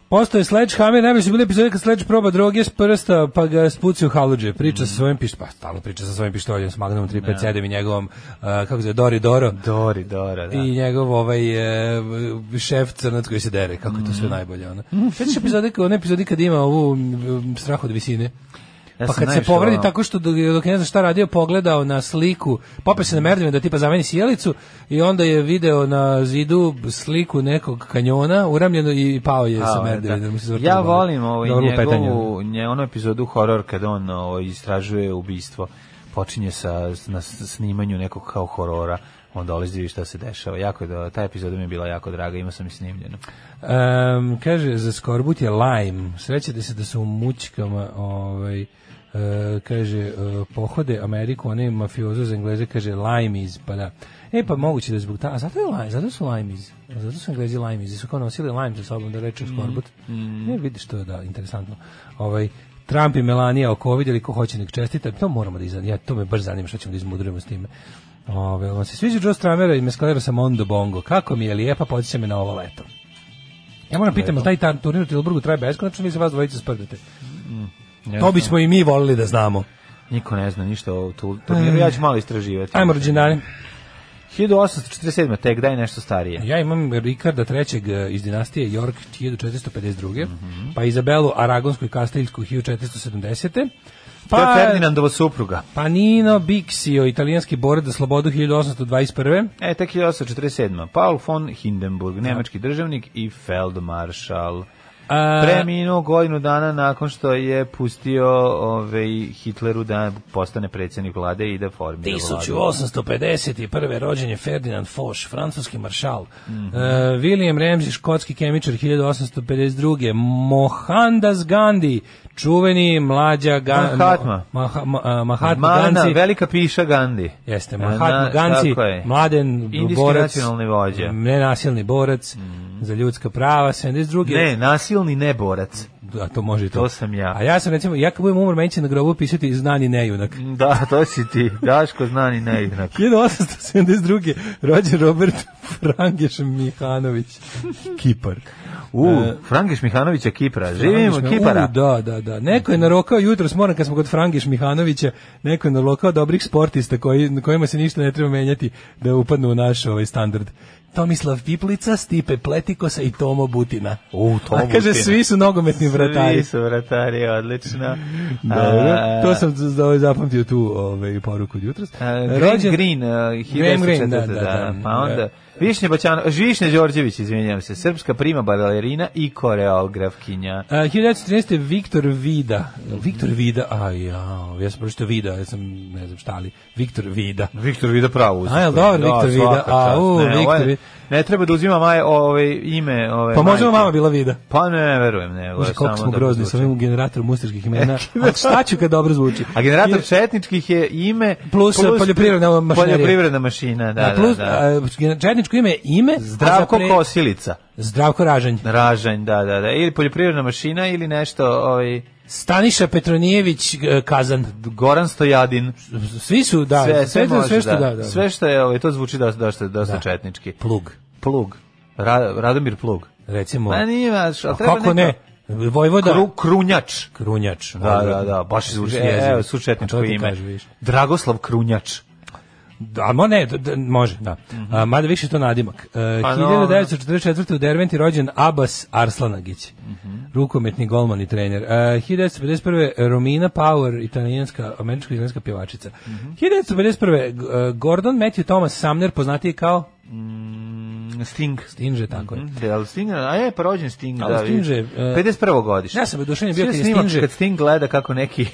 E: Postoje Sledgehammer, najbolji su bili epizode kad Sledge proba droge s prsta, pa ga spuci u haludže. Priča
F: Mhm.
E: sa svojim pištoljem, pa stalno priča sa svojim pištoljem, s Magnum 357 i njegovom, a, kako se zove, Dori Doro.
F: Dori, Dora, da.
E: i njegov ovaj e, šef crnac koji se dere, kako je to sve
F: Mm.
E: najbolje. Ono. Sveći epizode, one epizode kad ima ovu mm, strah od visine.
F: Ja
E: pa
F: sam
E: kad se
F: najviše
E: povredi
F: volao.
E: tako što dok, dok je ne zna šta radio, pogledao na sliku, popio se na merdiven da tipa zameni sjelicu i onda je video na zidu sliku nekog kanjona uramljeno i pao je
F: A,
E: sa
F: da.
E: merdivena. mu se izvrtilo
F: Ja
E: glavu.
F: volim ovaj
E: Dobro lupetanje.
F: njegovu, nje, onu epizodu horor kad on ovaj, istražuje ubistvo. Počinje sa na s- snimanju nekog kao horora on dolazi i šta se dešava. Jako je da, ta epizoda mi je bila jako draga, ima sam i snimljeno.
E: Em, kaže, za skorbut je lajm. Srećete se da su u mućkama, ovaj, e, kaže, e, pohode Ameriku, one mafiozo za Engleze, kaže, lajmiz, pa da. E, pa moguće da je zbog ta, a zato, je laj, zato su lajmiz, zato su Englezi lajmiz, su kao nosili lajm sa sobom da reče skorbut. Ne, vidiš, to je da, interesantno. Ovaj, Trump i Melania oko ovo vidjeli ko hoće nek čestita, to moramo da izan, ja, to me baš zanima što ćemo da izmudrujemo s time. Ove, jel vam se sviđa Joe Stramera i Mescalera sa Mondo Bongo, kako mi je lijepa, podsjeća me na ovo leto. Ja moram pitam, jel taj tan turnir u Tilburgu traje beskonačno ili se vas dvojica sprdate?
F: Ne
E: To
F: znam.
E: bismo i mi volili da znamo.
F: Niko ne zna ništa o tu turniru, ja ću malo istraživati.
E: E. Ajmo rođendani.
F: 1847. tek daj nešto starije.
E: Ja imam Rikarda III. iz dinastije York 1452.
F: Mhm.
E: Pa Izabelu Aragonsku i Kastiljsku 1470.
F: To je
E: Pa,
F: Ferdinandova supruga.
E: pa Nino Bixio, italijanski borac za slobodu 1821.
F: E, tek 1847. Paul von Hindenburg, nemački državnik i feldmaršal.
E: A,
F: Preminuo godinu dana nakon što je pustio ovaj, Hitleru da postane predsjednik vlade i da formira vladu.
E: 1851. rođen je Ferdinand Foch, francuski maršal. Mm
F: Mhm.
E: William Ramsey, škotski kemičar 1852. Mohandas Gandhi, čuveni mlađa Ga
F: Mahatma.
E: Maha- ma- a, Mahatma
F: Mana,
E: Gandhi.
F: velika piša Gandhi. E,
E: Jeste,
F: Na-
E: Mahatma Gandhi,
F: tako je.
E: mladen
F: Indijski
E: borac,
F: nacionalni vođa. Mhm.
E: nenasilni borac za ljudska prava, 72.
F: Ne, nasilni ne borac.
E: A to može i to.
F: To sam ja.
E: A ja sam recimo, ja kad budem umor, meni će na grobu pisati znani nejunak.
F: Da, to si ti. Daško znani nejednak.
E: 1872. rođen Robert Frangeš Mihanović, Kipar.
F: U, Frankiš Mihanovića Kipra. Živimo
E: Frangeš-
F: Kipara.
E: E, U, da, da, da. Neko je narokao jutros, moram kad smo kod Frangeš Mihanovića, neko je narokao dobrih sportista koji, na kojima se ništa ne treba menjati da upadnu u naš ovaj standard. Tomislav Piplica, Stipe Pletikosa i Tomo Butina.
F: U, to
E: A kaže, svi su nogometni vratari.
F: Svi su vratari, odlično.
E: Dobro,
F: A,
E: to sam z- za- zapamtio tu ovaj, poruku od jutros.
F: a, Green, Green, uh, a, 1904,
E: Green,
F: da,
E: da, da, da.
F: Pa onda, Višnje Baćano, Višnje Đorđević, izvinjam se, srpska prima balerina i koreografkinja.
E: A, 1913. Viktor Vida. Viktor Vida, a ja, ja sam pročito Vida, ja sam ne znam šta ali. Viktor Vida.
F: Viktor Vida pravo uzim.
E: A, jel dobro, Viktor Vida? A, u,
F: ne, ovo je-
E: Viktor Vida.
F: ne treba da uzima maj, ove, ime ove,
E: Pa možda
F: majke.
E: mama bila Vida.
F: Pa ne, verujem, ne. ovo je
E: Bože, koliko
F: samo
E: smo
F: da
E: grozni
F: zvuči.
E: sa ovim generatorom ustaških imena. A šta ću kad dobro zvuči?
F: A generator četničkih je ime
E: Plus, poljoprivredna mašinerija.
F: Poljoprivredna mašina, da,
E: Da, plus,
F: da, da.
E: a, gener- četničko ime je ime a za
F: Zdravko
E: pre-
F: Kosilica.
E: Zdravko Ražanj.
F: Ražanj, da, da, da. Ili poljoprivredna mašina ili nešto, ovaj,
E: Staniša Petronijević e, Kazan.
F: Goran Stojadin.
E: Svi su, da, sve, sve, sve,
F: može,
E: što da, da.
F: Sve što je, ovaj, to zvuči dosta, dosta, dosta
E: Da.
F: četnički.
E: Plug,
F: Plug. Ra, Radomir Plug.
E: recimo.
F: Ma nije, baš, ali
E: Pa. A
F: treba
E: kako ne?
F: neko-
E: Vojvoda.
F: Kru, krunjač.
E: Krunjač.
F: Da, da, da, baš
E: zvuči
F: izvuči e,
E: jezivo.
F: Evo, su
E: A
F: četničko
E: to ti
F: ime.
E: kažem, vidiš.
F: Dragoslav Krunjač.
E: Da, mo ne, da, da, može, da. A, mada više je to nadimak. E,
F: Mhm. Pa, no,
E: 1944. u Derventi rođen Abbas Arslanagić,
F: Mhm.
E: rukometni golman i trener. E, 1951. Romina Power, italijanska, američko-italijanska pjevačica.
F: Mhm.
E: 1951. G- e, Gordon Matthew Thomas Sumner, poznatiji kao
F: Mm, Sting.
E: Stinže, tako je.
F: Mhm, Da, Sting, a je prođen Sting,
E: Ali
F: da.
E: Sting
F: vidiš.
E: je, e,
F: 51. godište.
E: Ja sam oduševljen bio
F: Sve
E: kad je
F: snimak
E: Sting-
F: Kad Sting gleda kako neki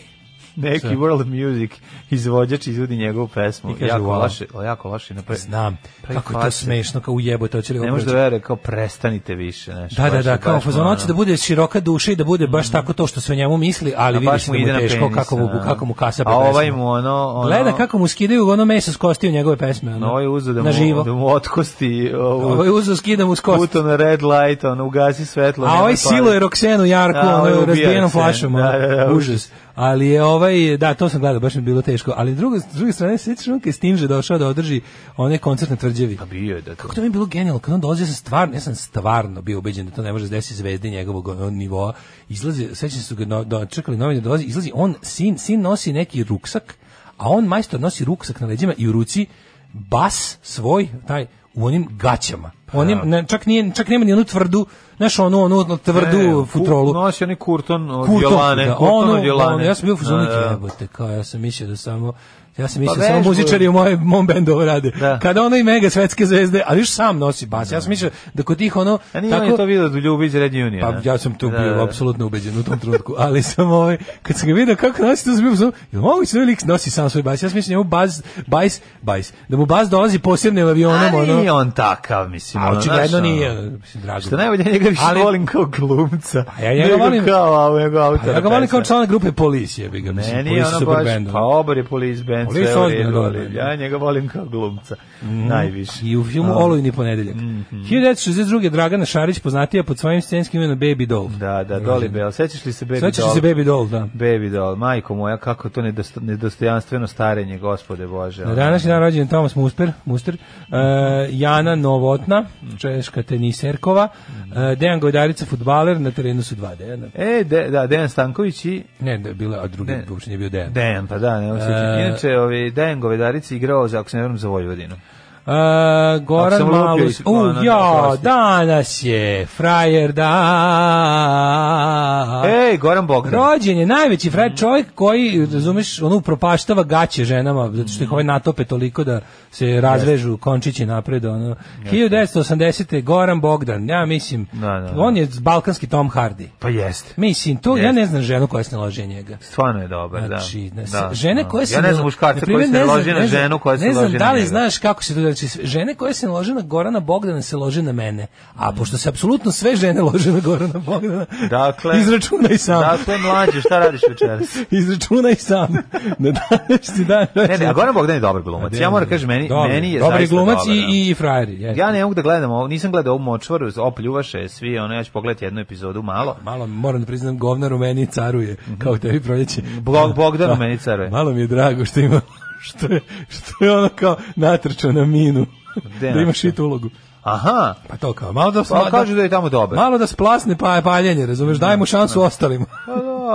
F: neki
E: Šta?
F: world music izvođač izvodi njegovu pesmu.
E: I kaže,
F: jako
E: "Wow."
F: loše, o, jako loše Pa napre.
E: Znam,
F: Pravi
E: kako je to
F: farse.
E: smešno, kao ujebote, hoće li ovo
F: Ne možeš da
E: proći.
F: veruje, kao prestanite više, znaš.
E: Da, da,
F: baš
E: da,
F: je-
E: kao
F: baš mu
E: fazon
F: ono-
E: hoće da bude široka duša i da bude baš tako to što se o njemu misli, ali
F: a
E: vidiš
F: baš
E: da
F: mu
E: mu
F: ide na
E: je teško
F: penis.
E: kako mu,
F: da.
E: kako mu kasape
F: A ovaj
E: pesmu.
F: mu ono... ono
E: Gleda kako mu skidaju ono meso s kosti u njegove pesme. Ono,
F: Na ovaj uzu da
E: na živo.
F: mu, da mu otkosti ovu,
E: Ovaj uzo skida mu s kosti.
F: puto na red light, ono, ugasi svetlo. pa-
E: A
F: nema
E: ovaj
F: toalet.
E: silo je Roxenu Jarku,
F: Da,
E: ono
F: ovaj
E: je
F: ubija
E: razbijenom
F: se.
E: flašom,
F: Da,
E: ono,
F: da, da,
E: užas. Ali je ovaj, da, to sam gledao, baš mi je bilo teško. Ali drugo, s druge strane, sjećaš on kad je Stinže došao da održi onaj koncert na tvrđevi.
F: A bio je da to.
E: Kako to mi je bilo genijalno, kad on dolazi, ja sam stvarno, ja sam stvarno bio ubeđen da to ne može desiti zvezde njegovog ono, nivoa. Izlazi, sećam se su ga no, da čekali novine, dolazi, izlazi on, sin, sin nosi neki ruksak, a on majstor nosi ruksak na leđima i u ruci bas svoj, taj, u onim gaćama. Onim,
F: Pa
E: ne, čak, nije, čak nema ni onu tvrdu, znaš, onu, onu, onu tvrdu
F: Ne,
E: futrolu.
F: ku- Nosi onaj kurton od
E: Kurtovku,
F: Jolane.
E: da,
F: kurton
E: ono,
F: od Jolane.
E: ono, ja sam bio u fazonu
F: Da,
E: neki
F: da. Pa
E: jebote, kao ja sam mislio da samo Ja sam mislio da samo
F: vežbu-
E: muzičari u moje, mom bendu ovo rade.
F: Da.
E: Kada ono i mega svetske zvezde, ali još sam nosi bas. Ja sam mislio da kod tih ono...
F: A nije on je to vidio da ljubi iz Red Union.
E: Pa
F: ne?
E: ja sam tu
F: Da,
E: bio
F: da, da.
E: apsolutno ubeđen u tom trenutku, ali sam ovaj kad sam ga video kako nosi to sam bio u fazonu, jel moguće da ovaj lik nosi sam svoj bas. Ja sam mislio njemu bas, bajs, bajs, da mu bas dolazi posebnim avionom,
F: A
E: ono.
F: nije on takav, mislim.
E: A
F: ono,
E: očigledno
F: znaš, ono.
E: nije, mislim, drago.
F: Što najbolje, ja njega više
E: Ali-
F: volim kao glumca.
E: A ja njega
F: nego
E: volim-
F: Kao, a, njega autora.
E: A Pa ja ga volim kao
F: pesme.
E: član grupe Police, jebi ga, mislim,
F: Meni je
E: Police
F: ono
E: super
F: baš,
E: band,
F: pa
E: ono.
F: obar je police band,
E: Police
F: sve u
E: ozbiljno
F: redu,
E: dobro,
F: ali
E: da. Mhm.
F: ja njega volim kao glumca, najviše. Mhm.
E: I u filmu
F: A,
E: Olujni ponedeljak. 1962. Dragana Šarić poznatija pod svojim scenskim imenom Baby Doll.
F: Da, da, Dolly Bell, sećaš li se Baby
E: Sećaš
F: Doll?
E: se Baby Doll, da.
F: Baby doll, majko moja, kako je to nedosto, nedostojanstveno starenje, gospode Bože.
E: Na današnji dan rođen je Tomas Musper, Muster, e, Jana Novotna, češka teniserkova, e, Dejan Gojdarica, futbaler, na terenu su dva Dejana.
F: E, de, da, Dejan Stanković i
E: Ne, da je bila, a drugi
F: Ne.
E: uopšte nije bio Dejan.
F: Dejan, pa da, ne osjećam.
E: E,
F: Inače, ovaj, Dejan Govedarici igrao za, ako se ne vrem, za Vojvodinu.
E: E,
F: Ako
E: Goran
F: sam lupio,
E: Malus.
F: isp-
E: U,
F: ono, da,
E: ja,
F: oprosti.
E: danas je frajer da.
F: Ej, Goran Bogdan.
E: Rođen je najveći frajer, čovjek koji, razumeš, ono upropaštava gaće ženama, zato što ih ovaj natope toliko da se razvežu končići napred, ono. 1980. Goran Bogdan, ja mislim,
F: Da, da, da.
E: on je balkanski Tom Hardy.
F: Pa jeste.
E: Mislim, to, ja
F: Jeste.
E: ne znam ženu koja se ne loži na njega.
F: Stvarno je dobar,
E: Znači,
F: Pa da.
E: ne,
F: da.
E: žene
F: da.
E: koje se
F: Ja ne znam
E: na
F: muškarca
E: primjer,
F: koji se ne
E: ne znam-
F: loži na
E: ne znam-
F: ženu koja se
E: Ne znam
F: loži
E: da
F: na
E: li
F: njega.
E: znaš kako se to znači žene koje se ne lože na Gorana Bogdana se lože na mene. A pošto se apsolutno sve žene lože na Gorana Bogdana.
F: Dakle,
E: izračunaj sam.
F: Dakle, mlađe, šta radiš večeras?
E: Izračunaj sam. Na današnji dan.
F: Ne, ne, a Goran Bogdan je dobar glumac. Ja moram kažem, meni,
E: Znači, Dobar,
F: meni je
E: Dobri
F: zaista
E: glumac
F: dobar, da.
E: i, i frajeri. jeste.
F: Ja ne mogu da gledam ovo, nisam gledao ovu močvaru, opljuvaše je svi, ono, ja ću pogledati jednu epizodu malo.
E: Malo moram da priznam, govnar u meni caruje,
F: Mhm.
E: kao tebi proljeće.
F: Bog, Bogdan u
E: Da.
F: meni caruje.
E: Malo mi je drago što ima što je, što je ono kao natrčao na minu.
F: Gde
E: da imaš
F: natrčao?
E: i tu ulogu.
F: Aha,
E: Pa to kao, malo da,
F: pa kažu da je tamo dobar.
E: malo da splasne pa paljenje, razumeš, daj mu šansu ostalima.
F: Pa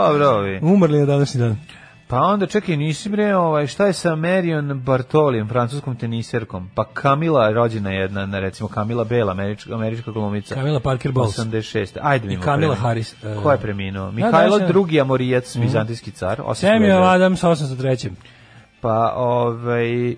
F: dobro, ovi.
E: Umrli na današnji dan.
F: Pa onda čekaj, nisi bre, ovaj, šta je sa Marion Bartolijem, francuskom teniserkom? Pa Kamila rođena jedna, na, recimo Kamila Bela, američka, američka glumica.
E: Kamila Parker Bowles.
F: 86. Ajde mi.
E: I Kamila Harris, e,
F: Ko je preminuo?
E: da, Mhm.
F: Mihajlo
E: da, da.
F: II. Amorijac, vizantijski car. 800.
E: Samuel Adams 803.
F: Pa ovaj,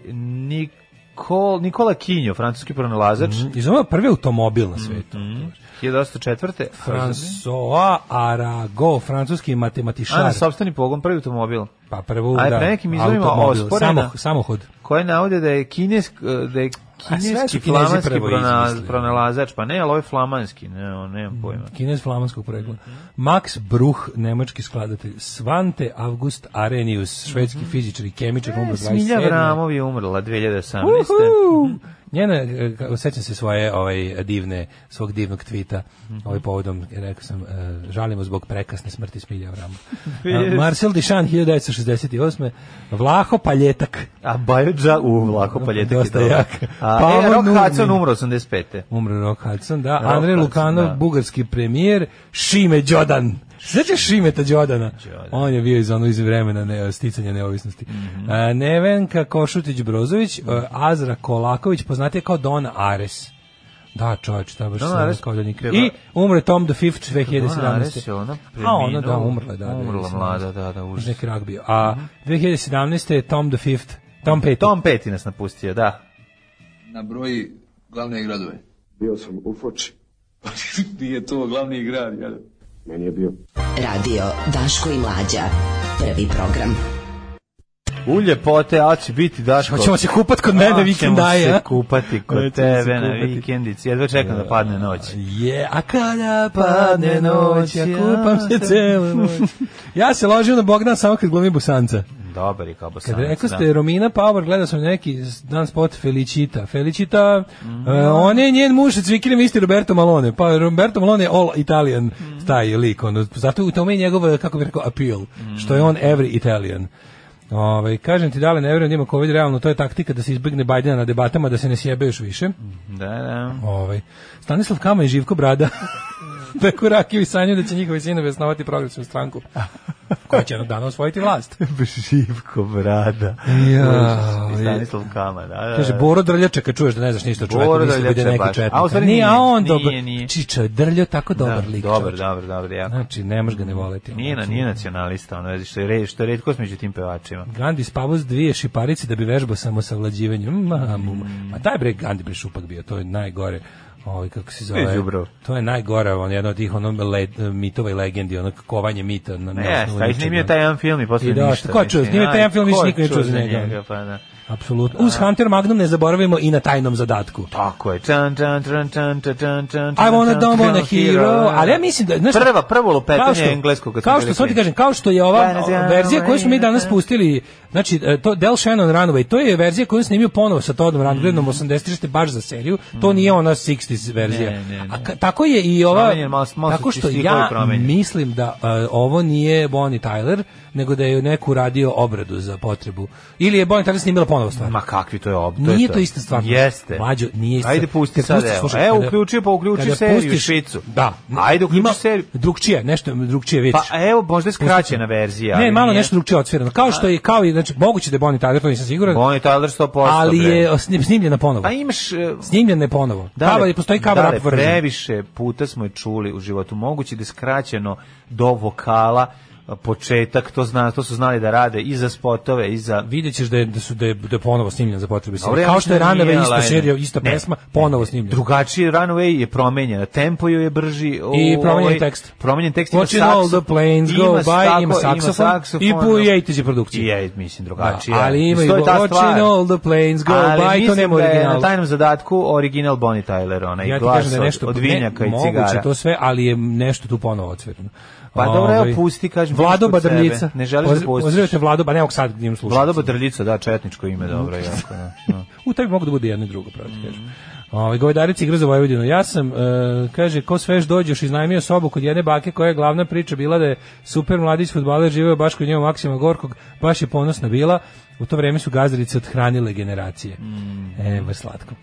F: Nikol, Nikola Kinjo, francuski pronalazač,
E: Izumio prvi automobil na svetu.
F: Mhm. 1804.
E: François Arago, francuski
F: A na
E: matematičar.
F: sopstveni pogon, prvi automobil.
E: Pa prvo,
F: A je
E: da,
F: pre nekim izvorima
E: automobil,
F: osporena.
E: samo- samohod.
F: koje navode da je kinesk da je
E: A sve su
F: kineski
E: Kinezi
F: flamanski
E: prvo
F: prona-
E: izmislili. Mhm.
F: pronalazač, pa ne, ali ovo je flamanski, ne, o, nemam pojma.
E: Kinez flamanskog porekla. Max Bruch, nemački skladatelj. Svante August Arrhenius, švedski fizičar i kemičar, umro 27.
F: E, Smilja Vramov je umrla 2018.
E: Uhu! Njena, e, ka- sećam se svoje ovaj divne, svog divnog tvita ovaj povodom, rekao sam, e, žalimo zbog prekasne smrti Smilja Avrama.
F: Yes.
E: Marcel Dišan, 1968. Vlaho Paljetak,
F: A Bajođa u vlako paljetak
E: Dosta jak.
F: A,
E: Pa
F: e,
E: ovo
F: Rock
E: nudni.
F: Hudson umro 85.
E: umro Rock Hudson, da,
F: Rock
E: Andrej
F: Hudson,
E: Lukanov,
F: da.
E: bugarski premijer, Šime Đodan, Sećaš Šimeta Đodana?
F: Đodan. Mhm.
E: On je bio iz ono iz vremena ne, sticanja neovisnosti. A, Nevenka Košutić Brozović, a, Azra Kolaković, poznatija kao Don Ares. Da, čovječ, ta baš
F: Don
E: Don Ares,
F: Ares
E: kao da nikad.
F: peva-
E: I umre Tom the Fifth 2017.
F: Ona Ares je ona
E: A ona da,
F: preminula.
E: umrla, da.
F: Umrla
E: 2017.
F: mlada, da, da,
E: Uz
F: užas.
E: neki rak bio. A 2017. je Tom the Fifth, Tom Petty.
F: Tom Petty nas napustio, da.
H: na broji glavne gradove.
I: Bio sam u Foči.
H: Nije to glavni grad, jel?
I: Meni je bio
A: Radio Daško i Mlađa. Prvi program.
F: U ljepote, a će biti Daško.
E: Hoćemo se kupat kod mene
F: A,
E: vikendaje.
F: ćemo
E: a?
F: se kupati
E: Hoćemo
F: kod
E: se
F: tebe na
E: kupati.
F: vikendici. Jedva čekam da padne noć.
E: Je, a kada padne noć, ja kupam se celu noć. Ja se ložim na Bogdan samo kad glumim busanca.
F: Dobar je kao bosanac.
E: Kad rekao
F: da.
E: ste Romina Power, gledao sam neki dan spot Felicita. Felicita, e, on je njen muž sa cvikilim isti Roberto Malone. Pa Roberto Malone je all Italian taj lik. Ono, zato u tome je njegov, eh, kako bih rekao, appeal. Što je on every Italian. Ovaj kažem ti dale, ne vjerujem da ima COVID realno, to je taktika da se izbegne Bajdena na debatama, da se ne sjebe još više.
F: Da, da.
E: Ovaj. Stanislav Kama i Živko Brada. Peku rakiju i sanju da će njihovi sinovi osnovati progresivnu stranku. Koja će jednog dana osvojiti vlast.
F: Živko brada.
E: Ja,
F: I Stanislav Kama, da, da. da.
E: Kaže, Boro Drljače, kad čuješ da ne znaš ništa o čoveku,
F: E. Boro
E: misli da bude
F: Drljača
E: neki
F: baš.
E: četnik.
F: A u stvari
E: nije, a
F: nije,
E: on
F: nije,
E: dobar,
F: nije.
E: Čiča je Drljo, tako dobar
F: Da,
E: lik.
F: Dobar,
E: čoveče.
F: dobar, dobar, jako.
E: Znači, ne možeš ga ne voleti.
F: Nije, na,
E: Znači-
F: nije nacionalista, ono, vezi, što je, re, što je redkost među tim pevačima.
E: Gandhi spavao s dvije šiparice da bi vežbao samo savlađivanje. Mamu.
F: Mm.
E: Ma taj bre Gandhi bre šupak bio, to je najgore. Ovaj kako se
F: Bio je
E: zove?
F: đubrov.
E: To je najgore, on jedno od tih ono le, mitova i legendi, ono kovanje mita na na
F: Ne,
E: osnovu
F: taj
E: ničega.
F: snimio je taj jedan film i posle
E: I da,
F: ništa.
E: ko je čuo?
F: mislim,
E: Snimio je taj jedan film,
F: aj,
E: više
F: ko je
E: niko nije čuo za njega. ono.
F: Pa, da.
E: Apsolutno. Uz Hunter Magnum ne zaboravimo i na tajnom zadatku.
F: Tako je. Čan, čan, čan, čan, čan, čan, čan,
E: I wanna
F: čan,
E: dumb on
F: čan,
E: a
F: čan,
E: hero, ali ja mislim da... Znaš,
F: Prva, prvo
E: kao
F: lupetanje
E: što-
F: engleskog. kad smo
E: Kao
F: bili
E: što, sad ti
F: klinci.
E: kažem, kao što je ova
F: Guys, yeah,
E: verzija koju smo mi danas
F: yeah.
E: pustili, znači, e, to Del Shannon Runway, to je verzija koju je snimio ponovo sa Todom
F: Mm.
E: Rundgrenom, 86. baš za seriju, to nije ona 60s verzija.
F: Ne, ne, ne.
E: A ka- tako je i ova,
F: Promenjen je, malo- malo su
E: tako što
F: stihovi
E: ja
F: promenjeni.
E: mislim da e, ovo nije Bonnie Tyler, nego da je neko uradio obradu za potrebu. Ili je Bonnie Tyler snimila ponovo stvar.
F: Ma kakvi to je ob, to je
E: Nije to ista stvar.
F: Jeste.
E: Mlađo, nije ista.
F: Ajde pusti
E: Kad
F: sad,
E: pustiš,
F: evo.
E: slušaj,
F: Evo,
E: kada-
F: uključio, pa uključio
E: kada
F: seriju
E: pustiš-
F: Švicu.
E: Da.
F: Ajde, uključi
E: Ima
F: seriju.
E: Drugčije, nešto drugčije, vidiš.
F: Pa evo, možda je skraćena verzija.
E: Ne,
F: ali
E: malo
F: nije.
E: nešto drugčije odsvirano. Kao što je, kao i, znači, moguće da je Bonnie Tyler, to nisam siguran,
F: Bonnie Tyler 100%.
E: ali
F: bre.
E: je osni- snimljena ponovo.
F: A imaš... e,
E: Snimljena je ponovo.
F: Dale,
E: Cover- postoji cover
F: dale,
E: up version.
F: previše puta smo je čuli u životu. Moguće da je skraćeno do vokala e, početak, to, zna, to su znali da rade i za spotove, i za...
E: Vidjet ćeš da, je, da, su, da, je, da je ponovo snimljena za potrebe
F: Dobro,
E: serije.
F: ja
E: Kao
F: mislim
E: što je
F: da nije,
E: Ranave ista
F: ali-
E: serija, ista
F: Ne.
E: pesma, ponovo snimljena.
F: Drugačiji Runaway je promenjen, tempo joj je brži. o,
E: I promenjen
F: ovaj,
E: tekst.
F: Promenjen tekst ima
E: Watching all
F: sakso-
E: the planes go
F: ima
E: by,
F: tako-
E: ima saksofon, i
F: saksofon,
E: pu
F: ono.
E: i Ejtiđe produkcije.
F: I je, mislim, drugačije.
E: Da, ali ima i
F: Isto Znači, je ta
E: Watching
F: stvar.
E: all the planes go
F: Ali
E: by, to
F: mislim
E: nema
F: da je
E: originala.
F: Na tajnom zadatku original Bonnie Tyler, onaj
E: ja ti
F: glas
E: kažem da je
F: od-
E: nešto
F: od vinjaka
E: ne,
F: i
E: Moguće
F: cigara.
E: to sve, ali je nešto tu ponovo odsvirano.
F: Pa dobro, evo,
E: Ovaj,
F: pusti, kažem,
E: Vlado
F: pusti kod sebe.
E: Badrljica.
F: Ne želiš da
E: Poz-
F: pustiš.
E: Pozdravite Vlado, ba ne, ovog sad njim slušam.
F: Vlado Badrljica, da, četničko ime, dobro, jako, da. no.
E: U tebi mogu da bude jedno i drugo, pravo ti kažem. Ovaj Govedaric igra za Vojvodinu. Ja sam, e, kaže, ko svež dođeš, iznajmio sobu kod jedne bake koja je glavna priča bila da je super mladić futbaler živeo baš kod njega Maksima Gorkog, baš je ponosna bila. U to vreme su gazdarice odhranile generacije. E, baš slatko.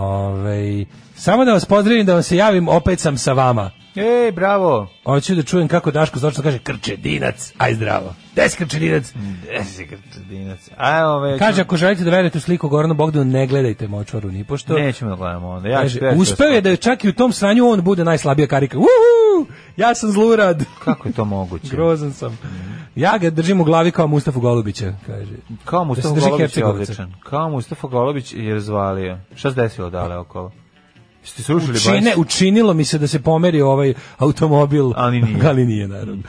E: Ovaj, samo da vas pozdravim, da vam se javim, opet sam sa vama.
F: Ej, bravo.
E: Hoću da čujem kako Daško zločno kaže krčedinac, aj zdravo. Des krčedinac.
F: Desi Krtadinac. A, ove,
E: Kaže, ako želite da verujete u sliku Gorana Bogdana, ne gledajte močvaru ni pošto.
F: nećemo da gledamo onda. Ja
E: Kaže,
F: ću, ja ću
E: uspeo je da je čak i u tom sranju on bude najslabija karika. Uhu! Ja sam zlurad.
F: Kako je to moguće?
E: Grozan sam. Ja ga držim u glavi kao Mustafu Golubića, kaže.
F: Kao
E: Da se
F: Mustafa
E: drži
F: Golobić je
E: Hercegovaca.
F: odličan. Kao Mustafa Golobić je razvalio. Šta se desilo dale okolo? Jeste srušili
E: Čine,
F: baš?
E: učinilo mi se da se pomeri ovaj automobil,
F: Ali nije.
E: ali nije naravno.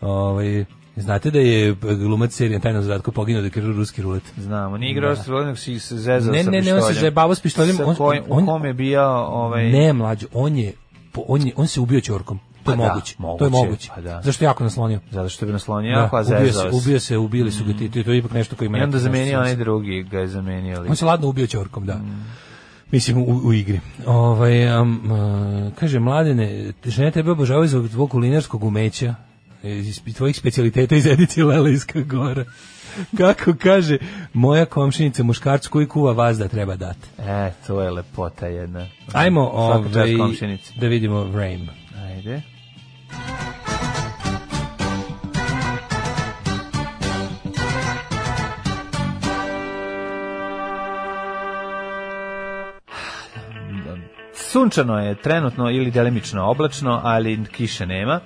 E: Ovaj, znate da je glumac serije na tajnom zadatku poginuo da je krenuo ruski rulet.
F: Znamo, nije igrao s Vojnog, si se zezao
E: Ne,
F: sa
E: ne, ne, on se
F: pištoljem.
E: zajebavao s pištoljem,
F: Sa
E: on-
F: kojim-
E: on-
F: u kom je bio, ovaj...
E: Ne, mlađo, on je po- on je on se ubio ćorkom. To je
F: Pa da,
E: moguće. To
F: moguće,
E: je moguće.
F: pa da.
E: Zašto je jako naslonio?
F: Zato što bi naslonio,
E: Da,
F: jako, a
E: ubio se,
F: zezao se.
E: ubio se, ubili su ga ti, ti- to je ipak nešto koji ima.
F: I onda
E: neki-
F: zamenio onaj drugi, ga je zamenio. ali-
E: On se ladno ubio ćorkom, da. Mislim, u, u igri. Ovaj, um, uh, kaže, mladene, te- žene tebe obožavaju zbog tvog kulinarskog umeća, e, iz iz tvojih specialiteta iz Edici Lelejska gora. Kako kaže moja komšinica muškarcu koji kuva vazda treba dati.
F: E, to je lepota jedna.
E: Ajmo
F: Svaka čast
E: ovaj,
F: komšinici.
E: da vidimo Vrame.
F: Ajde. sunčano je trenutno ili delimično oblačno, ali kiše nema.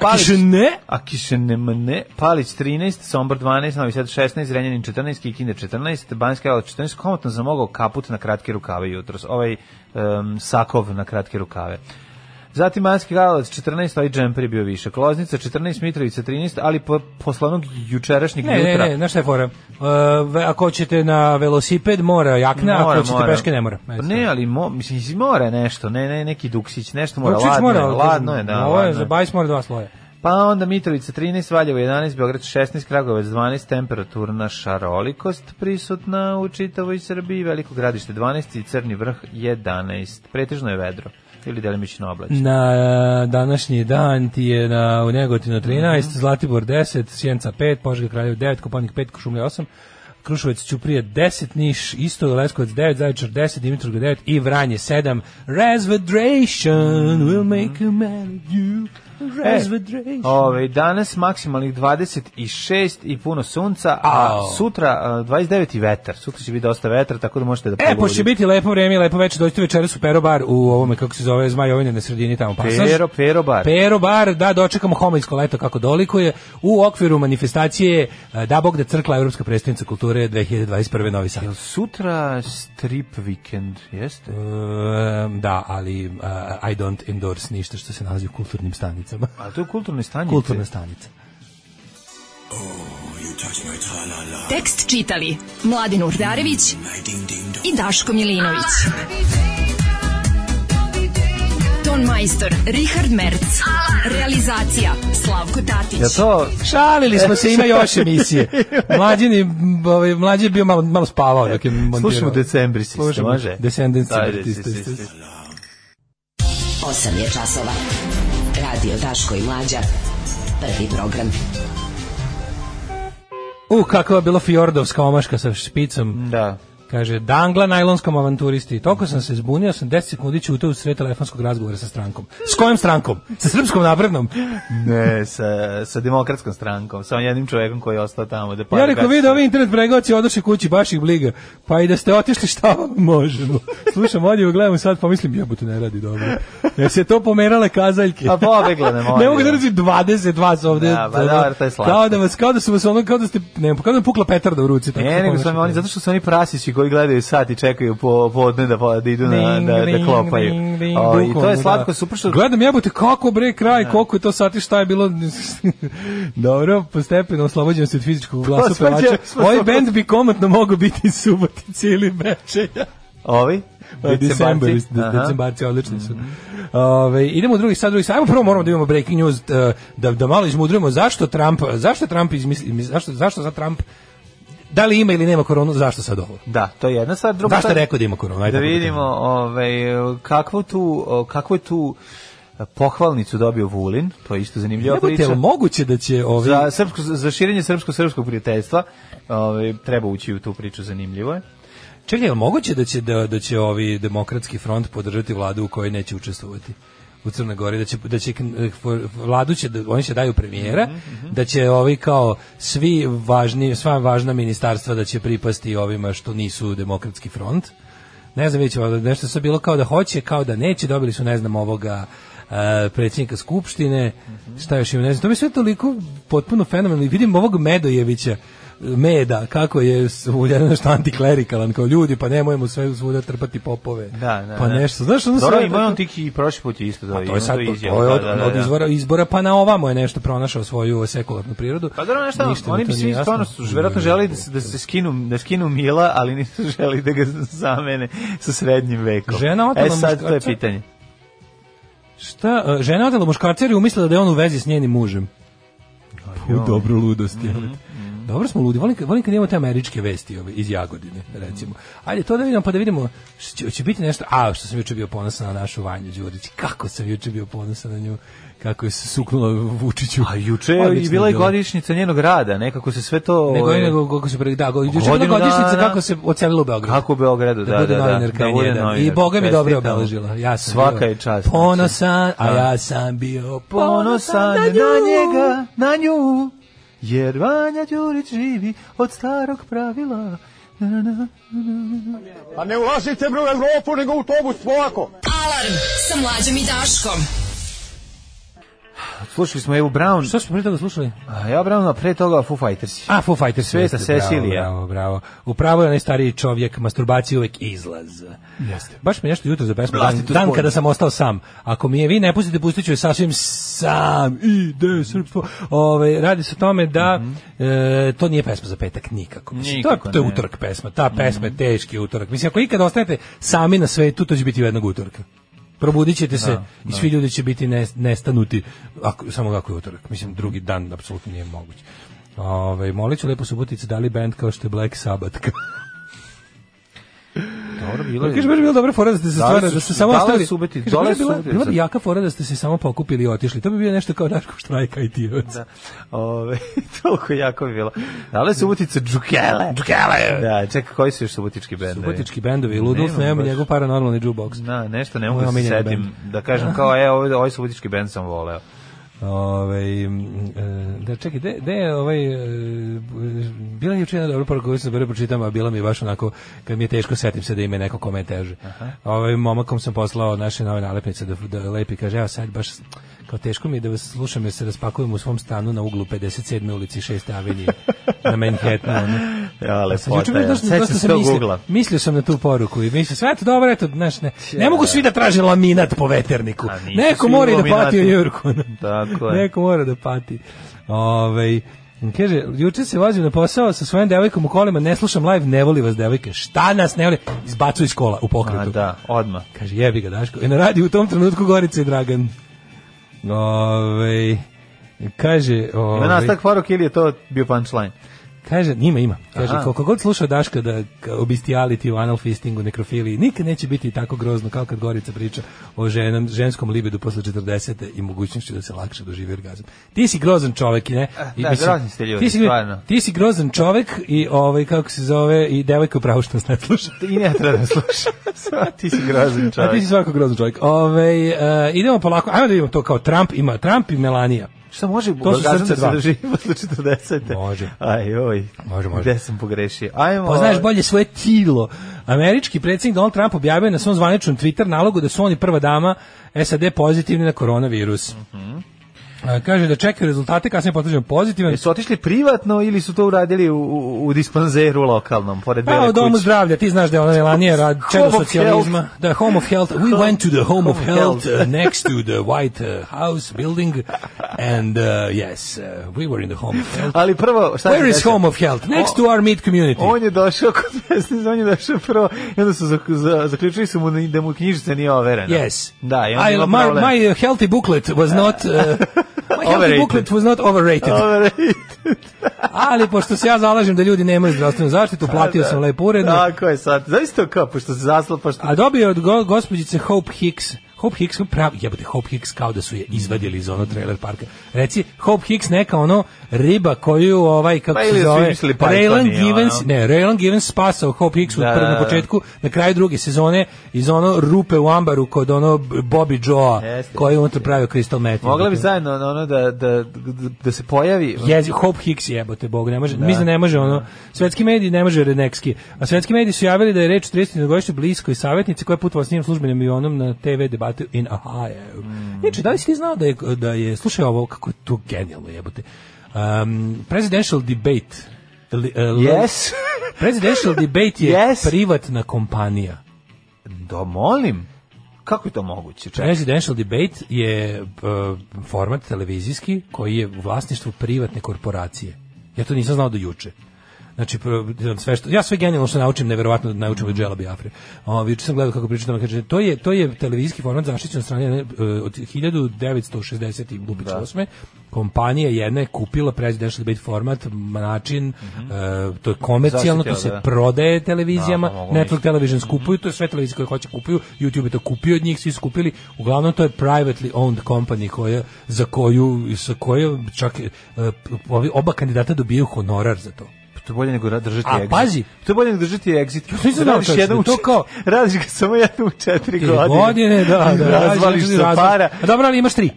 F: Palić,
E: Kiše ne?
F: A kiše nema ne. Palić 13, Sombor 12, Novi Sad 16, Renjanin 14, Kikinda 14, Banjska Jela 14, komotno sam mogao kaput na kratke rukave jutros. Ovaj em, sakov na kratke rukave. Zatim Manski Karlovac 14, ovaj džemper je bio više. Kloznica 14, Mitrovica 13, ali po, posle onog jučerašnjeg
E: Ne, ne,
F: jutra.
E: ne, znaš šta je fora? Uh, ve- ako hoćete na velosiped, mora jakna, ako hoćete peške, ne mora.
F: Pa ne, ali mo, mislim, iz mora nešto, ne, ne, neki duksić, nešto mora,
E: Vučić
F: ladno,
E: mora,
F: je,
E: ali
F: ladno je, da,
E: Ovo je,
F: ladno
E: za
F: je.
E: bajs mora dva sloja.
F: Pa onda Mitrovica 13, Valjevo 11, Beograd 16, Kragovac 12, temperaturna šarolikost prisutna u čitavoj Srbiji, Veliko gradište 12 i Crni vrh 11. Pretežno je vedro ili delimično oblačno.
E: Na e, današnji dan ti je na, u Negotinu 13, Zlatibor 10, Sjenica 5, Požega Kraljev 9, Kopanik 5, Košumlja 8, Kruševac Ćuprije 10, Niš isto, Leskovac 9, Zaječar 10, Dimitrov 9 i Vranje 7. Resvedration will make a man of you. Resvedration.
F: Ove, Ovaj, danas maksimalnih 26 i puno sunca, a
E: Au.
F: sutra a, 29 i vetar. Sutra će biti dosta vetra, tako da možete da
E: E, pošto će
F: pogodite.
E: biti lepo vreme, i lepo večer, dođite večeras u Pero bar u ovome, kako se zove, Zmajovine na sredini tamo pasaž.
F: Pero, pero bar.
E: Pero bar, da, dočekamo homoljsko leto kako dolikuje u okviru manifestacije e, Da Bog da crkla Evropska predstavnica kulture 2021. Novi Sad.
F: Jel sutra strip vikend, jeste?
E: E, da, ali e, I don't endorse ništa što se nalazi u kulturnim stanicama.
F: A to je kulturne stanje.
E: Kulturna stanica.
J: Tekst čitali Mladin Urdarević i Daško Milinović. Ton majstor Richard Merc. Realizacija Slavko Tatić.
F: Jel to
E: Šalili smo se, ima još emisije. Mlađin je, m, ovaj, mlađi je bio malo, malo spavao dok je montirao.
F: Slušamo decembri siste,
E: Slušamo
F: može?
E: Descendants.
F: Ajde,
E: Siste,
F: siste,
E: siste.
F: siste.
A: 8 je časova. Radio Daško i Mlađa. Prvi program.
E: U, kakva je bila fjordovska omaška sa špicom.
F: Da.
E: Kaže, dangla najlonskom avanturisti. Toliko sam se zbunio, sam 10 sekundi ćutao u sred telefonskog razgovora sa strankom. S kojom strankom? Sa srpskom naprednom? Mm.
F: Ne, sa, sa demokratskom strankom, sa jednim čovjekom koji je ostao tamo. Da
E: ja rekao, vidi, ovi internet pregoci odoše kući, baš ih bliga. Pa i da ste otišli, šta vam možemo? Slušam, odjevo, gledam sad, pomislim, jebote, ne radi dobro. Jer se to pomerale kazaljke.
F: A pobegla Pa ne može.
E: Ne mogu da razim 20 vas ovde.
F: Da, pa dobro, to je slatko.
E: Kao da vas, kao da su vas ono, kao da ste, ne, kao da vam pukla petarda u ruci. tako se
F: Ne, nego su
E: ponašate.
F: oni, zato što su oni prasići koji gledaju sat i čekaju po, podne da, po- da idu na, da, da klopaju.
E: Ring, ring,
F: O, I to
E: bukvalno,
F: je
E: da.
F: slatko, super što...
E: Gledam jebote kako bre kraj, koliko je to sati, šta je bilo. Dobro, postepeno oslobođujem se od fizičkog glasa
F: svađa-
E: pevača.
F: sva-
E: Ovaj bend bi komotno mogao biti Subotici ili Bečeja.
F: Ovi?
E: Pa, Decembar,
F: Decembarci? Aha. Mhm.
E: decembarci odlični su. Ove, idemo u drugi sad, drugi sad. Ajmo prvo moramo da imamo breaking news eh, da da malo izmudrujemo zašto Trump, zašto Trump izmisli, zašto zašto za Trump da li ima ili nema koronu, zašto sad ovo?
F: Da, to je jedna stvar. Druga
E: Zašto je
F: stvar-
E: rekao da ima koronu? Ajde
F: da
E: tako kažem.
F: vidimo ovaj, kakvu tu, kakvu je tu e, pohvalnicu dobio Vulin, to je isto zanimljiva
E: Jebote,
F: priča.
E: jel moguće da će ovi...
F: Za, srpsko, za širenje srpsko-srpskog prijateljstva ovaj, treba ući u tu priču, zanimljivo je.
E: Čekaj, je li moguće da će, da, da će ovi demokratski front podržati vladu u kojoj neće učestvovati? u Crnoj Gori da će da će eh, for- vladu će da- oni će daju premijera
F: Mhm,
E: da će ovi kao svi važni sva važna ministarstva da će pripasti ovima što nisu demokratski front ne znam vidite nešto se bilo kao da hoće kao da neće dobili su ne znam ovoga eh, predsjednika skupštine šta još ima ne znam to mi je sve toliko potpuno fenomenalno I vidim ovog Medojevića meda, kako je svuda nešto antiklerikalan, kao ljudi, pa nemojmo sve svuda trpati popove.
F: Da, da,
E: pa
F: da.
E: nešto, znaš, ono
F: Dobro,
E: sve-
F: ima on tiki i prošli put je isto da
E: Pa to je sad, to,
F: izjava,
E: to je
F: da,
E: od,
F: da, da,
E: od
F: da.
E: izvora, izbora pa na ovamo je nešto pronašao svoju sekularnu prirodu.
F: Pa dobro, nešto,
E: Ništa mi
F: oni
E: to
F: bi
E: nije
F: svi
E: jasno.
F: stvarno su, verovatno želi da se, da se skinu, da skinu Mila, ali nisu želi da ga zamene sa srednjim vekom.
E: Žena otela
F: E sad, to je
E: muškarca?
F: pitanje.
E: Šta, e, žena je otela muškarca jer je umislila da je on u vezi s njenim mužem. U dobro ludost, mm Dobro smo ludi, volim, kad- volim kad imamo te američke vesti ove, iz Jagodine, recimo. Ajde, to da vidimo, pa da vidimo, što će, će biti nešto, a, što sam juče bio ponosan na našu Vanju Đurić, kako sam juče bio ponosan na nju, kako je se suknula Vučiću.
F: A juče je
E: Odlično
F: i bila i
E: bilo.
F: godišnjica njenog rada, nekako se sve to...
E: Nego
F: ovaj,
E: je nego kako se pre da, go- juče je bila
F: Godinu
E: godišnjica
F: dana.
E: kako se ocelila u Beogradu.
F: Kako u Beogradu, da,
E: da, bude
F: da, da,
E: novinarka
F: da bude
E: N1. I
F: novinarka.
E: Boga mi dobro
F: Čestitamo.
E: obeležila. Ja sam
F: Svaka
E: bio
F: je čast, znači.
E: Ponosan, a
F: Da.
E: ja sam bio
F: ponosan je na njega, na nju, jer Vanja Đurić živi od starog pravila. Na, na, na.
I: Pa ne ulazite bre u Evropu, nego u autobus, polako.
B: A
J: Alarm sa mlađom i Daškom.
F: Slušali smo Evu Brown.
E: Što smo pre toga slušali?
F: A ja Brown, a pre toga Foo Fighters.
E: A, Foo Fighters,
F: Sveta
E: jeste, bravo,
F: Cecilija.
E: Bravo, bravo. Upravo je onaj stariji čovjek, masturbacija je uvek izlaz. Jeste. Baš mi je nešto jutro za pesmu, dan,
F: Vlastito
E: dan
F: spolje.
E: kada sam ostao sam. Ako mi je vi ne pustite, pustit ću je sasvim sam. Ide, srpstvo. Ove, radi se o tome da e, to nije pesma za petak nikako. Mislim, to,
F: Mhm. Nikako
E: je, to je
F: ne.
E: utorak pesma. Ta pesma
F: Mhm.
E: je teški utorak. Mislim, ako ikad ostajete sami na svetu, to će biti u jednog utorka. Probudit ćete se i svi ljudi će biti nes- nestanuti ako, samo ako je utorak. Mislim, drugi dan apsolutno nije moguće. Ove, molit ću lepo Subotice da li band kao što je Black Sabbath.
F: Dobro, bilo je.
E: Kaže baš bila dobra fora da ste se
F: Pa, Da li
E: stvarno
F: su-
E: da ste samo
F: da li
E: ostali.
F: su ubiti-
E: Kaže,
F: da li
E: baš je
F: su
E: bila,
F: ubiti-
E: bila bi jaka fora da ste se samo pokupili i otišli. To bi bio nešto kao Daško štrajka i tirac.
F: Da. Ove, toliko jako je bilo. Da li su utice Džukele? Džukele! Da, čekaj, koji su još subutički bendovi?
E: Subotički bendovi, Ludolf,
F: Nemam
E: nemam
F: baš.
E: njegov paranormalni jukebox.
F: Da, nešto ne mogu da se
E: Omiljeni
F: setim. Da kažem kao, e, ovaj, ovaj subutički bend sam voleo.
E: Ove, m, e, da čekaj, de, de je ovaj, e, bila je juče jedna dobra poruka koju sam prvi pročitam, a bila mi je baš onako, kad mi je teško, setim se da ime neko kome je teže. Ovaj, momakom sam poslao naše nove nalepnice da, da lepi, kaže, evo sad baš, kao teško mi je da vas slušam jer se raspakujem u svom stanu na uglu 57. ulici 6. avenije na Manhattanu. ono.
F: Ja,
E: Ja sam juče baš dosta-
F: Sećam
E: dosta
F: se
E: sam
F: tog
E: mislio-
F: ugla.
E: Mislio sam na tu poruku i mislio sve to dobro, eto, znaš, ne, ne mogu svi da traže laminat po veterniku.
F: A nisu
E: Neko
F: svi
E: mora i da
F: laminati.
E: pati u Jurku.
F: Tako je.
E: Neko mora da pati. Ovaj Kaže, juče se vozim na posao sa svojom devojkom u kolima, ne slušam live, ne voli vas devojke. Šta nas ne voli? Izbacu iz kola u
F: A,
E: pokretu.
F: da, odmah.
E: Kaže, jebi ga Daško. I na radiju u tom trenutku Gorica i Dragan. Ovaj kaže...
F: Ima
E: Ovaj,
F: nastavak poruk ili je to bio punchline?
E: Kaže, njima ima. Kaže,
F: Aha.
E: koliko god slušao Daška da ka- o bestiality, o anal fistingu, nekrofiliji, nikad neće biti tako grozno kao kad Gorica priča o ženom, ženskom libidu posle 40. i mogućnošću da se lakše doživi orgazam. Ti si grozan čovek, i ne? I
F: Eh, da, grozni ste ljudi,
E: ti si,
F: stvarno.
E: Ti si grozan čovek i ovaj, kako se zove, i devojka u pravu što nas ne sluša.
F: Ti ne treba da slušam. Sva, ti si grozan
E: A ti
F: čovjek.
E: si svako grozan čovjek. Ove, idemo polako, ajmo da vidimo to kao Trump ima, Trump i Melania.
F: Šta može
E: To su
F: orgazam
E: srce
F: da se
E: dva.
F: drži posle 40.
E: Može.
F: Aj, oj.
E: Može, može.
F: Gde sam pogrešio? Ajmo.
E: Poznaješ Pa bolje svoje tilo. Američki predsjednik Donald Trump objavio je na svom zvaničnom Twitter nalogu da su on i prva dama SAD pozitivni na koronavirus.
F: Mhm.
E: A, Kaže da čekaju rezultate, kasnije potvrđujem pozitivan.
F: Jesu otišli privatno ili su to uradili u, u, u dispanzeru lokalnom, pored
E: Pa
F: Bele
E: u domu
F: kuće?
E: zdravlja, ti znaš da je ona Melanija rad
F: Home
E: čedo
F: of
E: socijalizma.
F: health.
E: Da, home of health. We went to the home of
F: Home of
E: health
F: health.
E: uh, next to the White uh, House building and uh, yes, uh, we were in the home of health.
F: Ali prvo, šta se
E: Where is
F: desilo?
E: home of health? Next to our meat community.
F: On je došao kod pesnice, on je došao prvo, i onda su za, za, zaključili su mu da mu knjižica nije overena.
E: Yes.
F: Da, i onda
E: I,
F: ima
E: my,
F: problem.
E: my uh, healthy booklet was not uh, my healthy
F: Overrated.
E: booklet was not overrated.
F: Overrated.
E: Ali pošto se ja zalažem da ljudi nemaju zdravstvenu zaštitu, platio sam lepo uredno.
F: Tako je sad. Zavisno kao, pošto se zaslo, pošto...
E: A dobio je od go, gospođice Hope Hicks Hope Hicks, pravi, jebate, Hope Hicks kao da su je izvadili iz ono trailer parka. Reci, Hope Hicks neka ono riba koju ovaj, kako
F: Pa ili
E: se
F: su
E: zove,
F: mislili Python
E: Raylan
F: je,
E: Givens,
F: ono.
E: ne, Raylan Givens spasao Hope Hicks
F: Da,
E: u prvom
F: da, da.
E: na početku, na kraju druge sezone, iz ono rupe u ambaru kod ono Bobby Joe-a,
F: Jeste.
E: koji je unutra pravio Crystal Meth.
F: Mogla bi
E: Dakle,
F: zajedno ono, ono da, da, da, da se pojavi...
E: Jezi, Hope Hicks jebote bog, ne može, mislim da ne može ono, svetski mediji ne može rednekski. A svetski mediji su javili da je reč o 31-godišnjoj bliskoj savjetnici koja je putovala s njim službenim avionom na TV debatu in Ohio. Mm. da li si ti znao da je, da je slušaj ovo, kako je to genijalno jebote, um, presidential debate, li- e, li-
F: Yes.
E: presidential debate je
F: Yes.
E: privatna kompanija.
F: da, molim. Kako je to moguće? Čekaj.
E: Presidential debate je e, format televizijski koji je u vlasništvu privatne korporacije. Ja to nisam znao do juče. Znači, pr- sve što, ja sve genijalno što naučim, neverovatno naučim od Džela Biafre. O, juče sam gledao kako pričam, tamo, kaže, to je, to je televizijski format zaštićen od strane ne, e, od 1960. i Lupić osme. Kompanija jedna je kupila presidential debate format, način, e, to je komercijalno, to se
F: Zaštitila, da.
E: prodaje televizijama,
F: Da, pa mogu
E: network Television skupuju, to je sve televizije koje hoće kupuju, YouTube je to kupio od njih, svi su kupili, uglavnom to je privately owned company koja, za koju, sa koju čak e, ovi oba kandidata dobijaju honorar za to.
F: To je bolje nego ra- držati
E: A,
F: exit.
E: pazi.
F: To je bolje nego držati exit.
E: nisam znao,
F: Radiš
E: čovječe,
F: jednom u
E: to
F: čet-
E: kao-
F: Radiš ga samo jednom u četiri
E: Godine,
F: godine.
E: godine da, da.
F: Razvališ
E: razvali-
F: se
E: razvali-
F: para.
E: A dobro, ali imaš tri.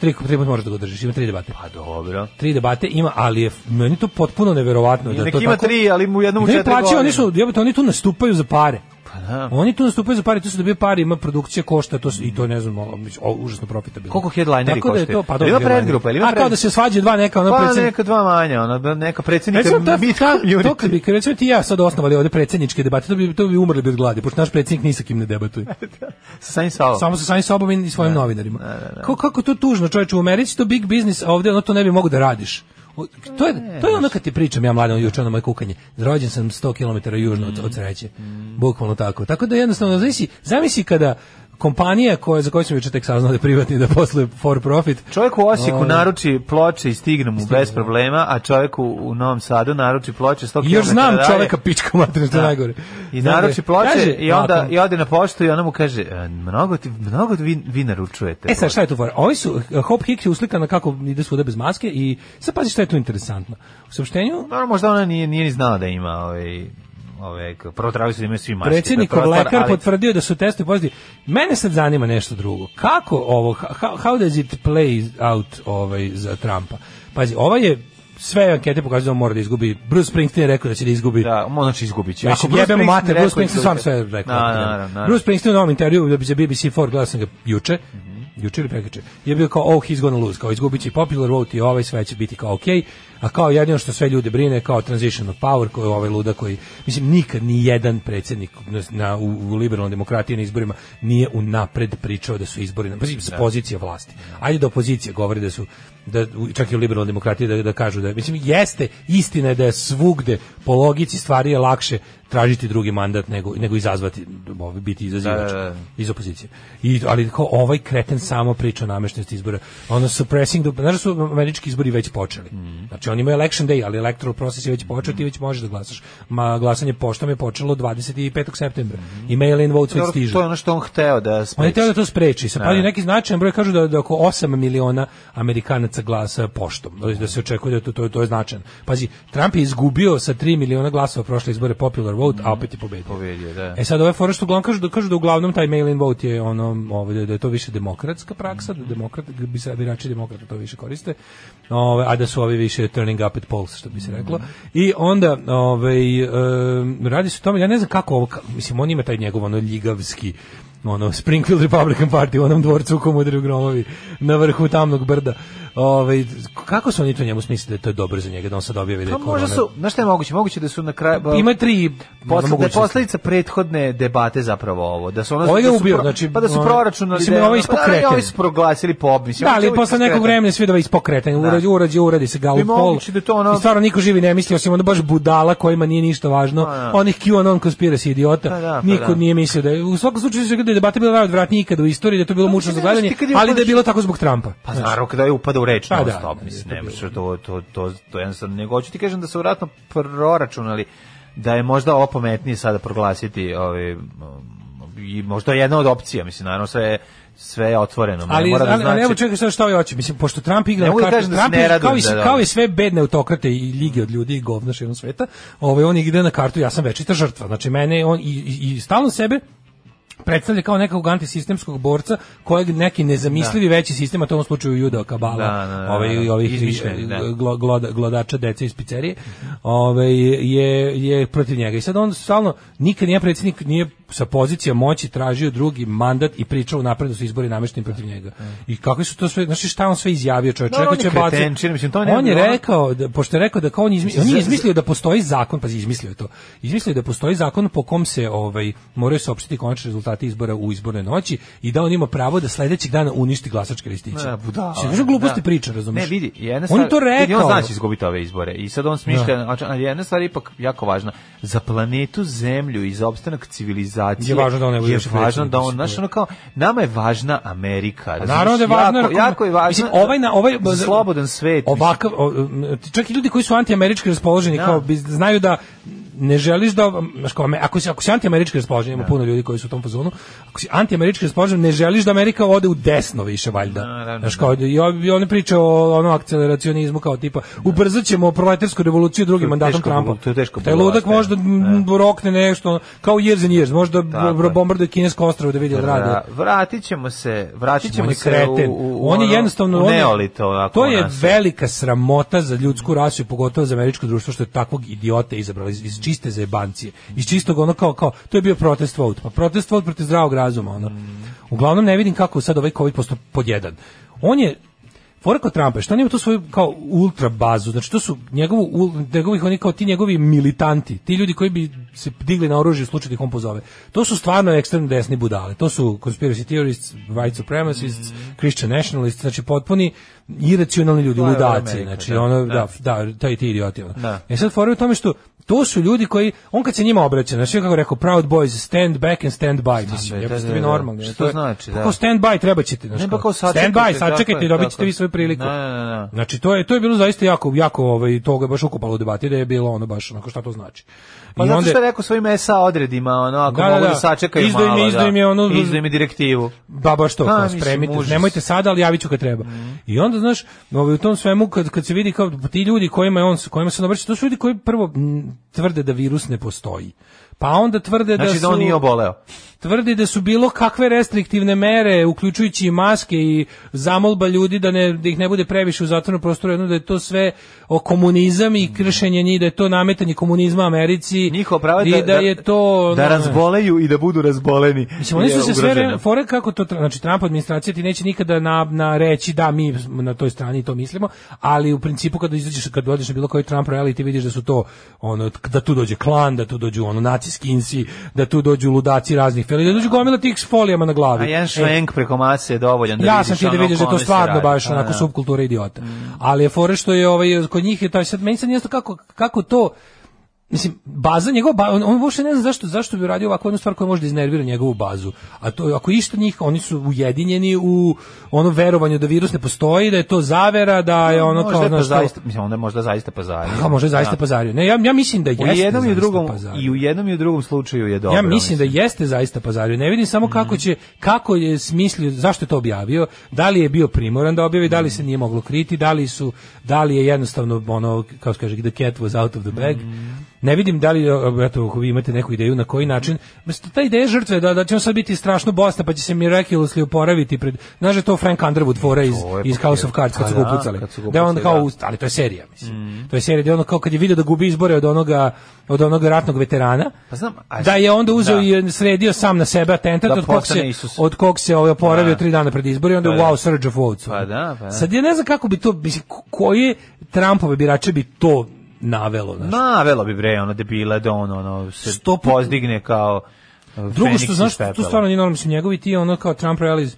E: Tri, tri puta možeš da ga držiš, ima tri debate.
F: Pa dobro.
E: Tri debate ima, ali je meni je to potpuno neverovatno. Da
F: Nek
E: to
F: ima
E: tako-
F: tri, ali mu jednom u
E: Ne
F: četiri
E: plaćaju,
F: godine. Pa
E: oni su, jebote, oni tu nastupaju za pare.
F: Aha.
E: Oni tu nastupaju za pare, tu su dobio pare, ima produkcija košta, to su, i to ne znam, o, mislim, o, užasno profitabilno.
F: Koliko headlineri
E: Tako da je
F: koštaju?
E: to, pa
F: Jel
E: dobro.
F: ima
E: headlineri.
F: predgrupa, jel ima
E: A kao
F: pred-
E: da se svađaju dva neka, ono
F: Pa
E: predsednik-
F: neka dva manja, ona da neka predsjednika
E: Recimo, ta,
F: Meet
E: ta,
F: Community.
E: to kad bi, recimo, ti i ja sad osnovali ovde predsjedničke debate, to bi, to bi umrli bi od gladi, pošto naš predsjednik ni sa kim ne debatuje.
F: Sa samim Savom.
E: Samo sa samim sobom i svojim novinarima. Kako, kako je to tužno, čoveče, u Americi to big business, a ovde ono to ne bi mogo da radiš. O, To je, to je ono kad ti pričam ja mladom juče ono moje kukanje. Rođen sam 100 km južno od, od sreće.
F: Mm.
E: Bukvalno tako. Tako da jednostavno, zamisli, zamisli kada kompanija koja, za koju sam juče tek saznao da je privatni da posluje for profit,
F: Čovjek u Osijeku
E: Ovaj.
F: naruči ploče i stigne mu bez problema, a čovjek u, u Novom Sadu naruči ploče 100 km.
E: I još znam čoveka pička materina, što je
F: Da.
E: najgore.
F: I
E: Znam da
F: naruči
E: je-
F: ploče
E: Kaže,
F: i onda
E: ovako,
F: i ode na poštu i ona mu kaže "E, mnogo ti mnogo vi, vi naručujete.
E: E sad šta je tu fora? Ovi su eh, Hop Hicks je uslikana kako ide svuda bez maske i sad pazi šta je tu interesantno. U saopštenju
F: Dobro, možda ona nije nije ni znala da ima ovaj ovaj k- prvo trebali su da imaju svi maske. to je
E: predsjednikov
F: prva stvar,
E: lekar
F: ali-
E: potvrdio da su testovi pozitivni. Mene sad zanima nešto drugo. Kako ovo how, how does it play out ovaj za Trumpa? Pazi, ova je sve ankete pokazuju da on mora da izgubi. Bruce Springsteen je rekao da će da izgubi
F: Da, on znači izgubit će. Ako
E: Mislim,
F: Bruce
E: jebemo
F: Springsteen
E: mater,
F: rekao,
E: Bruce Springsteen sam
F: izgubit će.
E: sve rekao.
F: Na, na, na, na.
E: Bruce Springsteen u novom intervju da bi za BBC 4 gledao sam ga juče,
F: Mhm.
E: juče ili prekjuče, je bio kao, oh, he's gonna lose, kao izgubit će i popular vote i ovaj, sve će biti kao okej, a kao jedino što sve ljude brine, kao transition of power, koji je ovaj luda koji, mislim, nikad ni jedan predsjednik na, na, u, u liberalnoj demokratiji na izborima nije unapred pričao da su izbori, na, mislim, sa pozicije vlasti. Ajde da opozicija govori da su, da, u- čak i u liberalnoj demokratiji da, da kažu da, mislim, jeste, istina je da je svugde po logici stvari je lakše tražiti drugi mandat nego nego izazvati ovaj, biti izazivač
F: Da, da, da.
E: iz opozicije. I ali kao ovaj kreten samo priča o nameštenosti izbora. Ono suppressing the, znaš da su američki izbori već počeli.
F: Mhm.
E: Znači oni imaju election day, ali electoral proces je već počeo, ti već možeš da glasaš. Ma glasanje poštom je počelo 25. septembra. I mail in votes već
F: Mhm. Dobro,
E: stižu.
F: To je ono što on hteo da
E: On je
F: spreči.
E: htio da to spreči. Sa pali neki značajan broj kažu da, da oko 8 miliona Amerikanaca glasa poštom. Da, da se očekuje da to, to, to je značajan. Pazi, Trump je izgubio sa 3 miliona glasova prošle izbore popular vote, a opet je pobedio.
F: Pobedio, da.
E: E sad ove fore što uglavnom kažu da kažu da uglavnom taj mail in vote je ono ovaj da- da je to više demokratska praksa, da demokrat da bi se birači demokrata to više koriste. Ovaj a da su ovi više turning up at polls što bi se reklo. I onda ovaj em, radi se o tome ja ne znam kako ovo ka- mislim on ima taj njegov ono ljigavski ono Springfield Republican Party u onom dvorcu u komu udaraju gromovi na vrhu tamnog brda. Ovaj kako su oni to njemu smislili da je to dobro za njega da on sad objavi da
F: Pa
E: je
F: možda
E: korona-
F: su, znaš šta je moguće? Moguće da su na kraju...
E: ima tri ono,
F: Posle, da je
E: mogućnosti.
F: posledica prethodne debate zapravo ovo. Da su ono,
E: Ovaj ga
F: da su
E: ubio,
F: pro-
E: znači,
F: Pa da su
E: ono,
F: proračunali...
E: mislim,
F: da je
E: ovaj
F: ono-
E: ispod
F: pa da, ali
E: kreten.
F: Ovi su proglasili pob. Mislim,
E: Da,
F: ovi
E: ali
F: su
E: posle
F: ispod
E: nekog
F: kreten.
E: vremena svi da ispokretanje,
F: Da.
E: urađi, urađi, uradi se
F: Bi
E: Gallup
F: moguće
E: poll.
F: da to ono-
E: I stvarno niko živi ne misli, osim onda baš budala kojima nije ništa važno,
F: da.
E: onih QAnon conspiracy idiota,
F: Pa da, pa
E: niko
F: da.
E: nije mislio da je, u svakom slučaju se da je debata bila najodvratnija ikada u istoriji, da je to bilo mučno za
F: Pa mislim, znaš,
E: gledanje,
F: ti kad je
E: ali da je
F: upadaš-
E: bilo tako zbog Trumpa.
F: Pa
E: Znaš.
F: naravno kada je upada u reč
E: Pa
F: non
E: da,
F: stop,
E: je to
F: mislim, ne možeš to, to, to, to jednostavno, nego hoću ti kažem da su vratno proračunali da je možda ovo pametnije sada proglasiti ovaj, um, i možda je jedna od opcija, mislim, naravno sve je, sve je otvoreno. ne
E: ali,
F: mora da
E: ali, ali
F: znači-
E: evo čekaj sad šta ovi hoće, mislim, pošto Trump igra
F: Ne
E: na
F: mogu da
E: kartu,
F: kažem da se
E: Trump
F: ne
E: igra
F: radujem
E: kao, i,
F: za dobro.
E: kao i sve bedne autokrate i lige od ljudi i govna širom sveta, ovaj, on igra na kartu, ja sam večita žrtva, znači mene, on i, i, i stalno sebe predstavlja kao nekog antisistemskog borca kojeg neki nezamislivi veći sistem, a to u ovom slučaju juda kabala,
F: Da, da, da, da.
E: ovaj, ovih
F: Izmišljeni, da.
E: glo- gloda- glodača dece iz pizzerije, ovaj, je, je protiv njega. I sad on stalno, nikad nije predsjednik nije sa pozicija moći tražio drugi mandat i pričao napred da su izbori namešteni protiv njega. I kakvi su to sve, znači šta on sve izjavio čovjek,
F: Dobro,
E: čovjek
F: on je
E: će baciti-
F: kretenčin, mislim, to ne-
E: on je
F: ono-
E: rekao, da, pošto je rekao da kao on, izmi, on je
F: Za-
E: izmislio da postoji zakon, pazi, izmislio je to, izmislio je da postoji zakon po kom se ovaj, moraju saopštiti konačni rezultati izbora u izbornoj noći i da on ima pravo da sledećeg dana uništi glasačke listiće.
F: Ma, budala,
E: Mislim, znaš, gluposti
F: E, da.
E: priča, razumeš?
F: Ne, vidi, jedna
E: On je to
F: vidi,
E: rekao.
F: On znači izgubiti ove izbore. I sad on smišlja, znači, ali jedna stvar je ipak jako važna. Za planetu Zemlju i za opstanak civilizacije
E: Je važno da on ne bude
F: je
E: više
F: važno da on,
E: predsjednik,
F: znaš, ono kao, nama je važna Amerika.
E: Pa
F: razumeš?
E: Naravno da je važno.
F: Jako,
E: jer ako-
F: jako je važno.
E: Mislim, ovaj na ovaj
F: za slobodan svet. mislim.
E: Ovakav o, m, čak i ljudi koji su antiamerički raspoloženi
F: Da.
E: kao bi znaju da ne želiš da znaš kao, me- ako si ako si antiamerički raspoložen ima puno ljudi koji su u tom fazonu ako si antiamerički raspoložen ne želiš da Amerika ode u desno više valjda
F: Naravno,
E: znaš kao i ovi- i oni pričaju o ono akceleracionizmu kao tipa ubrzaćemo proletarsku revoluciju drugim
F: je
E: mandatom
F: teško
E: Trumpa
F: bulu- to je teško
E: taj
F: bulu-
E: ludak
F: da.
E: možda m, rokne nešto kao years and years možda
F: Tako
E: bro-
F: je.
E: bombarduje kinesko ostrvo da vidi jel radi
F: Vra- vratit ćemo se, vratit
E: on
F: ćemo
E: je
F: se
E: kreten.
F: u, u,
E: on je
F: ono,
E: jednostavno
F: u
E: on je-
F: neolito. onako,
E: to je
F: ono, sve.
E: velika sramota za ljudsku rasu i pogotovo za američko društvo što je takvog idiota izabralo iz, iz čiste zajebancije. Iz čistog ono kao, kao, to je bio protest vote. Pa protest vote protiv zdravog razuma. Ono.
F: Mm.
E: Uglavnom ne vidim kako sad ovaj COVID posto pod jedan. On je Fora kod Trumpa, je što on ima tu svoju kao ultra bazu, znači to su njegovu, ul- njegovih oni kao ti njegovi militanti, ti ljudi koji bi se digli na oružje u slučaju da ih on pozove. To su stvarno ekstremno desni budale, to su conspiracy theorists, white supremacists, Christian nationalists, znači potpuni iracionalni ljudi,
F: Mhm. To je
E: ludaci,
F: Amerika,
E: znači
F: da,
E: ono,
F: da.
E: da, da, taj ti idioti. Ono.
F: Da.
E: E sad fora je u tome što to su ljudi koji, on kad se njima obraća, znači kako je rekao, Proud Boys, stand back and stand by, mislim,
F: by,
E: je
F: da, da,
E: vi
F: da.
E: normalni.
F: Što
E: to je-
F: znači,
E: pa
F: da.
E: Kao stand by, treba ćete. Znači,
F: Ne, pa kao
E: stand
F: sačekajte,
E: by,
F: tako je,
E: sačekajte i dobit
F: tako
E: ćete
F: je.
E: vi svoju priliku.
F: Da, da, da.
E: Znači, to je, to je bilo zaista jako, jako, ovaj, toga je baš ukupalo u debati, da je bilo ono baš, onako šta to znači.
F: Pa
E: I
F: zato
E: onda-
F: što je rekao svojim SA odredima, ono, ako
E: Da, da,
F: mogu da,
E: da.
F: sačekaju
E: Izdaj mi-
F: malo,
E: izdaj
F: da.
E: mi ono-
F: Izdaj mi direktivu.
E: ba baš to,
F: Pa,
E: kao,
F: mislim,
E: spremite,
F: užas.
E: nemojte sada, ali javit ću kad treba. I onda, znaš, ovaj, u tom svemu, kad, kad se vidi kao ti ljudi kojima, je on, kojima se on obraća, to su ljudi koji prvo m, tvrde da virus ne postoji. Pa onda tvrde da
F: Znači
E: su...
F: da on nije oboleo.
E: tvrdi da su bilo kakve restriktivne mere, uključujući i maske i zamolba ljudi da, ne, da ih ne bude previše u zatvornom prostoru, jedno da je to sve o komunizam i kršenje njih, da je to nametanje komunizma Americi
F: Njihovo pravo
E: i
F: je
E: da, je to...
F: da
E: ono,
F: razboleju i da budu razboleni.
E: Mislim, oni
F: je
E: su se sve
F: ugroženo.
E: vreme- fore kako to, tra- znači Trump administracija ti neće nikada na, na reći da mi smo na toj strani to mislimo, ali u principu kada izađeš, kad dođeš na bilo koji Trump rally ti vidiš da su to, ono, t- da tu dođe klan, da tu dođu ono nacijski insi, da tu dođu ludaci raznih feli, da dođu gomila tih s folijama na glavi.
F: A jedan
E: E,
F: švenk preko mase je dovoljan da
E: ja
F: vidiš
E: sam ti da
F: ono
E: vidiš
F: o
E: da je to
F: kome se
E: stvarno
F: radi.
E: baš
F: Pa,
E: onako
F: da. Mm.
E: subkultura idiota. Ali je fore što je ovaj kod njih je taj sad meni sad nije jasno kako kako to Mislim, baza njegova, ba- on, on uopšte ne zna zašto, zašto bi uradio ovako jednu stvar koja može da iznervira njegovu bazu. A to, je, ako išta njih, oni su ujedinjeni u ono verovanje da virus ne postoji, da je to zavera, da je ono
F: možda
E: kao...
F: je
E: znaš, to-
F: pazaista- mislim, onda je možda zaista pazario.
E: Kao možda je zaista
F: Da.
E: pazario. Ne, ja, ja mislim da
F: U
E: jeste
F: jednom i u
E: zaista
F: drugom
E: pazario.
F: i u jednom i u drugom slučaju je dobro. Mhm.
E: Ja mislim da jeste zaista pazario. Ne vidim samo kako će kako je smislio, zašto je to objavio, da li je bio primoran da objavi, da li
F: Mhm.
E: se nije moglo kriti, da li su da li je jednostavno ono kako se kaže the cat was out of the bag.
F: Mhm.
E: Ne vidim da li e, eto ako vi imate neku ideju na koji način. Mislim ta ideja žrtve da da će on sad biti strašno bosna pa će se miraculously oporaviti pred znaš da je to Frank Underwood fora iz
F: To je
E: iz House of Cards kad
F: Pa
E: su ga
F: da,
E: upucali.
F: kad su ga
E: Da je on
F: upucali,
E: kao
F: da.
E: u- ali to je serija mislim.
F: Mm.
E: To je serija gde ono kao kad je video da gubi izbore od onoga od onog ratnog veterana.
F: Pa znam, a-
E: da je onda uzeo
F: da.
E: i sredio sam na sebe atentat
F: Da
E: od kog
F: postane
E: se
F: Isus.
E: od kog se ovaj oporavio
F: Da.
E: tri dana pred izbore i onda
F: Pa
E: je
F: da.
E: wow surge of votes.
F: Pa da, pa da.
E: Sad ja ne znam kako bi to mislim ko- koje Trumpove birače bi to navelo, znaš.
F: Ma, velo bi bre, ono debile da on ono se
E: Sto puta-
F: pozdigne kao e,
E: Drugo
F: Feniks
E: što
F: iz
E: znaš, tu
F: pepela.
E: stvarno nije normalno, mislim, njegovi ti ono kao Trump rallies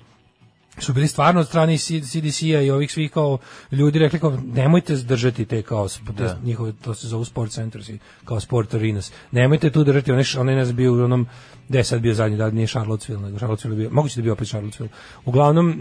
E: su bili stvarno od strane C- CDC-a i ovih svih kao ljudi rekli kao nemojte držati te kao sp- te njihove, to se zovu sport centers i kao sport arenas, nemojte tu držati onaj, š- onaj nas bio u onom gde je sad bio zadnji dan, nije Charlottesville, nego Charlottesville je bio, moguće da je bio opet Charlottesville uglavnom, m,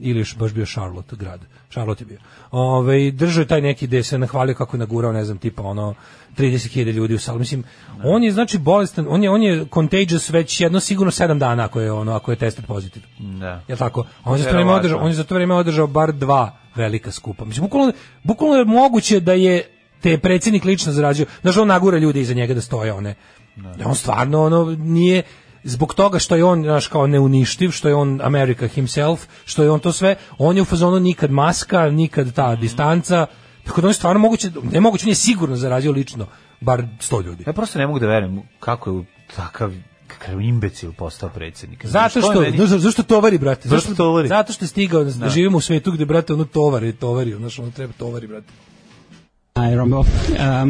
E: ili još baš bio Charlotte grad, Charlotte je bio Ove, držao je taj neki gde se nahvalio kako je nagurao, ne znam, tipa ono 30.000 ljudi u salu, mislim, on je znači bolestan, on je, on je contagious već jedno sigurno 7 dana ako je ono, ako je tested pozitivno
F: Da.
E: je tako? A on je za to vreme
F: Verovatno.
E: održao, on je za to vreme održao bar dva velika skupa. Mislim bukvalno bukvalno je moguće da je te predsjednik lično zarađio. Znaš, on nagura ljude iza njega da stoje one. On stvarno ono nije zbog toga što je on znaš kao neuništiv, što je on America himself, što je on to sve, on je u fazonu nikad maska, nikad ta distanca. Tako da on je stvarno moguće, ne moguće, on je sigurno zarađio lično bar 100 ljudi.
F: Ja prosto ne mogu da verujem kako je takav kakav imbecil postao predsjednik. Znači,
E: Zato što,
F: je meni-
E: znaš, zašto tovari, brate?
F: Zašto tovari?
E: Zato što je stigao, da. živimo u svetu gde, brate, ono tovari, tovari, znaš, ono treba tovari, brate.
B: Hi, Rombo. Um,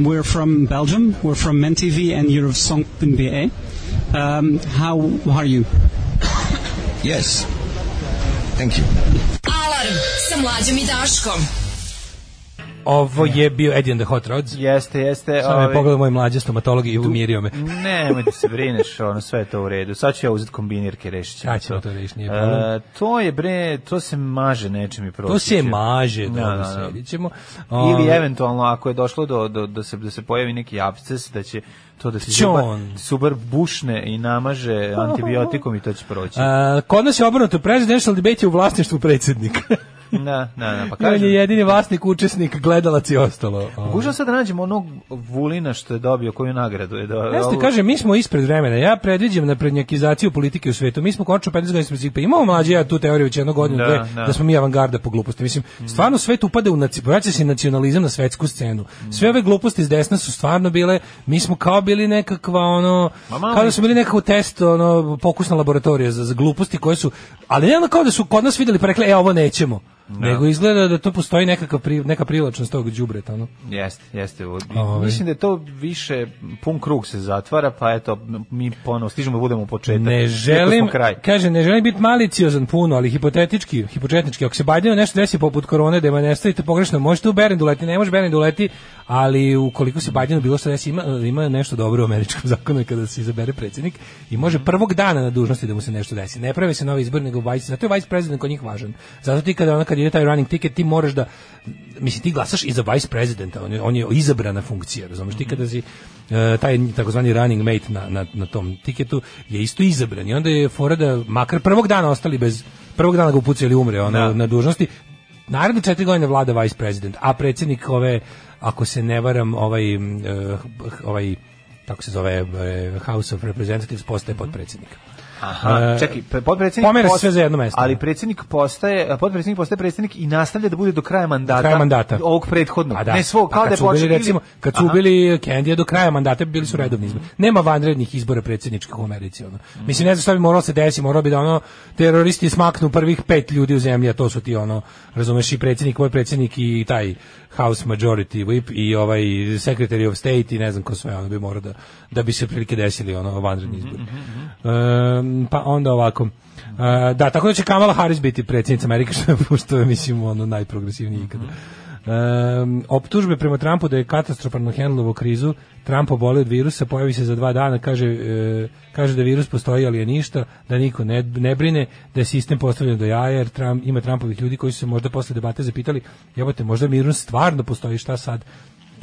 B: we're from Belgium. We're from MenTV and you're of Song.be. Um, how are you?
I: Yes. Thank you.
J: Alarm sa mlađom i Daškom.
E: Ovo je bio Eddie and the Hot Rods.
F: Jeste, jeste.
E: Samo
F: ovaj,
E: me pogledao moj mlađe stomatolog i umirio me.
F: Nemoj da se brineš, ono sve je to u redu. Sad ću ja uzeti kombinirke, rešit ćemo
E: Sad ćemo to rešiti, nije problem.
F: E, to je bre, to se maže nečim i proći.
E: To se
F: će.
E: maže,
F: Da,
E: da,
F: da,
E: da,
F: da.
E: sredit ćemo.
F: Ili
E: Ovaj,
F: eventualno ako je došlo do, do, da se da se pojavi neki absces da će to da se
E: Pćon.
F: zubar, zubar bušne i namaže antibiotikom i to će proći.
E: a, kod nas je obrnuto presidential debate je u vlasništvu predsjednika.
F: Da, da, da, pa
E: On je
F: kažem.
E: jedini vlasnik, učesnik, gledalac i ostalo.
F: Pokušao sam da nađem onog Vulina što je dobio koju nagradu. Je do,
E: Jeste,
F: ovu-
E: kaže, mi smo ispred vremena. Ja predviđam na prednjakizaciju politike u svetu. Mi smo končno 15 godina ispred svih. Pa imamo mlađe ja tu teoriju već jedno godinu,
F: Da,
E: da,
F: da. Mm.
E: da. smo mi avangarda po gluposti. Mislim, stvarno svet upada u naci, vraća se nacionalizam na svetsku scenu.
F: Mm.
E: Sve ove gluposti iz desna su stvarno bile, mi smo kao bili nekakva ono,
F: Ma malo
E: kao da
F: i-
E: smo bili nekako test, ono, pokusna laboratorija za, za gluposti koje su, ali ne ono kao da su kod nas videli pa rekli, e, ovo nećemo. Nego izgleda da to postoji nekakav pri, neka privlačnost tog đubreta, ono.
F: Jeste, jeste. U-
E: Ovaj.
F: Mislim da je to više, pun krug se zatvara, pa eto, mi ponovo stižemo da budemo u početak.
E: Ne
F: Iako
E: želim,
F: smo kraj.
E: kaže, ne želim biti maliciozan puno, ali hipotetički, hipotetički, ako se Bajdenu nešto desi poput korone, da me ne stavite pogrešno, možete u Berendu leti, ne može Berendu leti, ali ukoliko se Bajdenu bilo što desi, ima, ima nešto dobro u američkom zakonu kada se izabere predsjednik i može prvog dana na dužnosti da mu se nešto desi. Ne prave se novi izbor, nego vice, zato je vice president kod njih važan. Zato ti kada ona kad ide taj running ticket, ti moraš da, mislim, ti glasaš i za vice presidenta, on je, on je izabrana funkcija, razumiješ, ti kada si e, taj takozvani running mate na, na, na tom tiketu je isto izabran i onda je fora da makar prvog dana ostali bez prvog dana ga upucali umre ona
F: Da.
E: na dužnosti naredne četiri godine vlada vice president a predsjednik ove ako se ne varam ovaj m, e, ovaj tako se zove e, House of Representatives postaje
F: Mhm.
E: potpredsjednik
F: Aha,
E: E,
F: čekaj, pre- potpredsjednik
E: pomera se
F: post-
E: sve za jedno mesto.
F: Ali predsjednik postaje, potpredsjednik postaje predsjednik i nastavlja da bude do kraja mandata.
E: do kraja mandata.
F: Ovog prethodnog.
E: A
F: Ne svog,
E: Pa
F: kao
E: kad
F: da je
E: su ubili,
F: počeo.
E: recimo, kad su
F: Aha.
E: ubili Kendija do kraja mandata bili su redovni izbori. Nema vanrednih izbora predsjedničkih u Americi. Ono. Mislim, ne znam šta bi moralo se desiti, moralo bi da ono, teroristi smaknu prvih pet ljudi u zemlji, a to su ti ono, razumeš, i predsjednik, ovaj predsjednik i taj House Majority Whip i ovaj Secretary of State i ne znam ko sve, ono bi morao da, da bi se prilike desili ono, vanredni izbori. Ehm, pa onda ovako. E, da, tako da će Kamala Harris biti predsjednica Amerike, što je, pošto je, mislim, ono, najprogresivniji ikada. Um, optužbe prema Trumpu da je katastrofalno hendlovo krizu, Trump oboli od virusa, pojavi se za dva dana, kaže, e, kaže da virus postoji, ali je ništa, da niko ne, ne brine, da je sistem postavljen do jaja, jer Trump, ima Trumpovih ljudi koji su se možda posle debate zapitali, jebote, možda virus stvarno postoji, šta sad?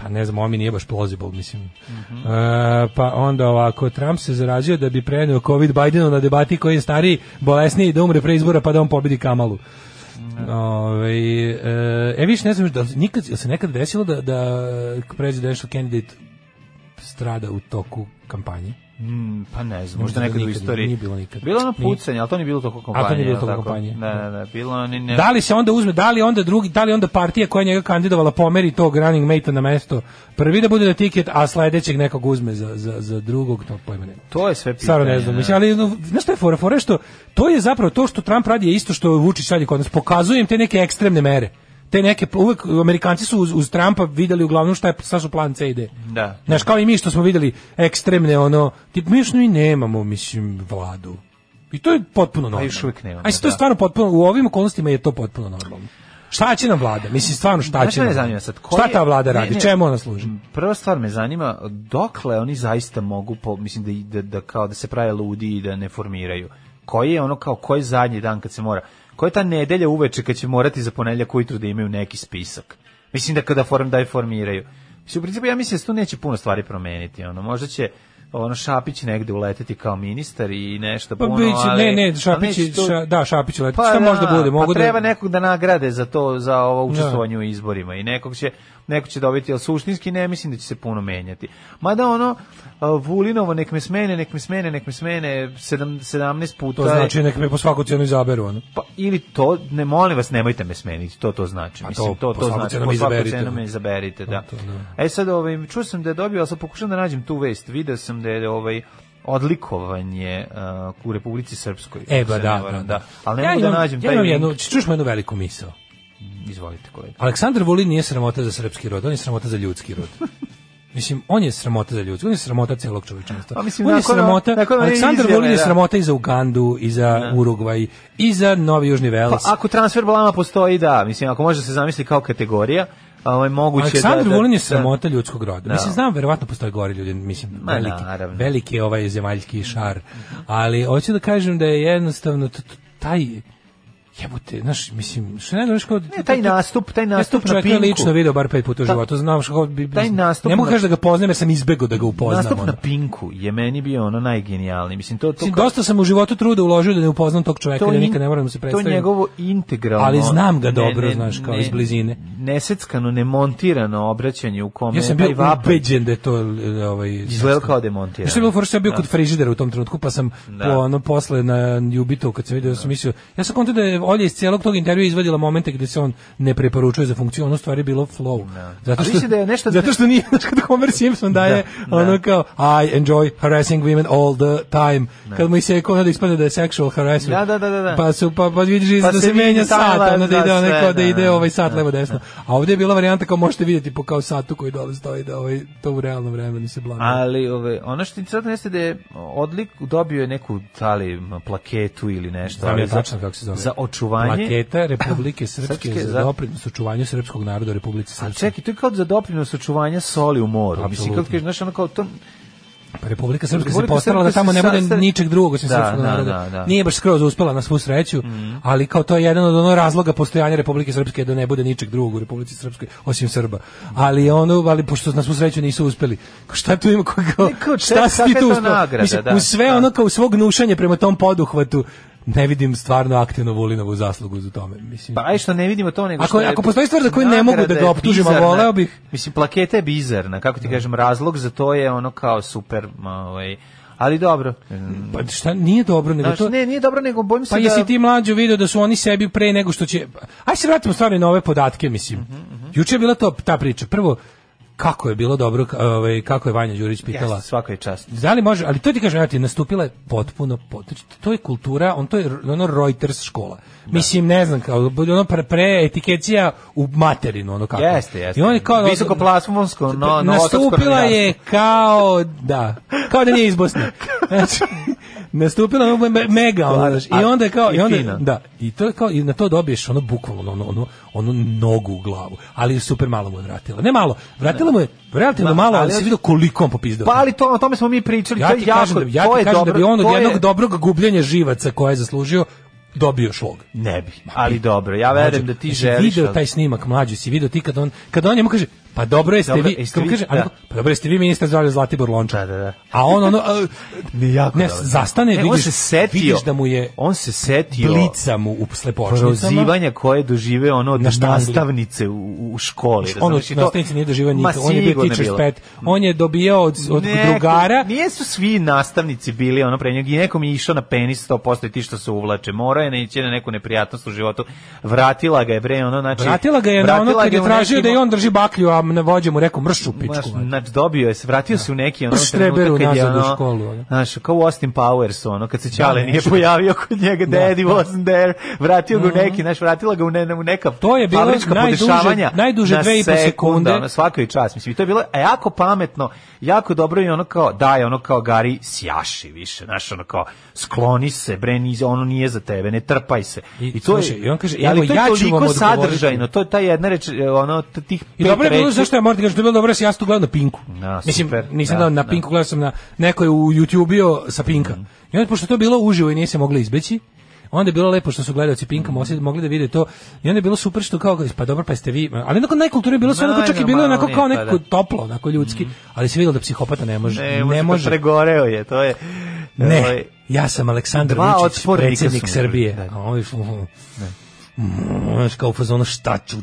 E: Pa ne znam, on mi nije baš plausible, mislim. E, pa onda ovako, Trump se zarađuje da bi preneo COVID Bidenu na debati koji je stariji, bolesniji, da umre pre izbora pa da on pobedi Kamalu. Ove, e, e, viš, ne znam, da li nikad, jel se nekad desilo da, da presidential candidate strada u toku kampanje?
F: Mm, pa ne znam, možda
E: Ne mislim da
F: nekad u
E: nikad,
F: istoriji.
E: nije bilo nikad.
F: Bilo ono
E: Nije.
F: pucanje, ali to nije bilo toliko kompanije.
E: A to nije bilo
F: jel'
E: toliko
F: tako?
E: kompanije.
F: Da, da, da, bilo oni ne...
E: Da li se onda uzme, da li onda drugi, da li onda partija koja je njega kandidovala pomeri tog running mate na mesto prvi da bude na tiket, a sledećeg nekog uzme za, za, za drugog, to pojma nema.
F: To je sve pitanje.
E: Stvarno ne znam,
F: da.
E: mislim, ali no, znaš šta je fora? Fora je što to je zapravo to što Trump radi je isto što Vučić radi kod nas. Pokazuje im te neke ekstremne mere. Te neke, uvek Amerikanci su uz, uz Trumpa videli uglavnom šta, je, šta su plan C i D.
F: Da.
E: Znaš, kao i mi što smo videli ekstremne, ono, tip, mi još mi nemamo, mislim, vladu. I to je potpuno normalno.
F: Pa još uvijek nemamo,
E: Aj, to je
F: da.
E: stvarno potpuno, u ovim okolnostima je to potpuno normalno. Šta će nam vlada? Mislim, stvarno šta
F: Znaš
E: će
F: me
E: nam?
F: zanima
E: vlada?
F: sad, ko
E: Šta
F: je-
E: ta vlada
F: ne,
E: radi?
F: ne. Mm,
E: Čemu ona služi?
F: Prva stvar me zanima, dokle oni zaista mogu, po, mislim da, i- da, da, kao da se prave ludi i da ne formiraju. Koji je ono kao, koji je zadnji dan kad se mora? Koja je ta nedelja uveče kad će morati za ponedljak ujutru da imaju neki spisak? Mislim da kada form da je formiraju. Mislim, u principu ja mislim da se tu neće puno stvari promeniti. Ono, možda će ono Šapić negde uleteti kao ministar i nešto
E: Pa
F: puno,
E: biće,
F: ono, ali-
E: ne, ne,
F: ali
E: Šapić,
F: neće tu-
E: ša, da, Šapić leti. šta možda bude? Mogu
F: pa treba
E: Pa da...
F: nekog da nagrade za to, za ovo učestvovanje u izborima i nekog će, neko će dobiti, ali suštinski ne mislim da će se puno menjati. Mada ono, a, Vulinovo, nek me smene, nek me smene, nek me smene, sedam, 17 puta.
E: To
F: je-
E: znači nek me po svaku cijenu izaberu, ono.
F: Pa, ili to, ne molim vas, nemojte me smeniti, to to znači.
E: Pa
F: Mislim,
E: to,
F: to,
E: po
F: to
E: svaku
F: znači,
E: cenu
F: po
E: me
F: svaku
E: izaberite. Pa
F: cenu me izaberite, da.
E: to, da.
F: E sad, ovaj, čuo sam da je dobio, ali sam pokušao da nađem tu vest, video sam da je ovaj, odlikovanje uh, u Republici Srpskoj.
E: E,
F: ako
E: ba
F: se ne
E: da, da,
F: varam,
E: da.
F: Ali ne mogu da
E: imam-
F: nađem
E: ja
F: taj
E: imam
F: link.
E: jednu, čuš me jednu veliku misao.
F: Izvolite, kolega.
E: Aleksandar Vulin nije sramota za srpski rod, on je sramota za ljudski rod. Mislim, on je sramota za ljudski, on je sramota celog čovečanstva.
F: Pa mislim,
E: on je
F: nakon-
E: sramota,
F: nakon one
E: Aleksandar
F: izjave,
E: Vulin je
F: da.
E: sramota i za Ugandu, i za Urugvaj, i za Novi Južni
F: Pa
E: Vels.
F: ako transfer blama postoji, da, mislim ako može da se zamisli kao kategorija, ovaj moguće da
E: Aleksandar
F: da-
E: Vulin je
F: da-
E: sramota ljudskog roda.
F: Da.
E: Mislim, znam, verovatno postoje gori ljudi, mislim,
F: Ma,
E: veliki,
F: naravno.
E: veliki je ovaj zemaljski šar. Ali hoću da kažem da je jednostavno t- t- taj jebote, znaš, mislim, što ne znaš kao...
F: Ne, taj nastup, taj nastup
E: ja
F: na
E: pinku. Ja
F: Pinku.
E: lično video bar pet puta u
F: Ta-
E: životu, znam što... Bi,
F: Taj nastup
E: Ne mogu
F: na-
E: kažem da ga poznajem jer sam izbegao da ga upoznam.
F: Nastup
E: ono.
F: na Pinku je meni bio ono najgenijalniji. Mislim, to, to,
E: Mislim,
F: kao-
E: dosta sam u životu truda uložio da ne upoznam tog čoveka,
F: to
E: da
F: in-
E: nikad ne moram da se predstavim.
F: To njegovo integralno...
E: Ali znam ga dobro, znaš, kao iz blizine.
F: Neseckano, nemontirano obraćanje u kome...
E: Ja sam
F: taj
E: bio
F: vapaj
E: ubeđen da je to e, ovaj
F: Izgledao
E: srpsko.
F: kao demontirano.
E: Znaš Što je bilo fora što sam bio
F: Da.
E: kod frižidera u tom trenutku, pa sam
F: Da.
E: po ono posle na Jubito kad sam video da sam mislio, ja sam kontao da je Olja iz celog tog intervjua izvadila momente gde se on ne preporučuje za funkciju, ono u stvari je bilo flow. Zato
F: A
E: što
F: mislim da je nešto-
E: zato što nije znaš kad Homer Simpson daje ono kao I enjoy harassing women all the time. Kad mu se ono da ispadne da je sexual harassment.
F: Da, da, da, da, da.
E: Pa su pa pa vidiš
F: Pa
E: da
F: se
E: se
F: vidi
E: menja sat,
F: timeline
E: ono da
F: za
E: ide ono
F: sve,
E: kao da
F: da,
E: ide
F: da.
E: ovaj sat levo desno. A ovdje je bila varijanta kao možete vidjeti po kao satu koji dole stoji da ovaj to u realnom vremenu se blami.
F: Ali ove, ono što je interesantno jeste da je odlik dobio je neku tali plaketu ili nešto.
E: Znam
F: ali
E: ja
F: za-
E: tačno kako se zove.
F: Za očuvanje.
E: Plaketa Republike Srpske,
F: Srpske
E: za
F: za-
E: doprinos očuvanju srpskog naroda u Republici
F: A
E: Srpskoj.
F: čekaj, to je kao za doprinos očuvanja soli u moru. Mislim,
E: Apsolutno.
F: kako kažeš, znaš, ono kao to...
E: Pa Republika Srpska se
F: Republika
E: postarala da
F: Srpska
E: tamo
F: se
E: ne bude
F: sastavi-
E: ničeg drugog osim
F: Da,
E: srpskog
F: da,
E: naroda.
F: da, Mm. da.
E: Nije baš skroz uspela na svu sreću, ali kao to je jedan od ono razloga postojanja Republike Srpske je da ne bude ničeg drugog u Republici Srpskoj osim Srba. Ali ono, ali pošto na svu sreću nisu uspeli. kao Šta tu ima kao, kao,
F: Ne, kao,
E: šta
F: ček,
E: si
F: kakva
E: ti
F: je
E: tu
F: to
E: uspela?
F: nagrada,
E: Mislim,
F: da,
E: uz sve
F: da.
E: ono kao svog nušanja prema tom poduhvatu ne vidim stvarno aktivno Vulinovu zaslugu za tome. Mislim,
F: Pa aj što ne vidimo to nego
E: Ako-
F: što je-
E: ako postoji stvar za koju ne mogu da
F: Nagrada
E: ga
F: je
E: optužim, a
F: bizarna.
E: voleo bih.
F: Mislim plaketa je bizarna, kako ti kažem, razlog za to je ono kao super, ma, ovaj. Ali dobro.
E: pa šta nije dobro, nego
F: Znaš,
E: to...
F: ne, nije dobro, nego bojim se
E: Pa
F: da...
E: jesi ti mlađo video da su oni sebi pre nego što će... Aj se vratimo stvarno na ove podatke, mislim.
F: Mhm,
E: Juče je bila to, ta priča. Prvo, kako je bilo dobro, k- ovaj, kako je Vanja Đurić pitala.
F: Jeste, svaka je čast.
E: Da li može, ali to ti kažem, ja ti nastupila je potpuno, pot- znači, to je kultura, on to je r- ono Reuters škola. Mislim, ne znam, kao, ono pre, pre etikecija u materinu, ono kako.
F: Jeste, jeste.
E: I on je kao...
F: Visoko plasmonsko, no, no,
E: nastupila je kao, da, kao da nije iz Bosne. Znači, nastupila je ono me- mega, ono, znaš, i onda je kao, i onda,
F: Fina.
E: da, i to je kao, i na to dobiješ ono bukvalno, ono, ono, ono nogu u glavu, ali je super malo mu je vratila, ne malo, vratila mu je relativno
F: Ma,
E: malo, ali
F: ali
E: si
F: ja-
E: vidio koliko on popizdao.
F: Pa ali to, o tome smo mi pričali,
E: Ja
F: to je
E: ti
F: jako,
E: kažem, da, ja
F: to
E: ti
F: je
E: kažem
F: dobro,
E: da bi on od
F: to je-
E: jednog dobrog gubljenja živaca koje je zaslužio dobio šlog.
F: Ne bi, ali dobro, ja verujem da ti
E: Znači, Jesi
F: želiš.
E: pa video
F: ali-
E: taj snimak mlađi, si video ti kad on kad on njemu kaže Pa dobro jeste
F: Dobro,
E: vi,
F: jeste
E: kako
F: vi,
E: kaže, ali
F: da.
E: kao, pa dobro jeste vi ministar zdravlja Zlatibor Lončar.
F: Da, da, da.
E: A on ono, a,
F: Ne, jako
E: ne,
F: dobro.
E: zastane,
F: Ne, on
E: vidiš,
F: se setio,
E: vidiš da mu je
F: on se setio
E: blica mu u slepočnicama.
F: prozivanja koje dožive ono od
E: Na štangli.
F: nastavnice u, u školi.
E: Ono,
F: razumeš, i to-
E: nastavnici nije doživao
F: Ma,
E: nikad, on je bio
F: sigurno
E: teacher's
F: bilo.
E: pet, on je dobijao od, od
F: Neko-
E: drugara,
F: Nijesu svi nastavnici bili ono pre njega i nekom je išao na penis 100% i ti što se uvlače. Morao je neći na neku neprijatnost u životu. Vratila ga je bre ono znači
E: vratila ga je na ono
F: vratila
E: kad
F: ga
E: je
F: u
E: tražio
F: nekim-
E: da i on drži baklju, a na vođe mu rekao mršu
F: Znaš,
E: pičku. valjda."
F: znači dobio je se, vratio se u neki ono
E: Prš treberu nazad u školu, ono.
F: znaš, kao u Austin Powers, ono, kad se Ćale
E: ne,
F: nije
E: što-
F: pojavio kod njega,
E: Da,
F: daddy
E: da.
F: wasn't there, vratio ga u neki, znaš, vratila ga u, ne, u neka
E: To je bilo
F: fabrička
E: najduže-
F: podešavanja
E: najduže
F: na
E: dve i po sekunde.
F: ono, svakoj čas, mislim, i to je bilo jako pametno, jako dobro i ono kao, daj, ono kao Gari sjaši više, znaš, ono kao, skloni se, bre, niz, ono nije za tebe, ne trpaj se.
E: I- slušaj, i on kaže,
F: ali
E: evo,
F: to je
E: ja ću
F: toliko
E: vam odgovoriti.
F: sadržajno, to je ta jedna reč, ono, t- tih
E: I
F: pet
E: dobro je bilo,
F: reči.
E: zašto ja moram ti kažem, to je bilo dobro, jer sam ja sam to gledao na Pinku.
F: Da,
E: Mislim,
F: super,
E: nisam
F: da,
E: gledao na
F: da. Mhm.
E: Pinku, gledao sam na, neko je u YouTube bio sa Pinka. I onda, pošto je to bilo uživo i nije se mogli izbeći, onda je bilo lepo što su gledalci Pinka
F: Mhm.
E: mosli- mogli da vide to. I onda je bilo super što kao, pa dobro, pa jeste vi, ali onako najkulturnije je bilo, sve onako čak i bilo je onako kao
F: Najnormalnije, pa
E: nekako
F: da. Mhm.
E: toplo, onako ljudski, ali se vidjelo da psihopata ne može,
F: Ne,
E: ne može.
F: E, Pregoreo je, to je... ovaj,
E: Ne, ja sam Aleksandar
F: Dva
E: Vučić,
F: otpornika
E: predsjednik
F: su-
E: Srbije.
F: da, da.
E: A ovi fu- Mm, znaš, kao u fazonu šta ću,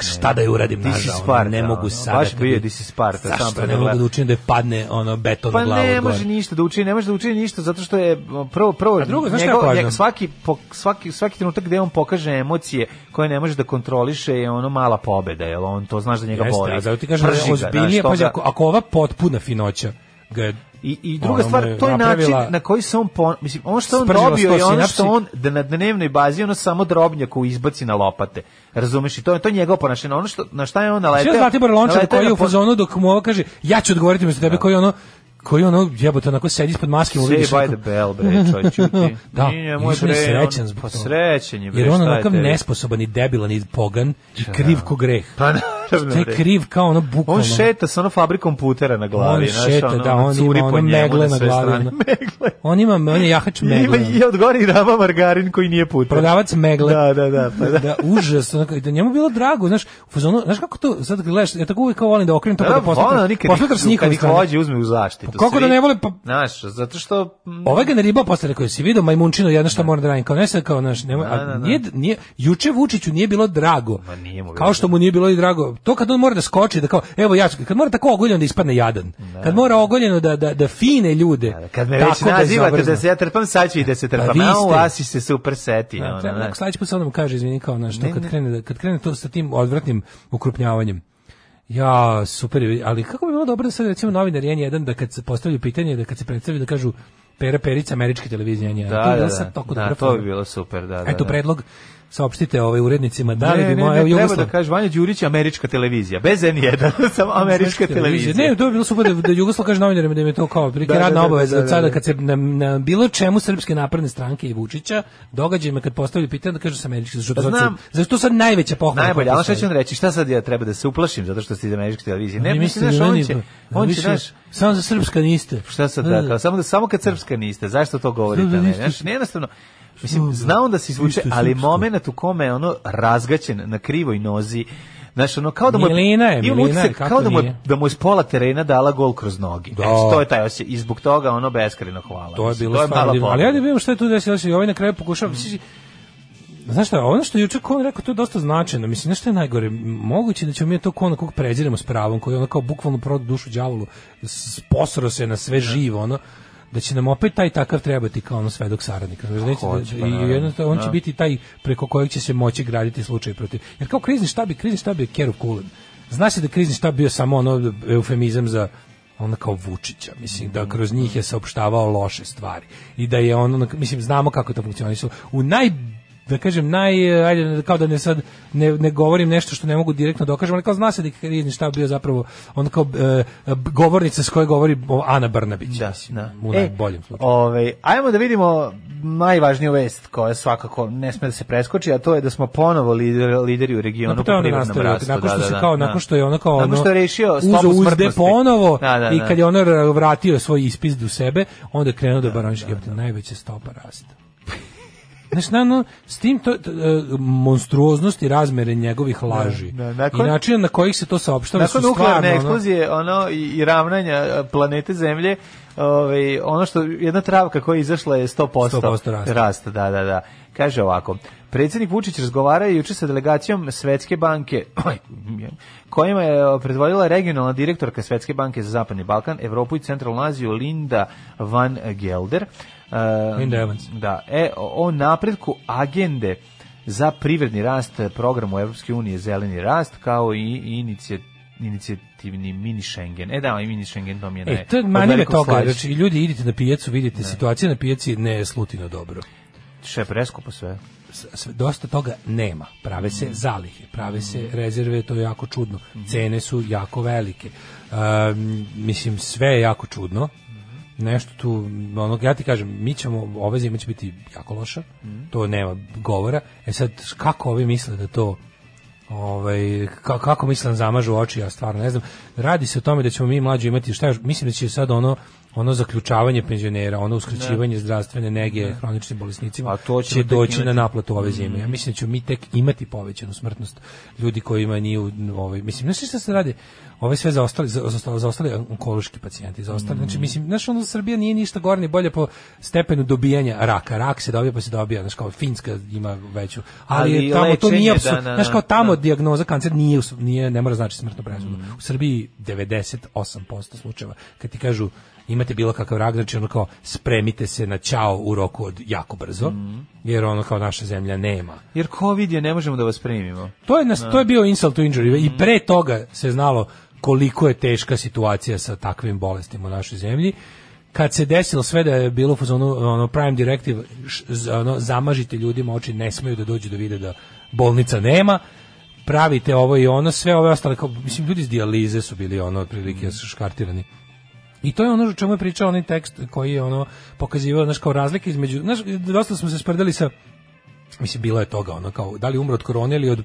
E: šta da je uradim
F: This is
E: nažao,
F: Sparta,
E: ne mogu
F: ono,
E: sada.
F: baš
E: kad
F: bio
E: je-
F: This is Sparta, sam
E: Zašto ne
F: pregledao.
E: mogu da učinim da je padne ono, beton
F: Pa
E: na glavu?
F: ne
E: gore?
F: može ništa da učini, ne može da učini ništa zato što je prvo prvo
E: A drugo, znaš šta je
F: njegov-
E: važno?
F: njeg- svaki po- svaki svaki trenutak gde on pokaže emocije koje ne može da kontroliše je ono mala pobeda, jel on to znaš da njega
E: Jeste,
F: boli.
E: a zato ti kažem da
F: Prži
E: je
F: ga,
E: ozbiljnije,
F: znaš, to
E: pazi,
F: ga-
E: ako, ako ova potpuna finoća ga je
F: I, i druga
E: Ona mu
F: stvar,
E: je
F: to je način
E: napravila-
F: na koji se on, pon, mislim, ono što on
E: Spržila
F: dobio
E: sto
F: je ono što
E: sinapsi.
F: on da na dnevnoj bazi ono samo drobnjaku izbaci na lopate. Razumeš? I to je to je njegovo ponašanje. Ono što, na šta je on naleteo?
E: Sve Zlatibor Lončar
F: naleteo
E: koji je
F: na
E: u
F: pon-
E: fazonu dok mu ovo kaže ja ću odgovoriti umjesto tebe koji ono koji ono jebote onako sedi ispod maske mu
F: Sve
E: vidiš
F: by
E: onako-
F: the bell, bre, čoj, čuti.
E: da,
F: Nije
E: i
F: moj
E: više on je
F: bre,
E: srećan
F: on-
E: zbog
F: pa
E: toga.
F: srećan je, bre,
E: Jer on
F: šta je
E: onakav
F: tebi?
E: nesposoban i debilan i pogan i kriv ko greh.
F: Pa, naravno.
E: Taj
F: bre.
E: kriv kao ono bukvalno.
F: On šeta sa onom fabrikom putera na glavi.
E: On
F: znaš,
E: šeta,
F: ono,
E: da, on
F: curi
E: ima
F: po
E: ono
F: njemu
E: megle na
F: sve
E: glavi,
F: strane.
E: ono.
F: Megle.
E: On ima, on je jahač
F: Ima
E: megle. Pa ono.
F: i odgori rama margarin koji nije puter.
E: Prodavac megle.
F: Da, da, da, pa da.
E: da užas, onako, da njemu bilo drago, znaš, u fazonu, znaš kako to, sad gledaš, ja tako uvijek kao volim da okrenem to pa
F: Da,
E: da, da
F: ono,
E: poslušam,
F: nikad ih-
E: poslušam s
F: kad
E: njihovim
F: ih vođe uzme u zaštitu.
E: Pa kako da
F: svi.
E: ne vole, pa-
F: Znaš, zato što... mm,
E: Ovaj ga ne riba posle rekao, si vidio majmunčino, jedno šta moram da radim, kao ne sad kao naš, nema,
F: Da, da, da.
E: a nije, nije, juče Vučiću nije bilo drago,
F: Ma nije mu bilo
E: kao što mu nije bilo i drago, to kad on mora da skoči, da kao, evo ja, ću- kad mora tako ogoljeno da ispadne jadan, kad mora ogoljeno da, da, da fine ljude,
F: Kad me već
E: tako
F: nazivate
E: izobrzna.
F: da se ja trpam, sad ću i da se
E: Pa
F: trpam.
E: vi
F: A u
E: ste-
F: vas se super seti.
E: Da,
F: ono,
E: treba,
F: znaš.
E: Pa, ako sledeći put se onom kaže, izvini, kao, znaš, to kad krene, da- kad krene to sa tim odvratnim ukrupnjavanjem. Ja, super, je, ali kako bi bilo dobro da sad recimo novinar N1, da kad se postavlju pitanje, da kad se predstavi da kažu Pera Perica, američke televizije N1.
F: Da,
E: to bi
F: da,
E: bilo
F: da,
E: sad toliko
F: da,
E: dobra
F: to bi
E: fora.
F: bilo super, da, da.
E: Eto,
F: da.
E: predlog, saopštite ovaj urednicima, da li
F: Ne,
E: bi
F: ne,
E: moja
F: ne, treba
E: Jugoslav-
F: da kaže Vanja Đurić je američka televizija, bez N1, samo američka televizija.
E: Ne, to bi bilo super da, da Jugoslav kaže novinarima da im je to kao prilike
F: Da, da,
E: radna
F: da,
E: obaveza
F: da,
E: od
F: da,
E: sada
F: da.
E: kad se na, na bilo čemu srpske napredne stranke i Vučića događajima kad postavljaju pitanje da kažu sa američki zašto
F: Pa
E: sad-
F: znam.
E: zašto to sad najveća pohvala.
F: Najbolje,
E: koju
F: ali šta će
E: postoji.
F: on reći? Šta sad ja treba da se uplašim zato što ste iz američke televizije? Ne,
E: Oni misle
F: mislim,
E: da
F: znaš, on
E: meni-
F: će,
E: da
F: on će,
E: više-
F: znaš,
E: samo za srpska niste.
F: šta sad, da, kao, samo, da, samo kad srpska niste, zašto to govorite?
E: Srpska
F: Ne,
E: niste.
F: znaš, ne, jednostavno, mislim, znao da se izvuče,
E: Niste
F: ali
E: srpska.
F: moment u kome je ono razgaćen na krivoj nozi, Znaš, ono, kao da mu
E: Milina je,
F: imam
E: milina je,
F: utisak
E: kako
F: kao da mu, je,
E: nije?
F: da mu je s pola terena dala gol kroz nogi.
E: Da.
F: Da. to je taj osjećaj. I zbog toga ono beskreno hvala.
E: To je
F: Mislim,
E: bilo
F: mala
E: stvarno divno. Ali
F: pobeda.
E: ajde vidimo šta je tu desilo. se i Ovaj na kraju pokušao. Mislim, Znaš šta, ono što je juče Kon rekao, to je dosta značajno. Mislim, znaš šta je najgore? Moguće da ćemo mi to Kona kog pređiramo s pravom, koji je ono kao bukvalno prodao dušu đavolu, s- posro se na sve živo, ono, da će nam opet taj takav trebati kao ono svedok saradnik. Znaš, neće da-
F: hoće, pa
E: I
F: naravno.
E: jednostavno on će
F: Da.
E: biti taj preko kojeg će se moći graditi slučaj protiv. Jer kao krizni štab, je- krizni štab je kerov kulen. Zna se da je krizni štab bio samo ono eufemizam za ono kao Vučića, mislim, da kroz njih je saopštavao loše stvari i da je ono, mislim, znamo kako to funkcionisalo. U naj, da kažem, naj, eh, ajde, kao da ne sad, ne, ne govorim nešto što ne mogu direktno dokažem, ali kao zna se da je krizni štab bio zapravo ono kao eh, govornica s koje govori o, Ana Brnabić,
F: Da,
E: mislim,
F: da. E,
E: u najboljem slučaju.
F: Ovaj, ajmo da vidimo najvažniju vest koja svakako ne sme da se preskoči, a to je da smo ponovo lider, lideri u regionu
E: No, pa
F: po
E: to je ono
F: privrednom
E: nastavio,
F: rastu.
E: nakon što
F: da,
E: se
F: da,
E: kao,
F: da,
E: nakon što je ono kao
F: Nakon
E: ono,
F: što je rešio
E: uzeo
F: stopu
E: uzde
F: smrtnosti.
E: ponovo
F: Da, da,
E: i
F: da.
E: kad je ono ra- vratio svoj ispis do sebe, onda je krenuo da, baroniš da, najveća stopa rasta. Znaš, na, no, s tim to, t- e, monstruoznost i razmere njegovih laži
F: da, nakon-
E: i načina na kojih se to saopštava su
F: Nakon
E: stvarno
F: nuklearne
E: ono,
F: eksplozije ono, i, i ravnanja e, planete Zemlje, ovaj, ono što jedna travka koja je izašla je 100%,
E: 100% rasta.
F: rasta. Da, da, da. Kaže ovako, predsjednik Vučić razgovara juče sa delegacijom Svetske banke, kojima je e, predvodila regionalna direktorka Svetske banke za Zapadni Balkan, Evropu i Centralnu Aziju Linda Van Gelder. E,
E: Linda Evans.
F: Da, e, o o napretku agende za privredni rast programu Evropske unije Zeleni rast kao i inici- inicijativni mini Schengen. E da, i mini Schengen to mi je ne.
E: E, to je manime toga, znači, ljudi idite na pijacu, vidite, situacija na pijaci ne je slutino dobro. znači-
F: Še preskupo sve.
E: s- sve, dosta toga nema. Prave
F: Mhm.
E: se zalihe, prave se rezerve, to je jako čudno. Cene su jako velike. Um, mislim, sve je jako čudno.
F: Mhm.
E: Nešto tu, ono, ja ti kažem, mi ćemo, ove zime će biti jako loša,
F: Mhm.
E: to nema govora. E sad, kako ovi misle da to Ovaj ka- kako mislim zamažu oči, ja stvarno ne znam. Radi se o tome da ćemo mi mlađi imati šta još, mislim da će sad ono ono zaključavanje penzionera, ono uskraćivanje zdravstvene nege hroničnim bolesnicima
F: A Pa to ćemo
E: će
F: tek
E: doći na
F: imati.
E: naplatu ove zime. Ja mislim da ćemo mi tek imati povećanu smrtnost ljudi kojima nije u- ovaj mislim znači šta se radi? Ove sve zaostali za, za, zaostali onkološki pacijenti, zaostali.
F: Mm.
E: Znači mislim znaš ono Srbija nije ništa gore ni bolje po stepenu dobijanja raka. Rak se dobija pa se dobija, znači kao Finska ima veću, ali,
F: Ali
E: je tamo to
F: lečenje,
E: nije
F: da,
E: apsu-
F: da, da.
E: znaš kao tamo dijagnoza kancer nije, us- nije ne mora znači smrtnu presudu. U Srbiji 98% slučajeva kad ti kažu imate bilo kakav rak, znači ono kao spremite se na ćao u roku od jako brzo, jer ono kao naša zemlja nema.
F: Jer COVID je, ne možemo da vas primimo.
E: To je, nas, to je bio insult to injury i pre toga se znalo koliko je teška situacija sa takvim bolestima u našoj zemlji. Kad se desilo sve da je bilo u fazonu ono prime directive š- z- ono zamažite ljudima oči ne smeju da dođu da vide da bolnica nema pravite ovo i ono sve ove ostale kao mislim ljudi iz dijalize su bili ono otprilike
F: Mhm.
E: škartirani i to je ono o čemu je pričao onaj tekst koji je ono pokazivao znaš kao razlike između znaš dosta smo se sprdali sa mislim bilo je toga ono kao da li umro od korone ili od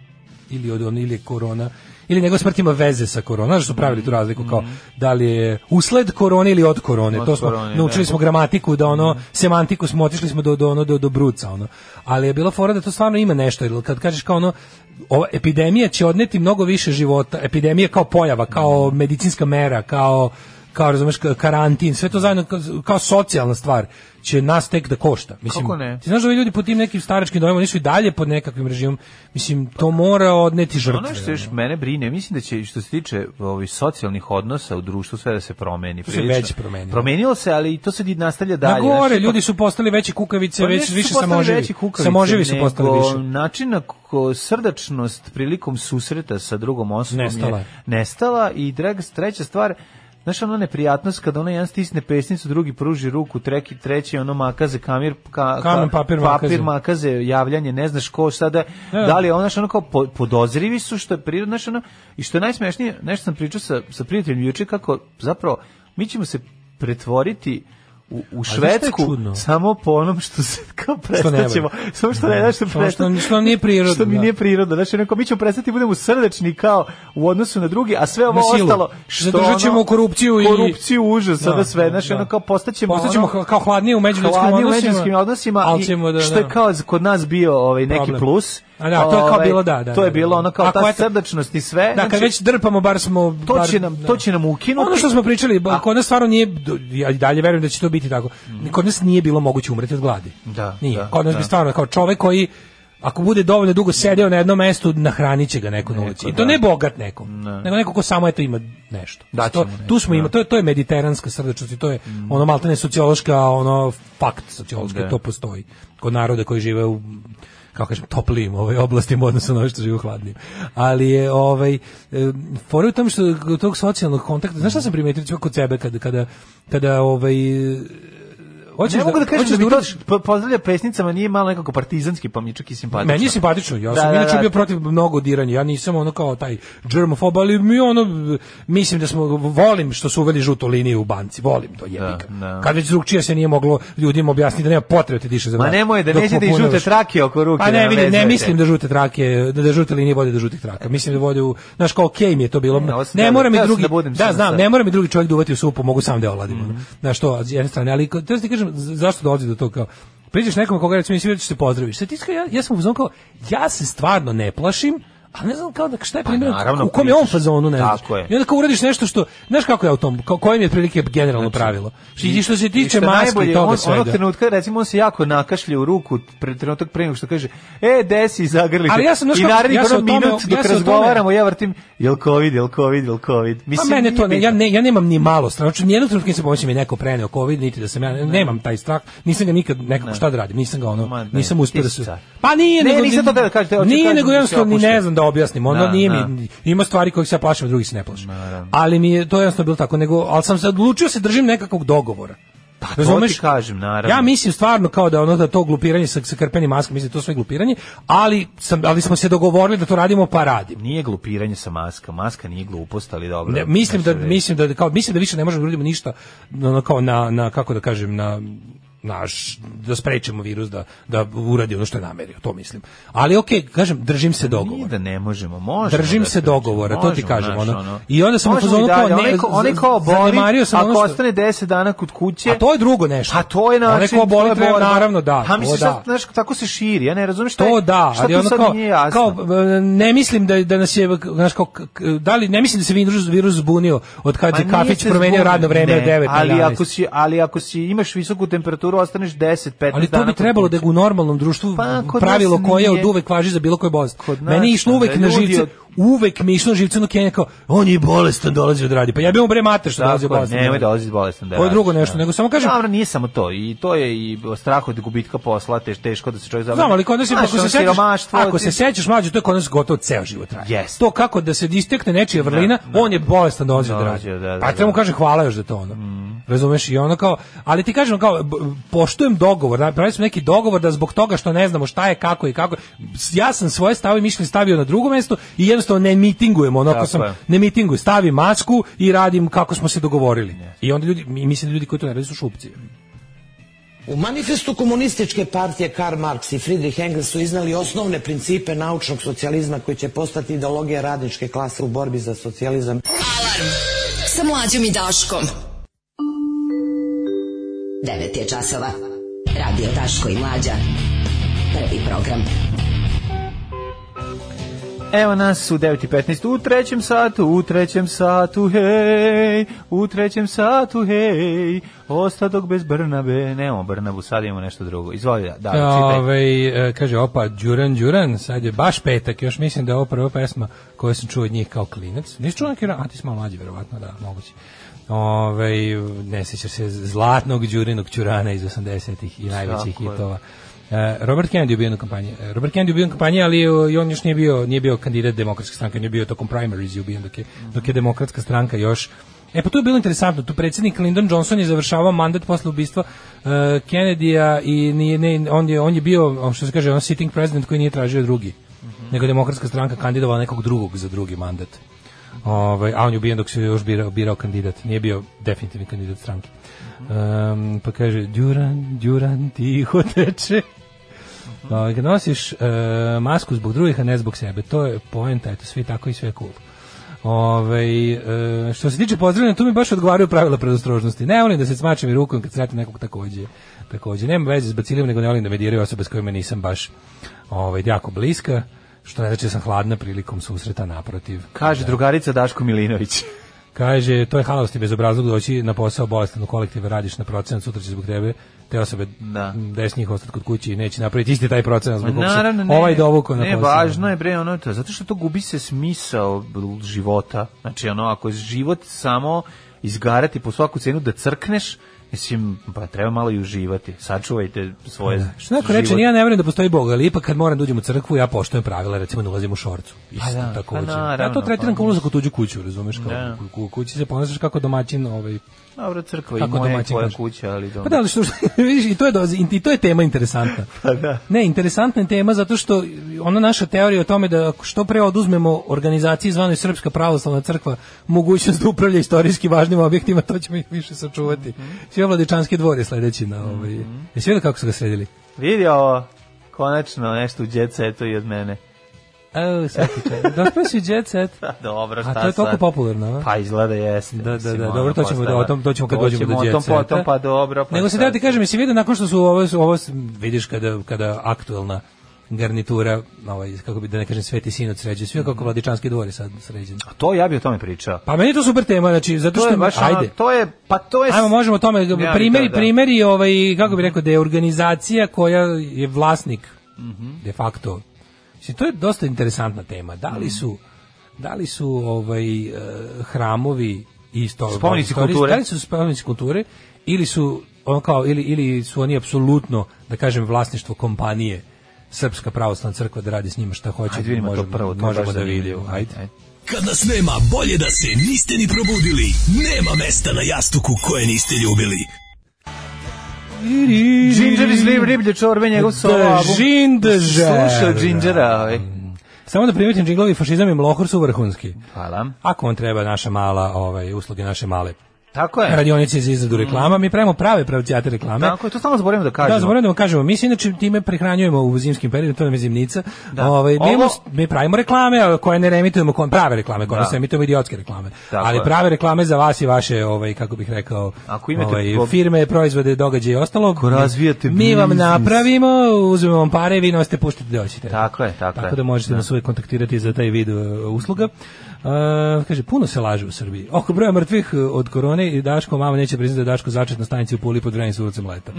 E: ili od on ili je korona ili njegova smrt ima veze sa koronom. Znaš da su pravili tu razliku kao da li je usled korone ili od korone.
F: Mhm. Od
E: to smo
F: korone,
E: naučili
F: da.
E: smo gramatiku da ono
F: Mhm.
E: semantiku smo otišli smo do do ono do, do bruca ono. Ali je bila fora da to stvarno ima nešto jer kad kažeš kao ono ova epidemija će odneti mnogo više života. Epidemija kao pojava,
F: Mhm.
E: kao medicinska mera, kao kao razumeš ka- karantin, sve to zajedno kao, kao socijalna stvar će nas tek da košta. Mislim,
F: Kako ne?
E: Ti znaš da ovi ljudi po tim nekim staračkim dojmama nisu i dalje pod nekakvim režimom. Mislim, to mora odneti žrtve.
F: Pa, Ono što
E: ono.
F: još mene brine, mislim da će što se tiče ovih socijalnih odnosa u društvu sve da se promeni.
E: se
F: prilično.
E: već promenilo.
F: Promenilo se, ali i to se i nastavlja dalje.
E: Na gore,
F: Znaš,
E: ljudi su postali veći kukavice,
F: Pa
E: već
F: nisu
E: više
F: postali
E: samoživi.
F: veći kukavice,
E: Samoživi su
F: nego
E: postali više.
F: Način na ko srdačnost prilikom susreta sa drugom osobom
E: Nestala je.
F: je nestala i draga, treća stvar, Znaš, ono neprijatnost kada ono jedan stisne pesnicu, drugi pruži ruku, treki, treći ono makaze, kamir, ka, ka-
E: Kamen, papir, makaze.
F: makaze, javljanje, ne znaš ko šta da, da li je ono, znaš, ono kao po- podozrivi su što je prirodno, znaš, ono, i što je najsmešnije, nešto sam pričao sa, sa prijateljem juče, kako zapravo mi ćemo se pretvoriti u, u
E: šta je
F: Švedsku
E: čudno?
F: samo po onom što se kao
E: ne valja.
F: prestaćemo, samo što ne znaš što
E: Samo što-
F: prestati-
E: što nam nije prirodno,
F: Što mi
E: da.
F: nije prirodno, znači neko mi ćemo prestati budemo srdečni kao u odnosu na drugi, a sve ovo
E: Na silu.
F: ostalo što
E: Zadržat ćemo
F: ono-
E: korupciju i-
F: korupciju užas,
E: Da,
F: sada sve, znači
E: da.
F: ono kao postaćemo
E: Postaćemo
F: ono,
E: h- kao hladnije u međuljudskim
F: hladni
E: odnosima,
F: u međuljudskim odnosima,
E: ali
F: i
E: ćemo da,
F: što je
E: da.
F: kao kod nas bio ovaj neki
E: Problem.
F: plus.
E: A da, to je kao
F: ovaj,
E: bilo, da, da,
F: To je
E: da,
F: bilo
E: da.
F: ono kao
E: Ako
F: ta
E: eto-
F: srdačnost i sve.
E: Da, kad već drpamo, bar smo...
F: znači, to
E: bar-
F: će nam,
E: da.
F: to će nam ukinuti.
E: Ono što smo pričali, ba-
F: A- Mhm.
E: kod nas stvarno nije, do- ja i dalje verujem da će to biti tako, kod nas nije bilo moguće umreti od gladi.
F: Da,
E: Nije.
F: da,
E: kod nas bi
F: da.
E: stvarno, kao čovek koji, ako bude dovoljno dugo sedeo na jednom mestu, nahranit će ga neko na ulici. I to
F: da.
E: ne bogat neko, nego neko ko samo eto ima nešto.
F: Daće
E: to,
F: mu nešto,
E: tu smo ima, to, je, to je mediteranska srdečnost i to je ono maltene sociološka, ono fakt sociološka,
F: Da.
E: to postoji kod naroda koji žive u kako kažem, toplijim ovaj oblastima u odnosu na ove što žive u hladnim. Ali je ovaj e, fora je u tom što kod tog socijalnog kontakta, znaš šta sam primetio recimo, kod sebe kada kada kada ovaj e, hoćeš
F: Ne mogu da kažem
E: hoćeš
F: da bi to
E: uradiš-
F: po- pozdravlja pesnicama nije malo nekako partizanski, pa mi je čak i simpatično.
E: Meni je simpatično, ja
F: Da,
E: sam
F: da,
E: inače
F: da.
E: bio protiv mnogo diranja, ja nisam ono kao taj germofob, ali mi ono, mislim da smo, volim što su uveli žutu liniju u banci, volim to jebika.
F: Da, da.
E: Kad već drugčija se nije moglo ljudima objasniti da nema potrebe da ti diše za
F: Ma
E: vrat,
F: nemoj da
E: dok
F: neće da i
E: popunjavaš.
F: žute trake oko ruke.
E: Pa ne, vidim, ne
F: navezujete.
E: mislim da žute trake, da, da žute linije vode do žutih traka. Mislim da vode u, znaš kao okej mi je to bilo.
F: Ne,
E: Ne,
F: ovo sam teo-
E: mora mi
F: teo sam
E: drugi,
F: da budem
E: da,
F: sam Mhm.
E: znam,
F: sad.
E: ne mora mi drugi čovjek duvati u supu, mogu sam da oladim. ono. Znaš to, s jedne strane, ali ko- te ti kažem, z- zašto dolazi do toga kao, Priđeš nekom koga recimo nisi vidio da se pozdraviš. Sad ti iskra- ja, ja sam u fazonu kao, ja se stvarno ne plašim, a ne znam kao da šta je primjer,
F: Pa naravno,
E: u kom je on
F: pričaš.
E: fazonu, ne znaš.
F: Tako je.
E: I onda kao uradiš nešto što, znaš kako je u tom, kao, koje mi je otprilike generalno pravilo. I što se
F: Znači, I što
E: tiče
F: je
E: maske i
F: najbolje,
E: toga
F: on,
E: svega.
F: Onog trenutka, recimo, on se jako nakašlje u ruku, pre trenutak pre nego što kaže, e, desi, zagrli te.
E: Ali ja sam, znaš
F: I
E: kako,
F: naredni
E: ja sam
F: prvo
E: o tome-
F: minut
E: ja
F: dok
E: sam o tome-
F: razgovaramo, ja vrtim, jel covid, jel covid, jel covid.
E: Pa
F: Mislim,
E: mene to
F: nije
E: ne, ja
F: bitno.
E: ne ja nemam ni malo straha. Znači nijednog trenutka nisam pomislio mi je neko preneo covid niti da sam ja nemam taj strah. Nisam ga nikad nekako šta da radim. Nisam ga ono
F: Ma ne,
E: nisam uspeo da se.
F: tisuća.
E: Pa nije
F: Ne,
E: nego
F: nisam to teo da kažem, teo sam
E: Nije
F: kažem
E: nego
F: da se
E: jednostavno ni ne
F: opuštam.
E: znam da objasnim. Ono
F: Da,
E: nije
F: da.
E: mi ima stvari kojih se ja plašim, a drugih se ne plašim. Ali mi je to jednostavno bilo tako, nego al sam se odlučio se držim nekakvog dogovora. Pa,
F: to ti kažem, naravno.
E: Ja mislim stvarno kao da ono da to glupiranje sa, sa krpenim maskama, mislim da je to sve glupiranje, ali sam ali smo se dogovorili da to radimo pa radimo.
F: Nije glupiranje sa maska, maska nije glupost, ali dobro. e,
E: Ne, mislim da
F: Nešto reći.
E: mislim da kao mislim da više ne možemo da uradimo ništa ono kao na na kako da kažem na naš da sprečimo virus da da uradi ono što je namerio, to mislim. Ali okej, kažem, držim se
F: Pa Nije
E: dogovora.
F: da ne možemo, možemo.
E: Držim
F: da
E: se dogovora, to ti
F: možemo,
E: kažem,
F: znaš,
E: ono. I onda sam u
F: Možemo
E: fazonu
F: i dalje,
E: kao, ne,
F: onaj ko- onaj ko
E: zanemario
F: oboli,
E: sam ono
F: ako
E: što-
F: ostane 10 dana kod kuće,
E: A to je drugo nešto.
F: A Pa to je
E: Onaj
F: način.
E: ko oboli,
F: to je
E: treba-
F: borba.
E: naravno da,
F: Pa
E: to
F: mislim,
E: da.
F: sad, znaš, tako se širi, ja ne razumem šta
E: to
F: je-
E: da,
F: šta
E: ali
F: tu
E: ono
F: sad
E: kao,
F: nije jasno.
E: kao e, ne mislim da da nas je znaš kao k- k- da li ne mislim da se virus virus zbunio od kad
F: Ma
E: je
F: Pa nije
E: kafić
F: se
E: promenio
F: zbunio,
E: radno vreme od
F: ne,
E: 9 na
F: ali
E: 11.
F: ako si ali ako si imaš visoku temperaturu ostaneš 10 15
E: Ali to
F: dana
E: bi
F: kod
E: trebalo da
F: kuće.
E: je u normalnom društvu
F: Pa, kod
E: pravilo
F: nas
E: koje
F: nije.
E: od uvek važi za bilo koje bolest.
F: Kod nas,
E: Meni je išlo
F: da,
E: uvek na
F: ljudi
E: živce,
F: od-
E: uvek mi je išlo na živce ono Kenja kao, on je bolestan, dolazi od radi. Pa ja bih mu bre mater što dolazi od
F: Tako,
E: bolestan.
F: nemoj
E: radi.
F: da ozi bolestan da
E: Ovo je
F: radiš,
E: drugo nešto,
F: da.
E: nego samo kažem-
F: Dobro, nije samo to. I to je i strah od gubitka posla, teš, teško da se čovjek zabavi.
E: Znam, ali kod nas je,
F: Znaš,
E: ako
F: ono
E: se sećaš,
F: siromaštvo,
E: ako se
F: ti-
E: sećaš mlađe, to je kod nas gotovo ceo život traje.
F: Jest.
E: To kako da se distekne nečija vrlina, on je bolestan dolazi od
F: Dolazi
E: radi.
F: od radi,
E: Pa
F: da. Mm.
E: treba mu kažem hvala još za to ono. Razumeš i ono kao, ali ti kažem kao b- poštujem dogovor, napravili smo neki dogovor da zbog toga što ne znamo šta je kako i kako. Ja sam svoje stavove i mišljenje stavio na drugo mesto i jednostavno ne mitingujemo, ono ako
F: Tako
E: sam
F: je.
E: ne mitingujem, stavim masku i radim kako smo se dogovorili. I onda ljudi i mislim da ljudi koji to ne rade su šupci.
K: U manifestu komunističke partije Karl Marx i Friedrich Engels su iznali osnovne principe naučnog socijalizma koji će postati ideologija radničke klase u borbi za socijalizam.
J: Alarm sa mlađom i Daškom.
A: 9 je časova. Radio Daško i Mlađa. Prvi program.
F: Evo nas u 9.15 u trećem satu, u trećem satu, hej, u trećem satu, hej, ostadog bez Brnabe, nemamo Brnabu, sad imamo nešto drugo. Izvoli, da, da čitaj.
E: Ove, e, kaže, opa, Đuran, Đuran, sad je baš petak, još mislim da je ovo prva pesma koju sam čuo od njih kao klinac. Nisi čuo neki, ra- a ti si malo mlađi, verovatno, da, moguće. Ove, ne sjećaš se zlatnog Đurinog Ćurana iz 80-ih i najvećih
F: Tako je.
E: hitova. E, Robert Kennedy je bio na kampanji. E, Robert Kennedy je bio na kampanji, ali e, i on još nije bio, nije bio kandidat demokratske stranke, on je bio tokom primaries je ubijen dok je, dok je demokratska stranka još E pa tu je bilo interesantno, tu predsjednik Lyndon Johnson je završavao mandat posle ubistva e, Kennedyja i nije, ne, on, je, on je bio, on što se kaže, on sitting president koji nije tražio drugi, nego je demokratska stranka kandidovala nekog drugog za drugi mandat. Ovaj, a on je ubijen dok se još birao, birao kandidat, nije bio definitivni kandidat stranke. Em, pa kaže, Đuran, Đuran, tiho teče. Ovaj, kad nosiš e, masku zbog drugih, a ne zbog sebe, to je poenta, eto, svi tako i sve je cool. Ovaj, e, što se tiče pozdravljanja, tu mi baš odgovaraju pravila predostrožnosti. Ne volim da se smačem i rukom kad sretim nekog takođe. Takođe, nema veze s bacilima, nego ne volim da me diraju osobe s kojima nisam baš ovaj, jako bliska, što ne znači da sam hladna prilikom susreta naprotiv.
F: Kaže drugarica Daško Milinović.
E: Kaže, to je halost i bezobrazlog doći na posao bolestan u kolektive, radiš na procenat, sutra će zbog tebe te osobe
F: Da.
E: des njih ostati kod kući i neće napraviti isti taj procenat zbog kog se
F: Naravno, ne.
E: ovaj dovuko na
F: Ne,
E: posao.
F: važno je bre ono to, zato što to gubi se smisao bl- života. Znači ono ako je život samo izgarati po svaku cenu da crkneš, mislim pa treba malo i uživati. Sačuvajte svoje. Da.
E: Što neko reče, ja ne vjerujem da postoji Bog, ali ipak kad moram da uđem u crkvu, ja poštujem pravila, recimo ne ulazim u šorcu. Isto
F: da,
E: tako
F: pa
E: uđem. ja
F: naravno,
E: to tretiram
F: pa
E: kao ulazak u tuđu kuću, razumeš? Kao,
F: Da.
E: u, u kući se ponašaš kako domaćin ovaj,
F: Dobro, crkva i
E: Kako
F: moja i
E: domaćin
F: tvoja
E: kaže.
F: kuća, ali dobro.
E: Pa da, ali što, vidiš, i to je, dozi, i to je tema interesantna.
F: Pa da.
E: Ne, interesantna je tema zato što ona naša teorija o tome da ako što pre oduzmemo organizaciji zvanoj Srpska pravoslavna crkva mogućnost da upravlja istorijski važnim objektima, to ćemo ih više sačuvati. Mm -hmm. Sve Vladičanski dvor je sledeći na ovaj. Jesi vidio kako su ga sredili?
F: Vidi ovo, konačno nešto u jet setu i od mene.
E: Evo, sad ti čaj. Dospeo si u jet set.
F: Pa dobro, šta
E: A to je toliko
F: sad?
E: popularno, a?
F: Pa izgleda jeste.
E: Da, da,
F: mislim,
E: da,
F: ono,
E: dobro, to ćemo
F: postala.
E: da- o tom- to ćemo kad dođemo do
F: o
E: jet
F: tom
E: seta.
F: potom, pa dobro. Pa
E: Nego se
F: sad.
E: da ti kažem, jesi vidio nakon što su ovo, ovo vidiš kada, kada aktuelna garnitura, ovaj, kako bi da ne kažem, Sveti Sinod sređen, sve kako Vladičanski dvor je sad sređen.
F: To ja bi o tome pričao.
E: Mhm. Pa meni je to super tema, znači, zato
F: To
E: što,
F: je baš ono,
E: ajde,
F: to je, pa to je...
E: ajmo, možemo o tome,
F: Ja,
E: primjeri,
F: da, da.
E: primjeri, ovaj, kako bi rekao, da je organizacija koja je vlasnik,
F: Mhm.
E: de facto, Mislim, to je dosta interesantna tema. Da
F: Mhm.
E: li su, da li su ovaj, eh, hramovi i isto,
F: Spomenici
E: istorijski-
F: kulture.
E: Da li su spomenici kulture ili su ono kao ili ili su oni apsolutno da kažem vlasništvo kompanije Srpska pravoslavna crkva da radi s njima šta hoće.
F: Ajde vidimo to prvo, to je
E: možemo
F: baš
E: da
F: zanimljivo.
E: vidimo. Ajde.
F: Ajde.
L: Kad nas nema, bolje da se niste ni probudili. Nema mesta na jastuku koje niste ljubili.
F: Ginger iz Lib- riblje čorbe, njegov solo album.
E: Ginger.
F: Slušao Gingera, ovaj.
E: Samo da primetim džinglovi fašizam i mlohor su vrhunski.
F: Hvala.
E: Ako vam treba naša mala, ovaj usluge naše male
F: Tako je.
E: radionice za izradu reklama, mi pravimo prave pravcijate reklame.
F: Tako je, to stalno zaboravimo da kažemo.
E: Da, zaboravim da vam kažemo, mi se inače time prehranjujemo u zimskim periodu, to nam je zimnica.
F: Da.
E: Ovaj, mi,
F: Ovo-
E: imamo- mi pravimo reklame a koje ne remitujemo, kon, prave reklame, koje
F: Da.
E: se emitujemo idiotske reklame.
F: Tako
E: ali
F: je.
E: prave reklame za vas i vaše, ovaj, kako bih rekao,
F: Ako imate
E: ovaj,
F: prob-
E: firme, proizvode, događaje i ostalo, mi-
F: razvijate
E: mi vam
F: biznis.
E: napravimo, uzmemo vam pare, vi nosite, puštite da hoćete.
F: Tako je, tako,
E: Tako
F: je.
E: da možete nas uvijek kontaktirati za taj vid e, usluga. E, kaže, puno se laže u Srbiji. Oko broja mrtvih e, od korone i Daško, mama neće priznati da je Daško začet na stanici u Puli pod Vrenicom ulicom Leta.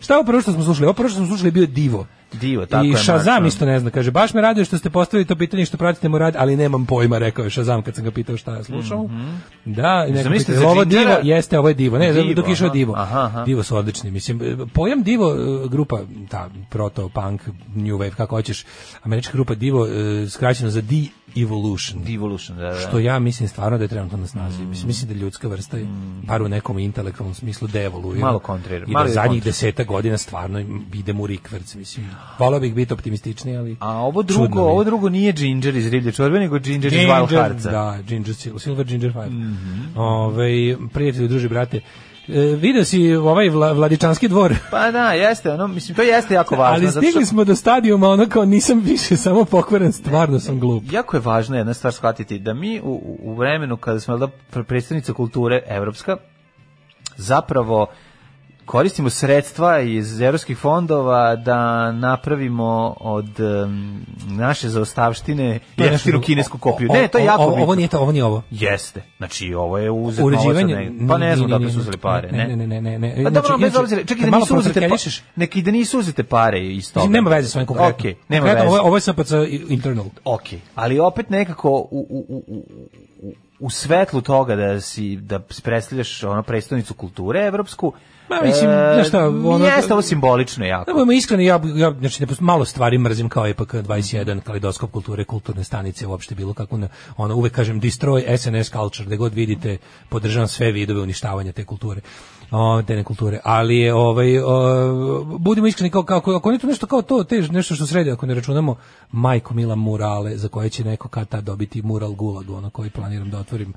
E: Šta je ovo prvo što smo slušali? Ovo prvo što smo slušali je bio Divo.
F: Divo, tako
E: I
F: je.
E: Shazam
F: Marko.
E: isto ne zna, kaže, baš me raduje što ste postavili to pitanje i što pratite mu rad, ali nemam pojma, rekao je Shazam kad sam ga pitao šta je slušao.
F: Mhm.
E: Da, i neko
F: Zamislite
E: pitao,
F: za
E: ovo
F: Gingera?
E: divo, jeste, ovo je divo, ne,
F: Divo,
E: dok je išao
F: aha.
E: divo.
F: Aha, aha.
E: Divo su odlični, mislim, pojam divo, e, grupa, ta proto, punk, new wave, kako hoćeš, američka grupa divo, e, skraćeno za de-evolution.
F: Devolution, da, da.
E: Što ja mislim stvarno da je trenutno na
F: Mm.
E: snazi. Mislim, mislim da ljudska vrsta je, bar u nekom intelektualnom smislu, devoluira.
F: Malo kontrira,
E: I
F: malo
E: da
F: je
E: zadnjih
F: kontra.
E: deseta godina stvarno im idemo u rikverc, mislim. Volao bih biti optimističniji, ali...
F: A ovo
E: čudno
F: drugo,
E: mi je.
F: ovo drugo nije Ginger iz riblje čorbe, nego Ginger, Mhm. iz Wild Heartsa.
E: Da, Ginger, Sil- Silver Ginger Five. Ove, prijatelju, druži, brate, E, video si ovaj Vla, Vladičanski dvor.
F: Pa da, jeste, ono, mislim, to jeste jako važno.
E: Ali
F: zato što-
E: stigli smo do stadijuma ono kao nisam više samo pokvaren, stvarno sam glup.
F: Jako je važna jedna stvar shvatiti, da mi u- u, u vremenu kada smo jel da, pre- predstavnica kulture evropska, zapravo koristimo sredstva iz evropskih fondova da napravimo od em, naše zaostavštine
E: To je
F: jeftinu
E: nešto-
F: kinesku kopiju.
E: o-
F: Ne, to je
E: o-
F: jako
E: o- ovo
F: bitno.
E: nije to, ovo nije ovo.
F: Jeste. Znači, ovo je uzet
E: Uređivanje-
F: novac od negde. Pa ne
E: ne,
F: znam da
E: ne, ne,
F: su
E: ne,
F: uzeli pare.
E: ne, ne, ne, ne, ne.
F: Pa
E: Znači,
F: dobro, bez
E: inače,
F: obzira, čekaj
E: kad
F: da
E: malo
F: nisu pa- uzete pare.
E: profeljelišeš-
F: Neki da nisu uzete pare iz toga.
E: Mislim, nema veze s ovim konkretno.
F: Okej, nema
E: Konkretno,
F: veze.
E: Ovo, je- ovo je SPC internal.
F: Ok, ali opet nekako u, u, u, u- u, u svetlu toga da si da predstavljaš ono predstavnicu kulture evropsku. e,
E: Ma, mislim, znaš šta, ono-
F: jeste ovo simbolično
E: Da
F: jako.
E: budemo iskreni, ja, ja znači, ne pos- malo stvari mrzim kao EPK 21, kalidoskop kulture, kulturne stanice, uopšte bilo kako, na, ono, uvek kažem, destroy SNS culture, gde god vidite, podržavam sve vidove uništavanja te kulture, o, te ne kulture, ali je, ovaj, o, budimo iskreni, kao, kako, ako ne to nešto kao to, te, nešto što sredi, ako ne računamo, majko mila murale, za koje će neko kad tad dobiti mural gulagu, ono koji planiram da otvorim,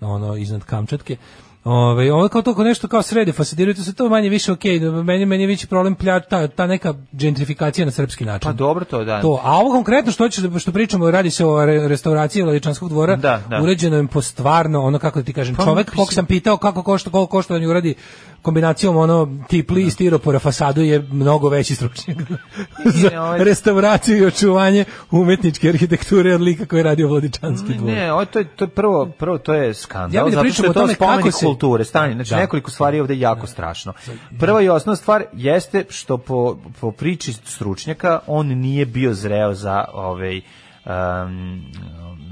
E: ono, iznad Kamčatke, Ove, ovo je kao toliko nešto kao srede, fasadirujete se to manje više okej, da meni, meni je veći problem plja, ta, ta neka gentrifikacija na srpski način.
F: Pa dobro to, da.
E: To, a ovo konkretno što hoćeš da- što pričamo, radi se o re, restauraciji Vladičanskog dvora,
F: Da, da.
E: uređeno je po stvarno, ono kako da ti kažem,
F: Pa,
E: čovek
F: mislim-
E: kog sam pitao kako košta, koliko košta da mi uradi kombinacijom ono tipli i stiropora fasadu je mnogo veći stručnjak za
F: ovaj-
E: restauraciju i očuvanje umetničke arhitekture od lika koji je radio Vladičanski dvor.
F: Ne, ovo to je, to je prvo, prvo to je skandal,
E: Ja bih da
F: zato
E: pričam
F: što je
E: o
F: to
E: tome kako
F: spomenik
E: se-
F: kulture, stanje, znači
E: Da.
F: nekoliko stvari je ovde jako strašno. Prva i osnovna stvar jeste što po, po priči stručnjaka on nije bio zreo za ovaj um,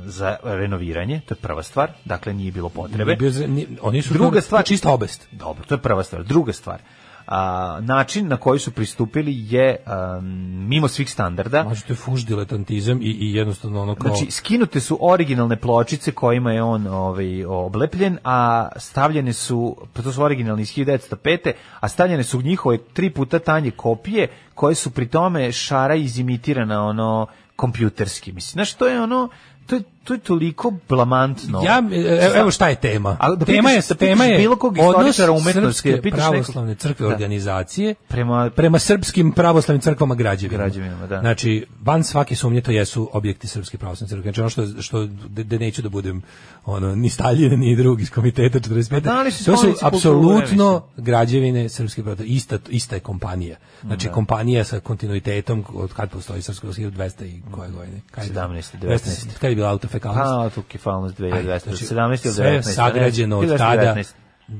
F: za renoviranje, to je prva stvar, dakle nije bilo potrebe.
E: Nije bio zre- nije- oni su
F: Druga
E: to-
F: stvar,
E: to je čista obest.
F: Dobro, to je prva stvar. Druga stvar, a, način na koji su pristupili je um, mimo svih standarda.
E: Mađo, to je fuš diletantizam i, i jednostavno ono kao...
F: Znači, skinute su originalne pločice kojima je on ovaj, oblepljen, a stavljene su, pa to su originalni iz 1905. A stavljene su njihove tri puta tanje kopije, koje su pri tome šara izimitirana ono kompjuterski. Mislim, znaš, to je ono, to je, to je toliko blamantno.
E: Ja, e, evo šta je tema.
F: A da pitaš-
E: tema je,
F: da pitaš
E: tema je
F: bilo kog
E: odnos
F: istoričara umetnosti, da
E: Srpske
F: pitaš nekog-
E: pravoslavne crkve
F: Da.
E: organizacije
F: Prema-
E: prema srpskim pravoslavnim crkvama građevinama.
F: Građevinama, da.
E: Znači, van svake sumnje to jesu objekti srpske pravoslavne crkve. Znači, ono što, što de, de neću da budem ono, ni Staljin, ni drugi iz komiteta 45.
F: Pa da li su
E: to su
F: spomenici kulture,
E: apsolutno građevine srpske pravoslavne ista, ista je kompanija. Znači, kompanija sa kontinuitetom od kad postoji srpsko 200 i koje godine? Kad je-
F: 17.,
E: 200, Kad je bila autofekalnost?
F: Pa, tu kefalnost 2017
E: Znači,
F: ili 19.
E: Sve sagrađeno od tada
F: 1919.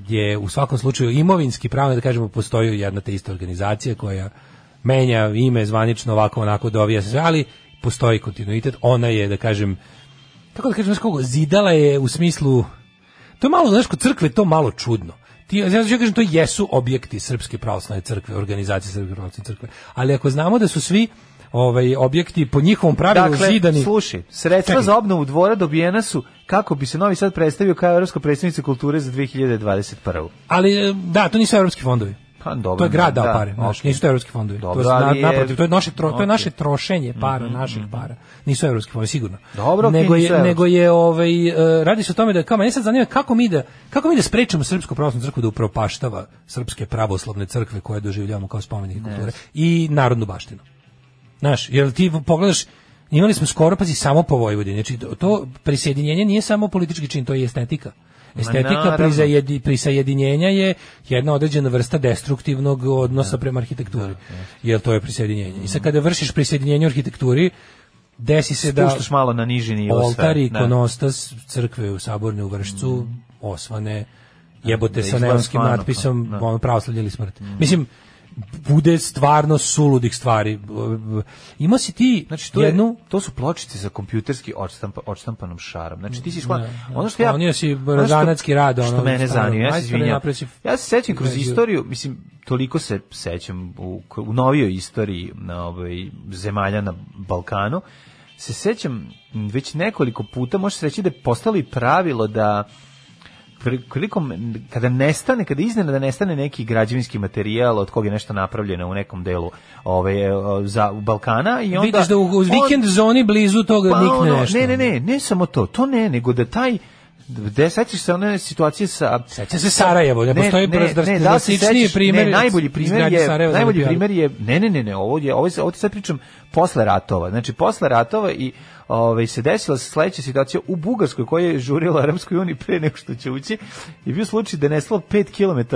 E: je u svakom slučaju imovinski pravno da kažemo postoji jedna te ista organizacija koja menja ime zvanično ovako onako dovija se sve, ali postoji kontinuitet. Ona je da kažem tako da kažem znaš kako, zidala je u smislu to je malo znaš kod crkve je to malo čudno. Ti, ja, ja kažem, to jesu objekti Srpske pravoslavne crkve, organizacije Srpske pravoslavne crkve. Ali ako znamo da su svi ovaj objekti po njihovom pravilu
F: Dakle,
E: zidani...
F: slušaj, sredstva
E: Čekaj.
F: za obnovu dvora dobijena su kako bi se Novi Sad predstavio kao evropska predstavnica kulture za 2021.
E: Ali e, da, to nisu evropski fondovi.
F: Pa dobro.
E: To je grad dao
F: da,
E: pare, znaš,
F: ok.
E: nisu to evropski fondovi.
F: Dobro,
E: to, je, na-
F: ali je-
E: naprotiv, to je naše tro, to je
F: ok. Mhm,
E: naše trošenje para, naših para. Nisu evropski fondovi sigurno.
F: Dobro, ok,
E: nego
F: nisu
E: je
F: evropski.
E: nego je ovaj e, radi se o tome da kao mene sad zanima kako mi da kako mi da sprečimo srpsku pravoslavnu crkvu da upropaštava srpske pravoslavne crkve koje doživljavamo kao spomenike kulture i narodnu baštinu. Znaš, jer ti pogledaš imali smo skoro pazi samo po Vojvodini. Znači to- to prisjedinjenje nije samo politički čin, to je i estetika. Estetika
F: naravno.
E: prisajedi, prisajedinjenja je jedna određena vrsta destruktivnog odnosa prema arhitekturi. Jer to je prisjedinjenje. I sad kada vršiš prisjedinjenje u arhitekturi, desi se da
F: Spuštaš malo na niži nivo
E: oltar
F: sve,
E: i
F: da. Mm.
E: ikonostas crkve u saborne u Vršcu osvane jebote
F: Da,
E: sa
F: izgleda
E: neonskim
F: stvarno,
E: natpisom
F: da. Mm.
E: ono pravoslavljeni smrt. Mislim bude stvarno suludih stvari. Ima si ti
F: Znači, to,
E: jednu
F: je, to su pločice sa kompjuterski odštampa, odštampanom šarom. Znači, ti si šla... ono što ja...
E: Sklonio si
F: ono što-
E: razanatski rad, ono,
F: Što mene
E: stvarno,
F: zanima, ja se
E: majstore,
F: izvinjam.
E: napravio si-
F: Ja se sećam kroz
E: Izgradio.
F: istoriju, mislim, toliko se sećam u, u novijoj istoriji na ovaj, zemalja na Balkanu, se sećam m, već nekoliko puta, može se reći da je postalo i pravilo da pri- prilikom kada nestane, kada iznenada nestane neki građevinski materijal od kog je nešto napravljeno u nekom delu ovaj, e, za Balkana i onda...
E: Vidiš da u, u
F: on-
E: vikend zoni blizu toga nikne
F: ono,
E: nešto.
F: Ne, ne, ne, ne samo to, to ne, nego da taj Gde sećaš se one situacije sa...
E: Sećam se Sarajevo, ne postoji brzdar-
F: ne, da li se
E: drastičniji
F: sećaš-
E: primer
F: Ne, najbolji primer
E: izgradnje
F: je,
E: Sarajeva za
F: najbolji
E: olimpijadu.
F: primer je, ne, ne, ne, ne, ovo je, ovo, je, ovo ti sad pričam posle ratova, znači posle ratova i Ove, se desila sledeća situacija u Bugarskoj koja je žurila Arabskoj uniji pre nego što će ući i bio slučaj da je nesla 5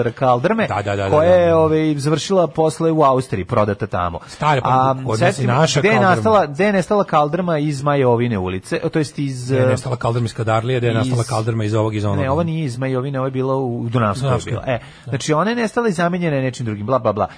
F: km kaldrme
E: da,
F: koja
E: da,
F: je
E: da.
F: ove, završila posle u Austriji, prodata tamo.
E: Stara, pa, kod nas je
F: setimo-
E: naša
F: gde je
E: kaldrma.
F: nastala, gde je nestala kaldrma iz Majovine ulice, to jest iz...
E: Gde je
F: e,
E: nestala kaldrma iz Kadarlije, gde je nastala
F: iz-
E: kaldrma iz ovog, iz onog.
F: Ne, ovo nije iz Majovine, ovo je bilo u Dunavskoj. je
E: Dunavskoj.
F: bila. E, znači, ona je nestala i zamenjena je nečim drugim, bla, bla, bla.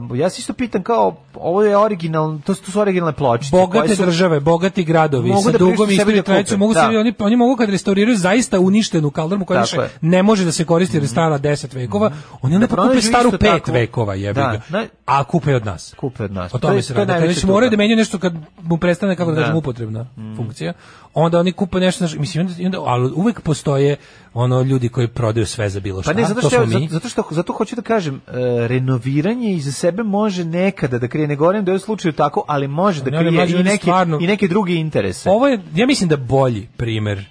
F: Um, ja se isto pitam kao, ovo je original, to su, to su originalne pločice.
E: bogate
F: koje su-
E: države, bogati gradovi
F: Mogu
E: sa
F: da
E: dugom
F: priušte sebi
E: istorijom
F: da
E: tradicijom,
F: kupe,
E: mogu
F: da.
E: sebi, oni oni mogu kad restauriraju zaista uništenu kaldrmu koja
F: Tako
E: više
F: je. Mhm.
E: ne može da se koristi jer je stara 10 vekova, oni onda
F: Da
E: pa kupe
F: pronađu
E: staru
F: isto
E: 5
F: takvu.
E: vekova, jebi
F: Da,
E: ga.
F: na-
E: A kupe od nas.
F: Kupe od nas.
E: O
F: To je-
E: tome
F: to
E: se
F: je
E: radi. Kad
F: najveća
E: već moraju
F: tuga.
E: da menjaju nešto kad mu prestane kako da
F: Da. Mhm.
E: kažem upotrebna funkcija, onda oni kupe nešto, znaš, mislim, i onda, i onda, ali uvek postoje ono ljudi koji prodaju sve za bilo šta.
F: Pa ne, zato
E: to
F: što,
E: smo
F: ja-
E: mi.
F: zato što zato hoću da kažem, e, renoviranje iza sebe može nekada da krije, ne govorim da je u slučaju tako, ali može da
E: Ne, ali
F: krije
E: mlađi
F: i
E: ljudi
F: neke,
E: stvarno-
F: i neke druge interese.
E: Ovo je, ja mislim da bolji primer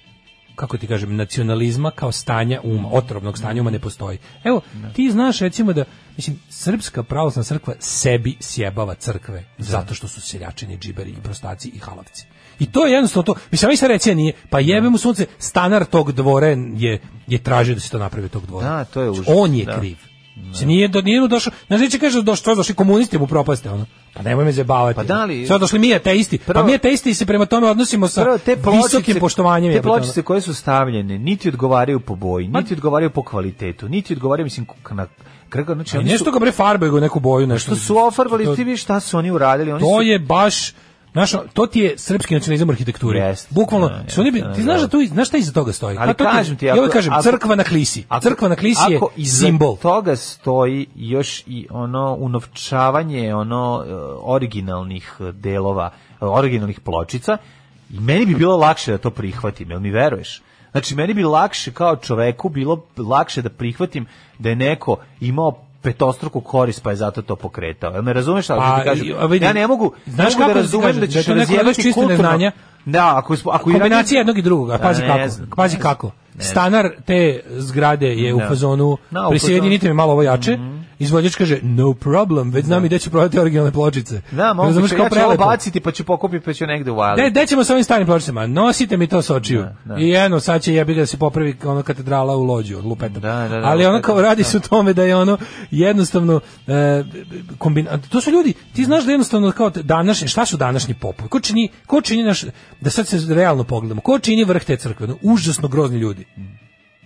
E: kako ti kažem, nacionalizma kao stanja uma, otrovnog stanja uma ne postoji. Evo, ti znaš recimo da, mislim, Srpska pravoslavna crkva sebi sjebava crkve zato što su seljačini, džiberi i prostaci i halavci. I to je jednostavno to. Mislim, ovaj Sarecija nije, pa jebe mu sunce, stanar tog dvore je, je tražio da se to napravi od tog dvora.
F: Da, to je
E: Znači,
F: užas,
E: On je
F: da.
E: kriv. Mislim, nije, do, nije mu došao, znaš, neće kaže, došli, to je došli komunisti mu propaste, ono. Pa nemoj me zabavati.
F: Pa da li-
E: Sve došli mi ateisti. pa
F: Prvo-
E: mi ateisti se prema tome odnosimo sa
F: Prvo, te pločice,
E: visokim poštovanjem.
F: Te
E: jebote, ono.
F: pločice koje su stavljene niti odgovaraju po boji, niti odgovaraju po kvalitetu, niti odgovaraju mislim k- na krga, znači
E: Ali
F: oni su
E: nešto ga bre farbaju u neku boju, nešto.
F: što su ofarvali, ti vidiš šta su oni uradili, oni
E: To
F: su
E: je baš Znaš, ono, to ti je srpski nacionalizam u arhitekturi.
F: Jeste.
E: Bukvalno,
F: Da, jeste,
E: su oni bi-
F: da,
E: ti znaš
F: da.
E: da tu, znaš šta iza toga stoji?
F: Ali
E: Pa to
F: kažem ti,
E: ja
F: ako-
E: ovaj kažem,
F: ako-
E: crkva na klisi. crkva na klisi je
F: ako iza
E: simbol.
F: toga stoji još i ono unovčavanje ono e, originalnih e, delova, e, originalnih pločica, i meni bi bilo lakše da to prihvatim, jel mi veruješ? Znači, meni bi lakše kao čoveku bilo lakše da prihvatim da je neko imao petostruku korist pa je zato to pokretao. Jel me razumeš šta
E: Pa,
F: ti kažem?
E: i, a vidi,
F: ja ne mogu, ne
E: znaš
F: mogu da
E: kako ti
F: razumem
E: kažem,
F: da
E: da
F: ćeš
E: je to neko
F: razjebati
E: baš čisto
F: kulturno-
E: neznanje.
F: Da, ako, ako i radim-
E: Kombinacija jednog i drugog, a pazi
F: Pa ne
E: kako.
F: znam,
E: pazi
F: ne
E: kako.
F: znam.
E: Stanar te zgrade je u
F: Da.
E: fazonu
F: Da, u Mhm.
E: prisjedinite me malo ovo jače. Izvođač kaže no problem, već znam i gde ću prodati originalne pločice.
F: Da, mogu,
E: Razumeš,
F: ja
E: kao
F: ću ovo
E: prelepo.
F: baciti pa ću pokupiti pa ću negde uvaliti.
E: De, de ćemo sa ovim starim pločicama? Nosite mi to sa očiju. I eno, sad će jebi ga da se popravi ono katedrala u lođu od lupeta.
F: Da, da, da,
E: Ali ono kao
F: lupetom,
E: radi
F: da.
E: se o tome da je ono jednostavno e, kombina... To su ljudi, ti znaš da jednostavno kao današnji, šta su današnji popovi? Ko čini, ko čini naš, da sad se realno pogledamo, ko čini vrh te crkve? Ono, užasno grozni ljudi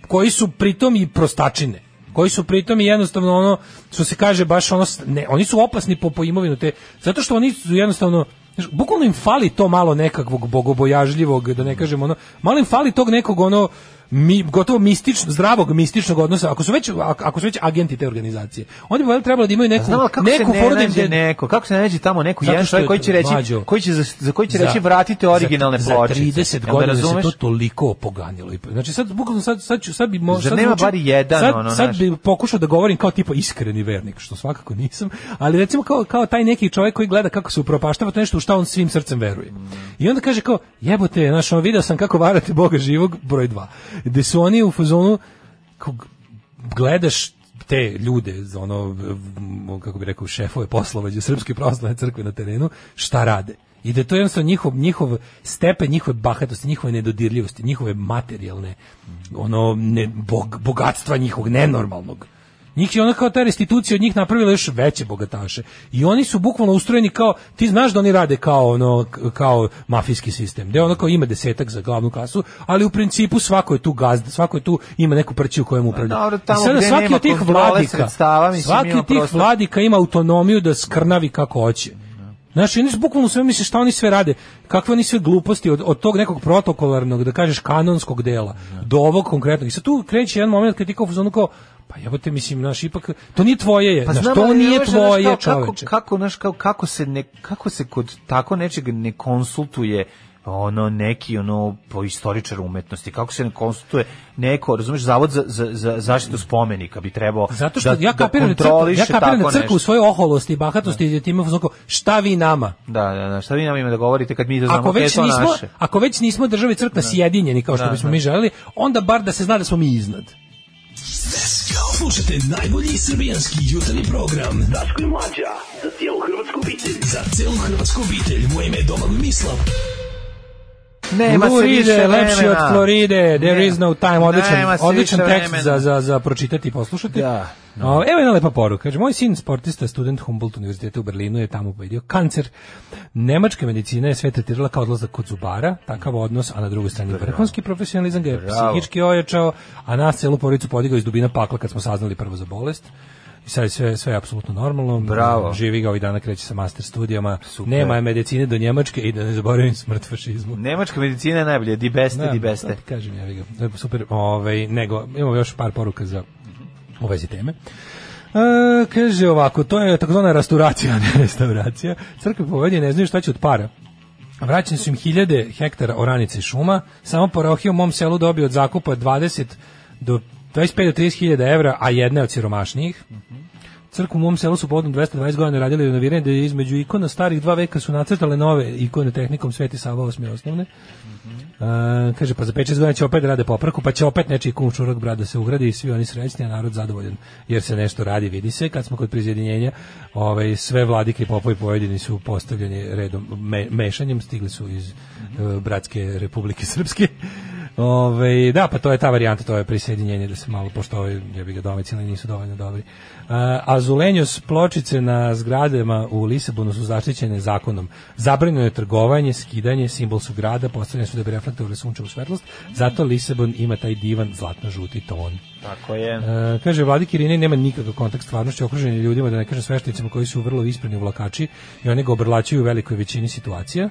E: koji su pritom i prostačine koji su pritom i jednostavno ono što se kaže baš ono s- ne, oni su opasni po, po imovinu te zato što oni su jednostavno znaš, bukvalno im fali to malo nekakvog bogobojažljivog da ne kažem ono malo im fali tog nekog ono mi, gotovo mistično, zdravog mističnog odnosa ako su već ak- ako su već agenti te organizacije oni bi valjda trebalo da imaju neku
F: Znam, ali kako
E: neku
F: se ne
E: foru da im-
F: nađe neko, kako se ne nađe tamo neko
E: Zato
F: jedan
E: što
F: čovjek
E: je
F: koji će reći,
E: mlađo.
F: koji će za, za koji će
E: Za-
F: reći vratite originalne
E: za,
F: pločice.
E: Za 30
F: Jel me
E: godina se
F: razumeš?
E: to toliko opoganilo. I- Znači sad bukvalno sad sad ću sad bi mo,
F: Zar
E: sad
F: nema
E: zvuči-
F: bar jedan,
E: sad,
F: ono,
E: sad
F: znaš?
E: bi pokušao da govorim kao tipa iskreni vernik, što svakako nisam, ali recimo kao kao taj neki čovjek koji gleda kako se upropaštava to nešto u šta on svim srcem veruje. I onda kaže kao jebote, znaš, on video sam kako varate Boga živog broj 2. Gde su oni u fazonu kao g- gledaš te ljude, ono, m, kako bi rekao, šefove poslovađe Srpske pravoslavne crkve na terenu, šta rade. I da je to jednostavno njihov, njihov stepen, njihove bahatosti, njihove nedodirljivosti, njihove materijalne, ono, ne, bog, bogatstva njihovog nenormalnog. Njih je ona kao ta restitucija od njih napravila još veće bogataše. I oni su bukvalno ustrojeni kao, ti znaš da oni rade kao ono k- kao mafijski sistem. Da ono kao ima desetak za glavnu kasu, ali u principu svako je tu gazda, svako je tu ima neku prću u kojem upravlja.
F: dobro,
E: I
F: tamo
E: sada
F: gde
E: svaki
F: nema
E: od tih
F: kontrole
E: vladika,
F: sredstava, mislim,
E: svaki
F: ima
E: od tih
F: prostor.
E: vladika ima autonomiju da skrnavi kako hoće. Znaš, oni su bukvalno sve misle šta oni sve rade, kakve oni sve gluposti od, od tog nekog protokolarnog, da kažeš, kanonskog dela, do ovog konkretnog. I sad tu kreće jedan moment kad ti kao u fazonu kao, pa jebote, mislim, znaš, ipak, to nije tvoje, je, znaš,
F: Pa znam,
E: to
F: ali
E: nije
F: znaš, znaš,
E: tvoje,
F: kao-
E: čoveče.
F: Kako, kako, znaš, kao, kako, se ne, kako se kod tako nečeg ne konsultuje ono neki ono po istoričaru umetnosti kako se ne konstatuje neko razumeš zavod za, za, za zaštitu spomenika bi trebao
E: Zato što
F: da,
E: ja
F: da
E: kapiram da crkva, ja
F: kontroliše
E: kapiram da
F: tako
E: crkva u
F: nešto.
E: svojoj oholosti i bahatosti da. time u fazonu kao, šta vi nama?
F: Da, da, da, šta vi nam ima da govorite kad mi da znamo
E: Ako
F: da je
E: već
F: to
E: nismo,
F: naše?
E: ako već nismo države i crkva sjedinjeni kao što
F: Da,
E: bismo
F: da.
E: mi želeli, onda bar da se zna da smo mi iznad.
L: Slušajte najbolji srbijanski jutarnji program. Daško i Mlađa, za cijelu hrvatsku obitelj. Za cijelu hrvatsku obitelj, moje ime je Domagoj Mislav.
F: Nema se
E: Floride
F: više
E: je lepši od
F: vremena.
E: Floride, there
F: Ne.
E: is no time, odličan,
F: Nema se
E: odličan
F: više
E: tekst
F: vremena.
E: za, za, za pročitati i poslušati.
F: Da.
E: O, evo jedna lepa poruka. Kaže, moj sin sportista, student Humboldt univerziteta u Berlinu je tamo pobedio kancer. Nemačka medicina je sve tretirala kao odlazak kod zubara, takav odnos, a na drugoj strani vrhunski profesionalizam ga je psihički ojačao, a nas celu porodicu podigao iz dubina pakla kad smo saznali prvo za bolest. I sad je sve, sve je apsolutno normalno.
F: Bravo.
E: Živi ga ovih dana kreće sa master studijama. Nema je medicine do Njemačke i da ne zaboravim smrt fašizmu.
F: Nemačka medicina je najbolja, di beste,
E: Da,
F: di
E: to
F: beste.
E: ti Kažem ja, ga. E, Super. Ovaj nego imamo još par poruka za u vezi teme. E, kaže ovako, to je takozvana restauracija, a ne restauracija. Crkve povedje ne znaju šta će od para. Vraćeni su im hiljade hektara oranice i šuma. Samo parohija u mom selu dobio od zakupa 20 do 25 do 30 hiljada evra, a jedna je od siromašnijih. Crkvu u mom selu su povodom 220 godina radili renoviranje, da je između ikona starih dva veka su nacrtale nove ikone tehnikom Sveti Sava osme osnovne. E, kaže, pa za 5-6 godina će opet da rade popravku, pa će opet nečiji kum čurok brat da se ugradi i svi oni srećni, a narod zadovoljan, jer se nešto radi, vidi se, kad smo kod prizjedinjenja, ovaj, sve vladike i popovi pojedini su postavljeni redom, me- mešanjem, stigli su iz e, Bratske Republike Srpske. Ove, da, pa to je ta varijanta, to je prisjedinjenje da se malo pošto ovi jebi ga domicili nisu dovoljno dobri. E, a Zulenjos pločice na zgradama u Lisabonu su zaštićene zakonom. Zabranjeno je trgovanje, skidanje, simbol su grada, postavljene su da bi reflektovali sunčevu svetlost, zato Lisabon ima taj divan zlatno-žuti ton.
F: Tako je.
E: E, kaže Vladi Kirine nema nikakav kontakt s stvarnošću okruženi ljudima, da ne kažem sveštenicima koji su vrlo ispreni vlakači i oni ga obrlačuju u velikoj većini situacija.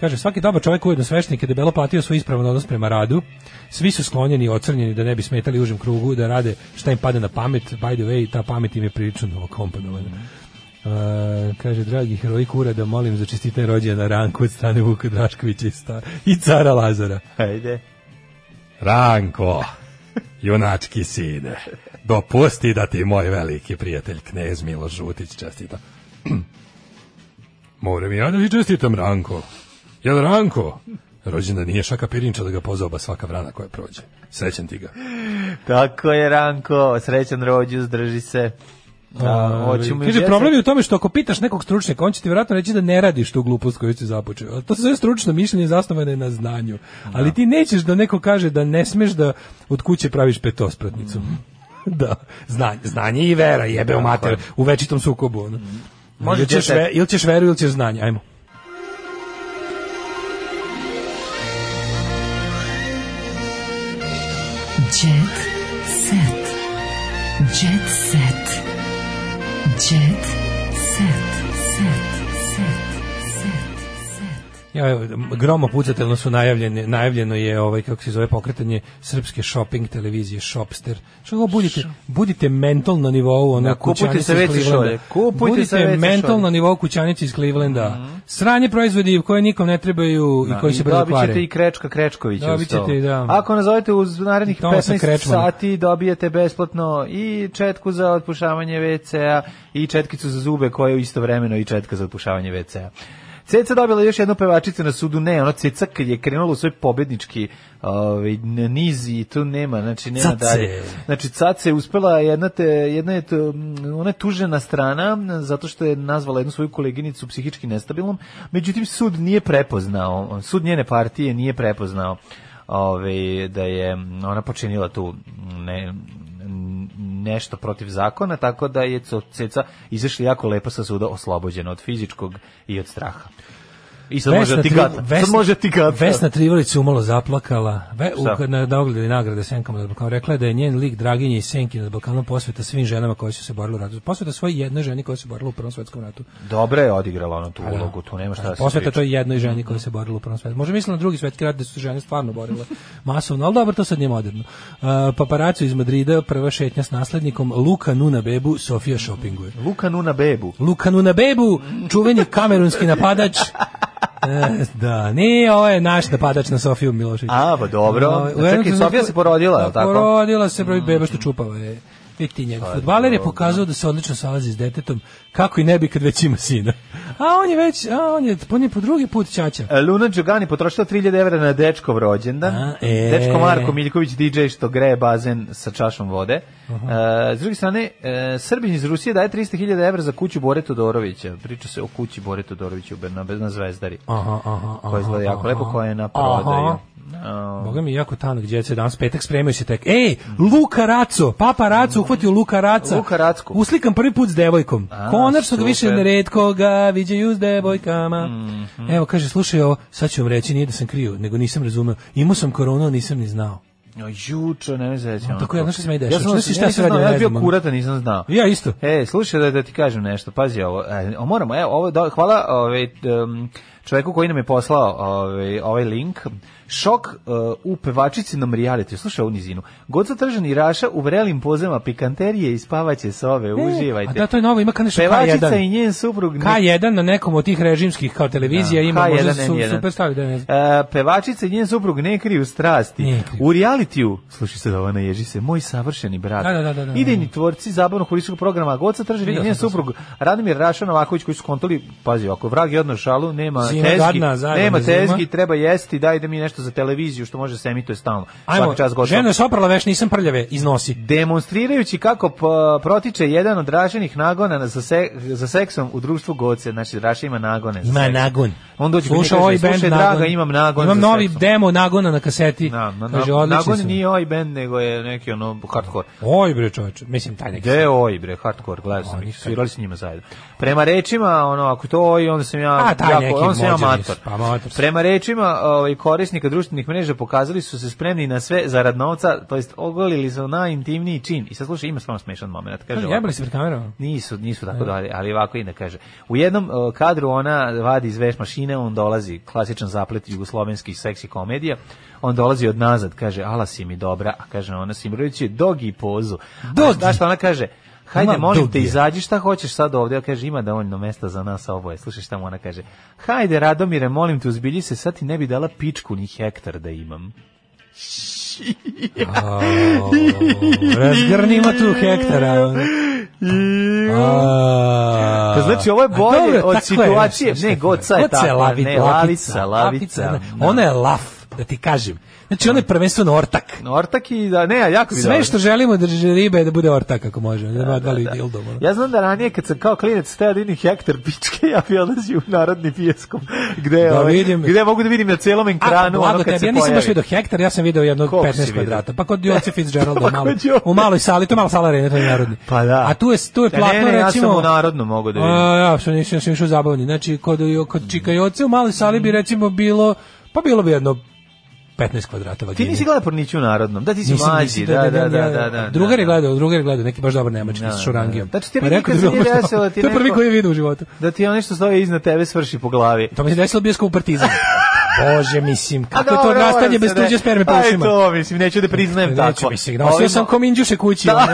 E: Kaže, svaki dobar čovjek ujedno sveštenik je debelo platio svoj ispravan odnos prema radu. Svi su sklonjeni i ocrnjeni da ne bi smetali užem krugu, da rade šta im pade na pamet. By the way, ta pamet im je prilično novokomponovana. E, kaže, dragi heroji kura, da molim za čestite rođena Ranku od strane Vuka Draškovića i, sta- i cara Lazara.
F: Ajde.
M: Ranko, junački sine, dopusti da ti moj veliki prijatelj knez Milo Žutić čestita. Moram i ja da ti čestitam, Ranko. Jel, Ranko? Rođena nije šaka pirinča da ga pozoba svaka vrana koja prođe. Srećen ti ga.
F: Tako je, Ranko, srećan rođus, drži se. Da,
E: Ovaj,
F: hoćemo i
E: kaže,
F: djeca.
E: problem je u tome što ako pitaš nekog stručnjaka, on će ti vjerojatno reći da ne radiš tu glupost koju si započeo. Ali To se zove stručno mišljenje zasnovano je na znanju. Ali ti nećeš da neko kaže da ne smeš da od kuće praviš petospratnicu.
F: Mhm.
E: da, znanje, znanje i vera, jebe u mater, u večitom sukobu. Ono.
F: Može
E: ili, ćeš
F: dete-
E: ve- ili ćeš veru ili ćeš znanje, ajmo.
J: Jet set. Jet set. Jet set. Set. Set. Set.
E: Ja, evo, gromo pucatelno su najavljene, najavljeno je ovaj kako se zove pokretanje srpske shopping televizije Shopster. Što ga budite, budite mental na nivou ono
F: Da, kupujte
E: kućanice iz
F: savete
E: Clevelanda.
F: šolje, kupujte
E: budite
F: savete
E: mental
F: šolje.
E: na nivou kućanice iz Clevelanda. Sranje proizvodi koje nikom ne trebaju i koji se brzo
F: Dobit ćete
E: kvare.
F: i Krečka Krečkovića.
E: Dobit
F: uz to.
E: ćete i da.
F: Ako nazovete uz narednih
E: Tomasa
F: 15
E: Krečmana.
F: sati dobijete besplatno i četku za otpušavanje WC-a i četkicu za zube koja je istovremeno i četka za otpušavanje WC-a. Ceca dobila još jednu pevačicu na sudu, ne, ono Ceca kad je krenula u svoj pobednički ovaj, n- niz i tu nema, znači nema
E: Cace.
F: dalje. Znači Caca je uspela, jedna, te, jedna je, tu- ona je tužena strana m, zato što je nazvala jednu svoju koleginicu psihički nestabilnom, međutim sud nije prepoznao, sud njene partije nije prepoznao ove, da je ona počinila tu ne, n- nešto protiv zakona, tako da je Co- Ceca izašla jako lepo sa suda oslobođena od fizičkog i od straha. I sad može da ti
E: Tri-
F: gata. Sad
E: Vesna-
F: može da ti gata.
E: Vesna Trivolić se umalo zaplakala. Ve, u,
F: Šta?
E: kad na na ogledu nagrade Senkama nad Balkanom rekla je da je njen lik Draginje i Senki nad Balkanom posveta svim ženama koje su se borile u ratu. Posveta svoj jednoj ženi koja se borila u Prvom svetskom ratu.
F: Dobro je odigrala ona tu ulogu, tu nema šta da se
E: Posveta
F: priča.
E: Pa to je jednoj ženi koja se borila u prvom svetu. Može misliti na drugi svetski rat da su se žene stvarno borile masovno, ali dobro, to sad nije moderno. Uh, paparacu iz Madrida, prva šetnja s naslednikom, Luka Nuna Bebu, Sofija shoppinguje.
F: Luka Nuna Bebu.
E: Luka Nuna Bebu, čuveni kamerunski napadač, E, da, ne, ovo je naš napadač na Sofiju Milošić.
F: A, pa dobro.
E: Ovaj, u
F: Čekaj,
E: jednom trenutku-
F: Sofija se porodila, je li tako? Mm.
E: Porodila se, broj beba što čupava je. Vidi ti njega.
F: Pa,
E: Fudbaler je
F: dobro.
E: pokazao da se odlično salazi s detetom, kako i ne bi kad već ima sina. A on je već, a on je, on je po drugi put ćaća.
F: E, Luna Đugani potrošila 3000 evra na dečkov rođendan.
E: e.
F: Dečko Marko Miljković, DJ što greje bazen sa čašom vode. E, s druge strane, e, Srbin iz Rusije daje 300.000 evra za kuću Bore Todorovića. Priča se o kući Bore Todorovića u Bernabe na Zvezdari.
E: Aha, aha, aha.
F: koja Pa izgleda jako
E: aha.
F: lepo, koja je na
E: Aha.
F: prodaju.
E: Boga mi jako tanak djece danas petak spremaju se tek. Ej, Luka Raco, Papa Raco uhvatio Luka Raca.
F: Luka Racku.
E: Uslikam prvi put s devojkom.
F: A,
E: Konačno ga više
F: super. Mhm.
E: neretko ga viđaju s devojkama. Evo kaže, slušaj ovo, sad ću vam reći, nije da sam krio, nego nisam razumeo. Imao sam koronu, a nisam ni znao.
F: No, juče, ne znam.
E: Tako ja, znaš šta se meni dešava?
F: Ja sam,
E: Znaš šta
F: ja nisam
E: se radi
F: znao,
E: na
F: ja sam bio
E: Rezumanu?
F: kurata, nisam znao.
E: Ja isto.
F: E, slušaj da, da ti kažem nešto, pazi ovo. E, o, moramo, evo, ovo, je do, hvala ovaj, um, čoveku koji nam je poslao ovaj, ovaj link. Šok uh, u pevačici nam reality. Slušaj ovu nizinu. God zatržan i Raša u vrelim pozama pikanterije i spavaće sove. E, Uživajte.
E: E, A da, to je novo, ima kao nešto
F: Pevačica
E: K1.
F: i njen suprug. ne-
E: K1 na nekom od tih režimskih kao televizija
F: Da,
E: ima
F: K1
E: možda
F: N1.
E: su, super stavi da ne znam.
F: E, pevačica i njen suprug ne kriju strasti.
E: Ne
F: U realitiju, slušaj se da ona ježi se, moj savršeni brat.
E: Da, da, da, da, da.
F: Idejni tvorci zabavnog holističkog programa Goca Tržin i
E: Vidio
F: njen
E: sam to
F: suprug Radimir Rašan Novaković koji su kontali, pazi, ako vrag je odno šalu, nema
E: Zima
F: tezgi,
E: gadna, zajebana
F: nema
E: zima.
F: tezgi, treba jesti, daj da mi nešto za televiziju što može se emituje stalno.
E: Ajmo,
F: Svaki čas gotovo.
E: žena je soprala veš, nisam prljave, iznosi.
F: Demonstrirajući kako p- protiče jedan od Rašinih nagona na- za, se- za seksom u društvu Goce, znači Raša ima nagone. za
E: Ima
F: seks.
E: nagon.
F: On dođe kod nje i
E: Slušao
F: kaže,
E: ovaj band
F: "Slušaj,
E: nagon.
F: draga, imam nagon
E: Imam
F: za
E: novi
F: seksom."
E: demo nagona na kaseti.
F: Da, na,
E: Kaže,
F: na,
E: odlični
F: nagon
E: su.
F: nije oj band, nego je neki ono hardcore.
E: Oj bre čoveče, mislim taj neki.
F: Gde je ovaj, oj bre, hardcore, gledao sam ih, svirali s njima zajedno. Prema rečima, ono, ako to oj, onda sam ja,
E: A, Pa, taj neki
F: onda sam ja
E: mođeni
F: amator.
E: su, pa amator su.
F: Prema rečima ovaj, korisnika društvenih mreža pokazali su se spremni na sve zarad novca, to jest ogolili su najintimniji čin. I sad slušaj, ima stvarno smešan moment. Kaže, ovako.
E: Jebali se pred kamerom.
F: Nisu, nisu tako dalje, ali ovako i da kaže. U jednom e, kadru ona vadi iz veš mašine, on dolazi, klasičan zaplet jugoslovenskih seksi komedija, on dolazi od nazad, kaže, ala si mi dobra, a kaže ona Simrović je dogi pozu.
E: Dogi.
F: A znaš šta ona kaže? Hajde,
E: Ima
F: molim te,
E: dogija.
F: izađi šta hoćeš sad ovdje, kaže, ima dovoljno mesta za nas oboje, slušaj šta mu ona kaže. Hajde, Radomire, molim te, uzbilji se, sad ti ne bi dala pičku ni hektar da imam.
E: Razgrnima tu hektara. ono. A.
F: Pa znači ovo je
E: A
F: bolje
E: dobro,
F: od
E: tako
F: situacije.
E: znaš šta
F: Ne,
E: fora.
F: Goca je
E: Goca
F: takva,
E: lavi-
F: ne, lavica, lavica, da.
E: Ona je laf, da ti kažem. Znači ona je prvenstveno ortak.
F: Ortak i da, ne, a jako mi je
E: Sve
F: dobro.
E: što želimo da ž- riba je da bude ortak ako može. Da, da, da, da, dildo, ono.
F: Ja znam da ranije kad sam kao klinac teo da idem hektar pičke, ja bi odlazio u narodni pijeskom, gde, je
E: Da
F: ovaj,
E: vidim.
F: gde mogu da vidim na celom ekranu
E: A, pa
F: ono
E: blago
F: kad
E: tebi,
F: se
E: ja nisam baš
F: pojavi.
E: vidio hektar, ja sam vidio jedno
F: Koliko si
E: 15
F: vidio?
E: kvadrata. Pa kod Joce Fitzgeralda malo.
F: kod Joce.
E: U maloj sali, to je mala sala arena, to je narodni.
F: Pa da.
E: A tu je, tu je
F: Da,
E: platno,
F: ne, ne, ja sam
E: recimo...
F: u narodnom mogu da vidim.
E: A, ja, što nisam, ja sam išao zabavni. Znači, kod, kod Čika Joce u maloj sali
F: Mm.
E: bi recimo bilo, pa bilo bi jedno 15 kvadrata
F: Ti
E: vagine.
F: nisi gledao porniću u narodnom, da ti si
E: Nisam,
F: mlađi,
E: nisam,
F: da, da, da,
E: ja,
F: da,
E: ja,
F: da, da.
E: Drugar je gledao, drugar je gledao, neki baš dobar nemački
F: Da,
E: s
F: da,
E: šorangijom.
F: da. Znači, ti
E: Pa
F: vidi
E: rekao
F: kad
E: da
F: se
E: bi
F: nije
E: ono-
F: desilo ti
E: To je prvi
F: neko-
E: koji je vidio u životu.
F: Da ti ono nešto stoji iznad tebe svrši po glavi.
E: To mi se desilo bioskop u Partizan. Bože, mislim,
F: A
E: kako je to
F: dobro,
E: odrastanje
F: moram
E: bez
F: se da-
E: tuđe sperme po
F: Aj,
E: ušima.
F: to, mislim, neću da priznajem
E: Neću,
F: tako.
E: mislim, nosio sam
F: Ovim-
E: kominđuše kući.
F: Tako
E: ono.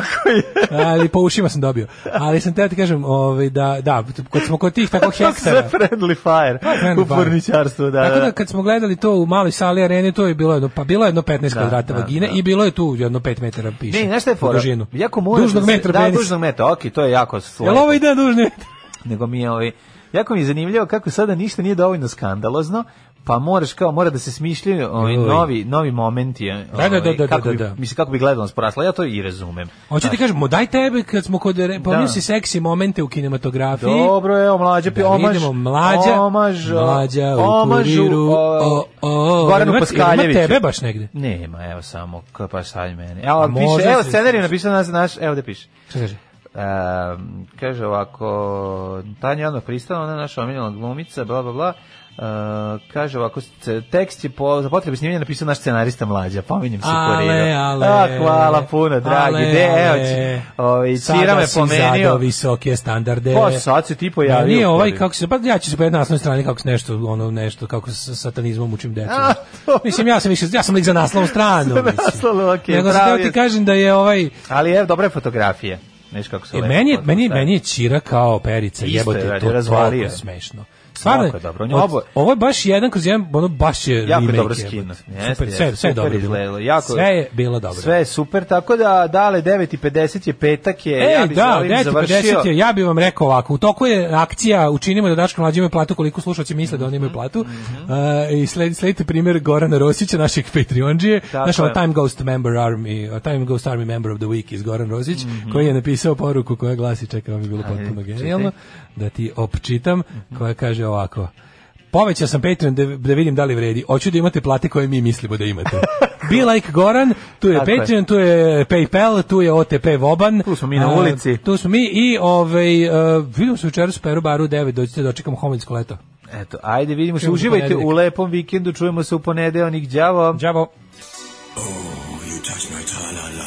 F: je.
E: ali po ušima sam dobio. Ali sam teo ti kažem, ovaj, da, da, kad smo kod tih tako
F: To su sve
E: hektara.
F: friendly fire
E: Pa, friendly
F: u
E: fire.
F: porničarstvu, da,
E: Tako
F: da.
E: da kad smo gledali to u maloj sali arene, to je bilo jedno, pa bilo je jedno 15 kvadrata
F: da,
E: vagine
F: da.
E: i bilo je tu jedno 5 metara piše.
F: Ne, znaš šta je
E: u
F: fora?
E: dužinu.
F: Jako mora
E: Dužnog
F: se-
E: metra
F: da,
E: penis.
F: dužnog metra, okej, to je jako
E: Jel ovaj-
F: slatko.
E: ovo ide dužni metar?
F: Nego mi je ovaj, jako mi je zanimljivo kako sada ništa nije dovoljno skandalozno, pa moraš kao mora da se smišljaju ovaj,
E: Uj.
F: novi novi momenti ovaj,
E: Da, da, da, da,
F: kako
E: da,
F: bi,
E: da.
F: mislim kako bi gledalanost porasla ja to i razumem
E: Hoću ti kažemo, daj tebe kad smo kod, re-
F: Da.
E: pomnio si seksi momente u kinematografiji.
F: Dobro, evo mlađa,
E: Da
F: da, omaž,
E: vidimo mlađa,
F: omaž, o-
E: mlađa u
F: omaž u,
E: kuriru,
F: o,
E: o, o,
F: Goranu
E: jel ima-
F: Paskaljeviću.
E: jel ima tebe baš negde?
F: Nema, evo samo, ko pa sad meni. Evo,
E: A
F: piše,
E: možda
F: evo
E: se-
F: scenarij napisao nas, naš, evo da piše.
E: Šta kaže?
F: Ehm, kaže ovako, Tanja Ono Pristana, ona je naša omiljena glumica, bla, bla, bla. Ehm, kaže ovako, sce- tekst je po, za potrebe snimanja napisao naš scenarista mlađa, pominjem se
E: Ale,
F: Korinu.
E: ale.
F: A, hvala puno, dragi.
E: Ale,
F: De, evo,
E: ale.
F: će- ovaj, Cira
E: Sada
F: me
E: si zadao
F: pomenio.
E: visoke standarde.
F: Pa, sad se ti pojavio
E: Da, Nije
F: u
E: ovaj
F: Korinu.
E: kako se pa ja ću se pojaviti na naslovnoj strani kako se nešto ono nešto kako se satanizmom učim decu.
F: A, dobro.
E: mislim ja sam više ja sam lik za naslovnu stranu.
F: Za
E: mislim.
F: naslovnu, okej,
E: Nego sam
F: pravi
E: teo ti
F: je.
E: kažem da je ovaj
F: Ali evo, dobre fotografije. Znaš kako se
E: E,
F: lepo
E: meni, je,
F: podložno
E: meni, je-
F: stavi.
E: meni je Čira kao perica,
F: Isto je,
E: jebote,
F: radi,
E: to je
F: razvalio
E: toliko
F: je.
E: smešno. Stvarno,
F: Jako je dobro, on je
E: od-
F: obo-
E: ovo je baš jedan kroz jedan, ono baš je
F: Jako je
E: remake,
F: dobro
E: jebote.
F: skinu.
E: Super, sve, sve je dobro bilo. Sve je bilo dobro.
F: Sve je super, tako da dale 9.50 je petak je,
E: E,
F: ja bi
E: da,
F: za ovim
E: 10.50
F: završio.
E: je, ja bih vam rekao ovako, u toku je akcija Učinimo da Daško mlađi imaju platu, koliko slušalci misle da oni imaju platu.
F: Mhm,
E: Uh, I sledi, sledite primjer Gorana Rosića, našeg Patreonđije,
F: Tako
E: naš
F: je.
E: Time Ghost Member Army, a Time Ghost Army Member of the Week iz Goran Rosić,
F: Mhm.
E: koji je napisao poruku koja glasi, čekaj, ovo bi bilo potpuno
F: čitaj.
E: genijalno, da ti opčitam,
F: Mhm.
E: koja kaže ovako, Povećao sam Patreon da, da vidim da li vredi. Hoću da imate plate koje mi mislimo da imate. Be like Goran, tu je
F: Tako je.
E: Patreon, tu je PayPal, tu je OTP Voban.
F: Tu smo mi na
E: A,
F: ulici.
E: Tu smo mi i ovaj, uh, vidimo se večeras u Peru Baru u 9, dođite da očekamo homoljsko leto.
F: Eto, ajde vidimo se,
E: Čujemo se
F: uživajte u
E: ponedeljak.
F: lepom vikendu, čujemo se u ponedeljak, đavo.
E: Đavo.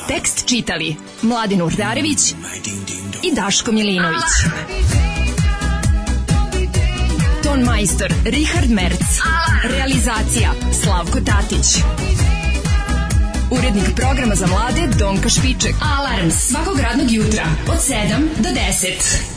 N: Tekst čitali Mladin Urdarević i Daško Milinović. Ton majstor Richard Merc. Realizacija Slavko Tatić. Urednik programa za mlade Donka Špiček. Alarms svakog radnog jutra od 7 do 10.